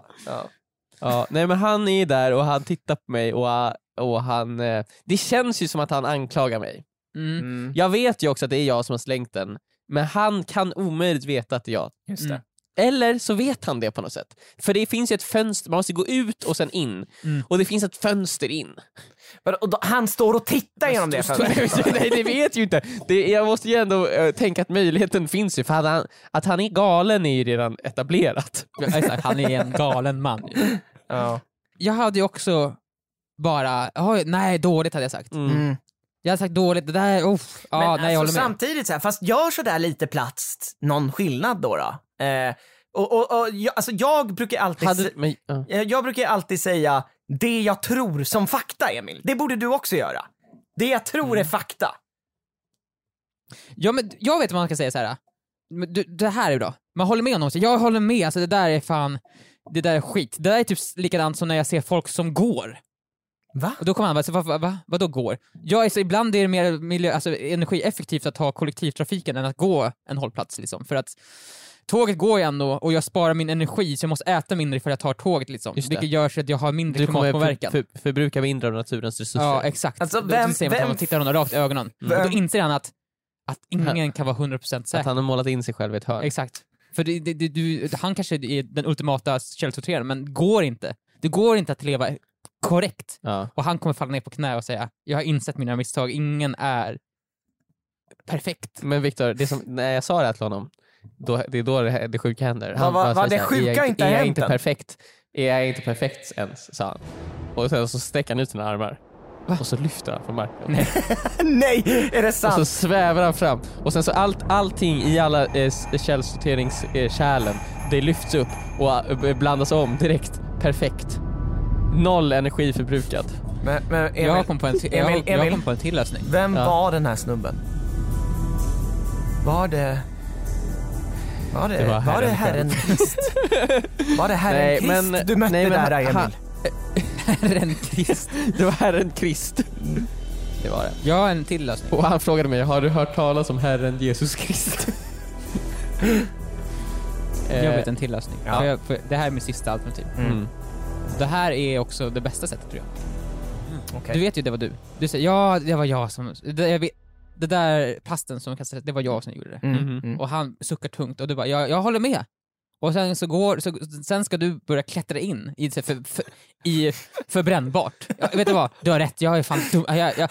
[SPEAKER 2] Ja, nej men han är där och han tittar på mig och, ah, och han... eh, Det känns ju som att han anklagar mig.
[SPEAKER 3] Mm.
[SPEAKER 2] Jag vet ju också att det är jag som har slängt den, men han kan omöjligt veta att det är jag.
[SPEAKER 4] Just
[SPEAKER 3] det.
[SPEAKER 2] Eller så vet han det på något sätt. För det finns ju ett fönster, man måste gå ut och sen in.
[SPEAKER 3] Mm.
[SPEAKER 2] Och det finns ett fönster in.
[SPEAKER 4] Men, och då, han står och tittar genom det fönstret.
[SPEAKER 2] Nej det vet ju inte. Det, jag måste ju ändå eh, tänka att möjligheten finns ju, för att han, att han är galen är ju redan etablerat.
[SPEAKER 3] Ja, exakt. Han är en galen man.
[SPEAKER 4] Ja.
[SPEAKER 3] Jag hade ju också bara, "Oj, nej dåligt hade jag sagt.
[SPEAKER 4] Mm.
[SPEAKER 3] Jag hade sagt dåligt, det där, uff. Ja,
[SPEAKER 4] Men
[SPEAKER 3] nej jag
[SPEAKER 4] alltså,
[SPEAKER 3] håller med.
[SPEAKER 4] samtidigt, så här, fast gör sådär lite plats någon skillnad då. då. Eh, och, och, och, jag, alltså, jag brukar alltid...
[SPEAKER 2] Hade,
[SPEAKER 4] se-
[SPEAKER 2] men, ja.
[SPEAKER 4] Eh, Jag brukar alltid säga det jag tror som fakta, Emil. Det borde du också göra. Det jag tror är fakta.
[SPEAKER 3] Ja, men jag vet vad man kan säga så här. Men du, det här är bra. Man håller med om någonting. Jag håller med, alltså det där är fan, det där är skit. Det där är typ likadant som när jag ser folk som går.
[SPEAKER 4] Va?
[SPEAKER 3] Och då kommer han bara, så, va, va, va, vadå går? Jag är så, ibland är det mer miljö, alltså, energieffektivt att ha kollektivtrafiken än att gå en hållplats liksom. För att tåget går ju ändå och jag sparar min energi så jag måste äta mindre för att jag tar tåget liksom.
[SPEAKER 2] Just det.
[SPEAKER 3] Vilket gör så att jag har mindre
[SPEAKER 2] Du kommer för,
[SPEAKER 3] klimatpåverkan.
[SPEAKER 2] för, förbruka mindre av naturens resurser.
[SPEAKER 3] Ja, exakt.
[SPEAKER 4] Alltså,
[SPEAKER 3] Då
[SPEAKER 4] vem-
[SPEAKER 3] säger man till honom
[SPEAKER 4] vem-
[SPEAKER 3] och tittar honom rakt i ögonen. Och
[SPEAKER 4] Vem-
[SPEAKER 3] då inser han att, att ingen kan vara 100% säker.
[SPEAKER 2] att han har målat in sig själv i ett hörn.
[SPEAKER 3] Exakt. För det, det, det, du, han kanske är den ultimata källsorteraren, men går inte. Det går inte att leva korrekt.
[SPEAKER 2] Ja.
[SPEAKER 3] Och han kommer falla ner på knä och säga “Jag har insett mina misstag, ingen är perfekt”.
[SPEAKER 2] Men Viktor, det som- när jag sa det här till honom, då, det är då det, det sjuka händer.
[SPEAKER 4] Vad- vad-
[SPEAKER 2] bara sa
[SPEAKER 4] vad, det
[SPEAKER 2] så här, är
[SPEAKER 4] sjuka har
[SPEAKER 2] jag
[SPEAKER 4] inte
[SPEAKER 2] Är jag
[SPEAKER 4] hänt
[SPEAKER 2] inte
[SPEAKER 4] än?"
[SPEAKER 2] perfekt? Är jag inte perfekt ens? sa han. Och sen så sträcker han ut sina armar. Och så lyfter han från marken.
[SPEAKER 4] Nej, är det
[SPEAKER 2] Och
[SPEAKER 4] sant?
[SPEAKER 2] så svävar han fram. Och sen så allt, allting i alla eh, s- källsorteringskärlen, eh, kärlen, det lyfts upp och eh, blandas om direkt. Perfekt. Noll energi förbrukad.
[SPEAKER 4] Men, men Emil,
[SPEAKER 3] Jag kom på en, till- jag,
[SPEAKER 4] Emil,
[SPEAKER 3] jag
[SPEAKER 4] Emil.
[SPEAKER 3] kom på en till lösning.
[SPEAKER 4] vem
[SPEAKER 2] Ja.
[SPEAKER 4] var den här snubben? Var det... Var det,
[SPEAKER 2] Det var
[SPEAKER 4] var
[SPEAKER 2] Herren
[SPEAKER 4] det herren Krist? var det herren
[SPEAKER 2] Nej,
[SPEAKER 4] Krist
[SPEAKER 2] men-
[SPEAKER 4] du mötte
[SPEAKER 2] nej, men
[SPEAKER 4] där,
[SPEAKER 2] han-
[SPEAKER 4] Emil?
[SPEAKER 2] han-
[SPEAKER 3] Herren Krist.
[SPEAKER 2] Det var Herren Krist. Det var det.
[SPEAKER 3] Jag har en till alltså. lösning.
[SPEAKER 2] Och han frågade mig, har du hört talas om Herren Jesus Krist?
[SPEAKER 3] Jag vet en till lösning.
[SPEAKER 4] Eh, Ja.
[SPEAKER 3] För jag, för det här är min sista alternativ.
[SPEAKER 2] Mm.
[SPEAKER 3] Det här är också det bästa sättet tror jag.
[SPEAKER 4] Mm, Okej.
[SPEAKER 3] Du vet ju det var du. Du säger ja, det var jag som... Det, jag vet, det där plasten som kastades, det var jag som gjorde det.
[SPEAKER 4] Mm.
[SPEAKER 2] Mhm.
[SPEAKER 4] Mm.
[SPEAKER 3] Och han suckar tungt och du bara, jag, jag håller med. Och sen så går, så, sen ska du börja klättra in i, för, för, i förbrännbart. Ja, vet du vad? Du har rätt, jag är fan dum. Jag, jag, jag,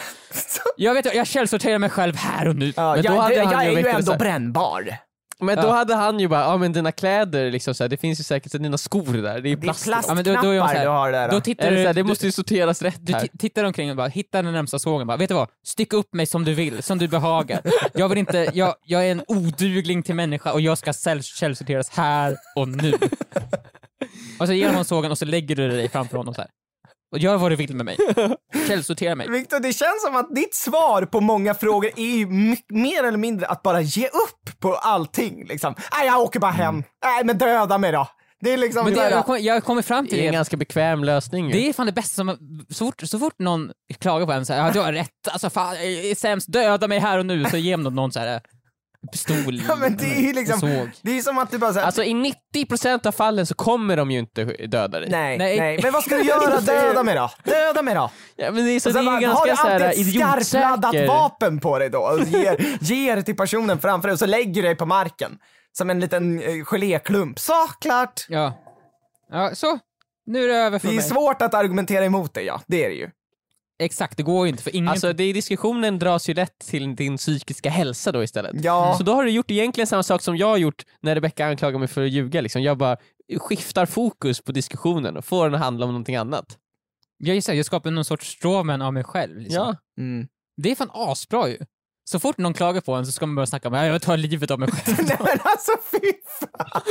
[SPEAKER 3] jag vet, jag källsorterar mig själv här och nu.
[SPEAKER 4] Ja,
[SPEAKER 2] Men då
[SPEAKER 4] jag
[SPEAKER 2] hade han
[SPEAKER 4] jag
[SPEAKER 2] ju
[SPEAKER 4] är ju
[SPEAKER 2] vetat så
[SPEAKER 4] ändå
[SPEAKER 2] här.
[SPEAKER 4] brännbar.
[SPEAKER 2] Men då
[SPEAKER 3] Ja.
[SPEAKER 2] hade han ju bara, ja men dina kläder liksom så här, det finns ju säkert dina skor där, det är
[SPEAKER 4] Det är
[SPEAKER 2] plast.
[SPEAKER 3] Ja,
[SPEAKER 4] plastknappar
[SPEAKER 3] men då- då är jag så här,
[SPEAKER 4] du har där.
[SPEAKER 3] Då
[SPEAKER 4] Då
[SPEAKER 3] tittar
[SPEAKER 2] Eller
[SPEAKER 3] du,
[SPEAKER 2] så här, det
[SPEAKER 3] du-
[SPEAKER 2] måste ju sorteras rätt
[SPEAKER 3] du
[SPEAKER 2] här.
[SPEAKER 3] ti- tittar omkring och bara, hittar den närmsta sågen bara, vet du vad? Stick upp mig som du vill, som du behagar. Jag vill inte, jag, jag är en odugling till människa och jag ska säll- källsorteras här och nu. Och så ger hon sågen och så lägger du dig framför honom så här. Och gör vad du vill med mig. Källsortera mig.
[SPEAKER 4] Viktor, det känns som att ditt svar på många frågor är ju my- mer eller mindre att bara ge upp på allting. Liksom. Nej, jag åker bara hem. Nej, men döda mig då. Det är liksom...
[SPEAKER 3] Men det,
[SPEAKER 4] bara-
[SPEAKER 3] jag, kommer, jag kommer fram till
[SPEAKER 2] Det är en
[SPEAKER 3] det.
[SPEAKER 2] ganska bekväm lösning. ju.
[SPEAKER 3] Det är fan det bästa som, så fort, så fort någon klagar på en så här, ja du har rätt, alltså fan jag är sämst, döda mig här och nu, så ger man någon så här eh, pistol,
[SPEAKER 4] Ja, men det är ju liksom...
[SPEAKER 3] Mm. såg.
[SPEAKER 4] Det är som att du bara säger
[SPEAKER 2] Alltså i 90% av fallen så kommer de ju inte döda dig.
[SPEAKER 4] nej, nej,
[SPEAKER 3] nej.
[SPEAKER 4] men vad ska du göra? Döda mig då. Döda mig då.
[SPEAKER 2] Ja, men det är, så
[SPEAKER 4] Och
[SPEAKER 2] det är
[SPEAKER 4] sen
[SPEAKER 2] ju
[SPEAKER 4] bara, har du
[SPEAKER 2] ganska så
[SPEAKER 4] alltid
[SPEAKER 2] här
[SPEAKER 4] ett skarpt laddat
[SPEAKER 2] idiotsäker.
[SPEAKER 4] vapen på dig då? Och ger, ger till personen framför dig och så lägger du dig på marken. Som en liten eh, geléklump. Så klart!
[SPEAKER 3] Ja. ja, så. Nu är det över för
[SPEAKER 4] Det är
[SPEAKER 3] mig.
[SPEAKER 4] svårt att argumentera emot det, ja. Det är det ju.
[SPEAKER 3] Exakt, det går ju inte för ingen...
[SPEAKER 2] Alltså det är diskussionen dras ju lätt till din psykiska hälsa då istället.
[SPEAKER 4] Ja.
[SPEAKER 2] Mm, Så då har du gjort egentligen samma sak som jag har gjort när Rebecca anklagar mig för att ljuga. Liksom. Jag bara skiftar fokus på diskussionen och får den att handla om någonting annat.
[SPEAKER 3] jag, gissar, jag skapar någon sorts stråman av mig själv. Liksom.
[SPEAKER 2] Ja.
[SPEAKER 4] Mm.
[SPEAKER 3] Det är fan asbra ju. Så fort någon klagar på en så ska man börja snacka om "Ja, jag tar livet av mig själv.
[SPEAKER 4] Nej men alltså fy fan!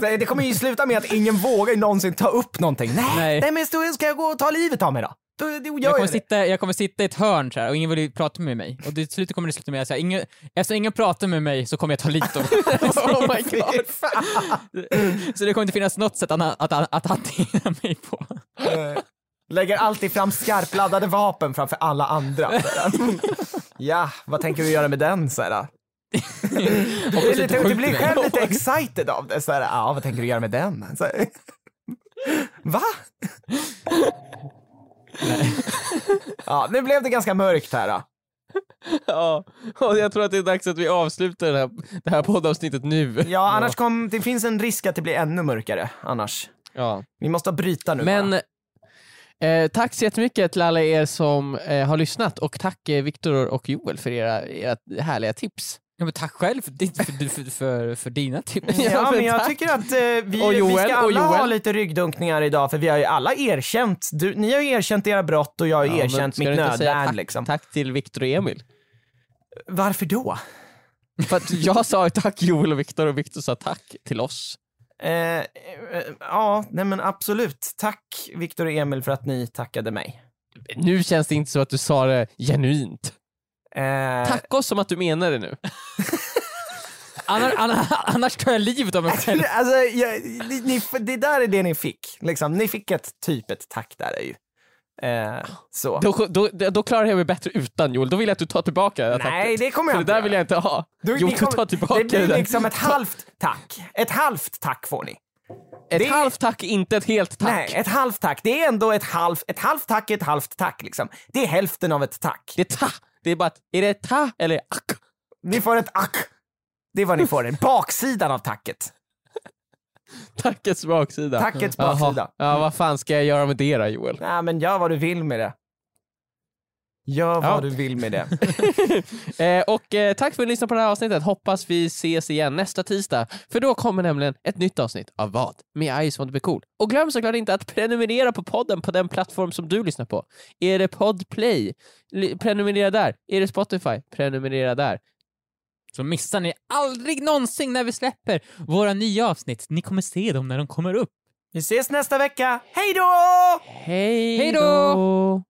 [SPEAKER 4] Men Det kommer ju sluta med att ingen vågar någonsin ta upp någonting. Nej, nej.
[SPEAKER 3] Nej.
[SPEAKER 4] men då ska jag gå och ta livet av mig då? Då, då gör
[SPEAKER 3] Jag
[SPEAKER 4] jag,
[SPEAKER 3] kommer,
[SPEAKER 4] det.
[SPEAKER 3] sitta, jag kommer sitta i ett hörn så här, och ingen vill ju prata med mig. Och till slut kommer det sluta med att ingen, eftersom ingen pratar med mig så kommer jag ta livet av mig
[SPEAKER 4] Oh my God.
[SPEAKER 3] Så det kommer inte finnas något sätt att, att, att, att hantera mig på.
[SPEAKER 4] Eh, Lägger alltid fram skarpladdade vapen framför alla andra. ja, vad tänker du göra med den Sara?
[SPEAKER 3] Hoppas
[SPEAKER 4] Du,
[SPEAKER 3] du inte
[SPEAKER 4] du, du
[SPEAKER 3] skjuter
[SPEAKER 4] blir
[SPEAKER 3] mig.
[SPEAKER 4] själv lite excited av det. Sara. Ja, vad tänker du göra med den? Så här. Va? ja, nu blev det ganska mörkt här. Då.
[SPEAKER 2] ja, och jag tror att det är dags att vi avslutar det här, det här poddavsnittet nu.
[SPEAKER 4] Ja, annars kom, det finns en risk att det blir ännu mörkare annars.
[SPEAKER 2] Ja.
[SPEAKER 4] Vi måste bryta nu
[SPEAKER 2] Men
[SPEAKER 4] bara.
[SPEAKER 2] eh, tack så jättemycket till alla er som eh, har lyssnat och tack eh, Viktor och Joel för era, era härliga tips.
[SPEAKER 3] Ja, men tack själv för, ditt- för, för, för, för dina tips.
[SPEAKER 4] Ja,
[SPEAKER 2] ja,
[SPEAKER 4] men
[SPEAKER 2] men
[SPEAKER 4] jag
[SPEAKER 2] tack.
[SPEAKER 4] tycker att eh, vi,
[SPEAKER 2] Och
[SPEAKER 4] vi
[SPEAKER 2] Joel,
[SPEAKER 4] ska
[SPEAKER 2] och
[SPEAKER 4] alla
[SPEAKER 2] Joel.
[SPEAKER 4] ha lite ryggdunkningar idag för vi har ju alla erkänt. Du, ni har ju erkänt era brott och jag har
[SPEAKER 2] Ja, men
[SPEAKER 4] erkänt
[SPEAKER 2] ska
[SPEAKER 4] mitt
[SPEAKER 2] du inte säga
[SPEAKER 4] nödvärn
[SPEAKER 2] tack,
[SPEAKER 4] liksom.
[SPEAKER 2] Tack till Viktor och Emil.
[SPEAKER 4] Varför då?
[SPEAKER 2] För att jag sa tack Joel och Viktor och Viktor sa tack till oss.
[SPEAKER 4] Eh, eh, ja, nej men absolut. Tack Viktor och Emil för att ni tackade mig.
[SPEAKER 2] Nu känns det inte så att du sa det genuint.
[SPEAKER 4] Eh,
[SPEAKER 2] Tacka oss som att du menar det nu.
[SPEAKER 3] Annars, annars, annars tar jag livet av mig själv.
[SPEAKER 4] Alltså, jag, ni, ni, det där är det ni fick. Liksom. Ni fick ett typ ett tack där är ju. Eh, så.
[SPEAKER 2] Då, då, då klarar jag mig bättre utan Joel. Då vill jag att du tar tillbaka det här
[SPEAKER 4] Nej,
[SPEAKER 2] tacket.
[SPEAKER 4] det kommer
[SPEAKER 2] För
[SPEAKER 4] jag
[SPEAKER 2] det
[SPEAKER 4] inte
[SPEAKER 2] där vill jag inte ha.
[SPEAKER 4] Du-
[SPEAKER 2] Joel,
[SPEAKER 4] ni kommer-
[SPEAKER 2] ta tillbaka
[SPEAKER 4] Det blir
[SPEAKER 2] där.
[SPEAKER 4] liksom ett halvt tack. Ett halvt tack får ni.
[SPEAKER 2] Ett
[SPEAKER 4] det-
[SPEAKER 2] halvt tack, inte ett helt tack.
[SPEAKER 4] Nej, ett halvt tack. Det är ändå ett halvt, ett halvt tack är ett halvt tack liksom. Det är hälften av ett tack.
[SPEAKER 2] Det är ta. Det är bara att, är det ta eller ack?
[SPEAKER 4] Ni får ett ack. Det är vad ni får, en baksidan av tacket.
[SPEAKER 2] Tackets baksida.
[SPEAKER 4] Tackets
[SPEAKER 2] Jaha.
[SPEAKER 4] baksida.
[SPEAKER 2] Ja, vad fan ska jag göra med det då Joel?
[SPEAKER 4] Nej, men gör vad du vill med det. Gör vad
[SPEAKER 2] Ja.
[SPEAKER 4] du vill med det.
[SPEAKER 2] Eh, och eh, tack för att ni lyssnade på det här avsnittet. Hoppas vi ses igen nästa tisdag. För då kommer nämligen ett nytt avsnitt av Vad? Med Ice Want To Be Cool. Och glöm såklart inte att prenumerera på podden på den plattform som du lyssnar på. Är det Podplay? L- prenumerera där. Är det Spotify? Prenumerera där.
[SPEAKER 3] Så missar ni aldrig någonsin när vi släpper våra nya avsnitt. Ni kommer se dem när de kommer upp.
[SPEAKER 4] Vi ses nästa vecka. Hej då!
[SPEAKER 2] Hej
[SPEAKER 3] Hej då!
[SPEAKER 2] då!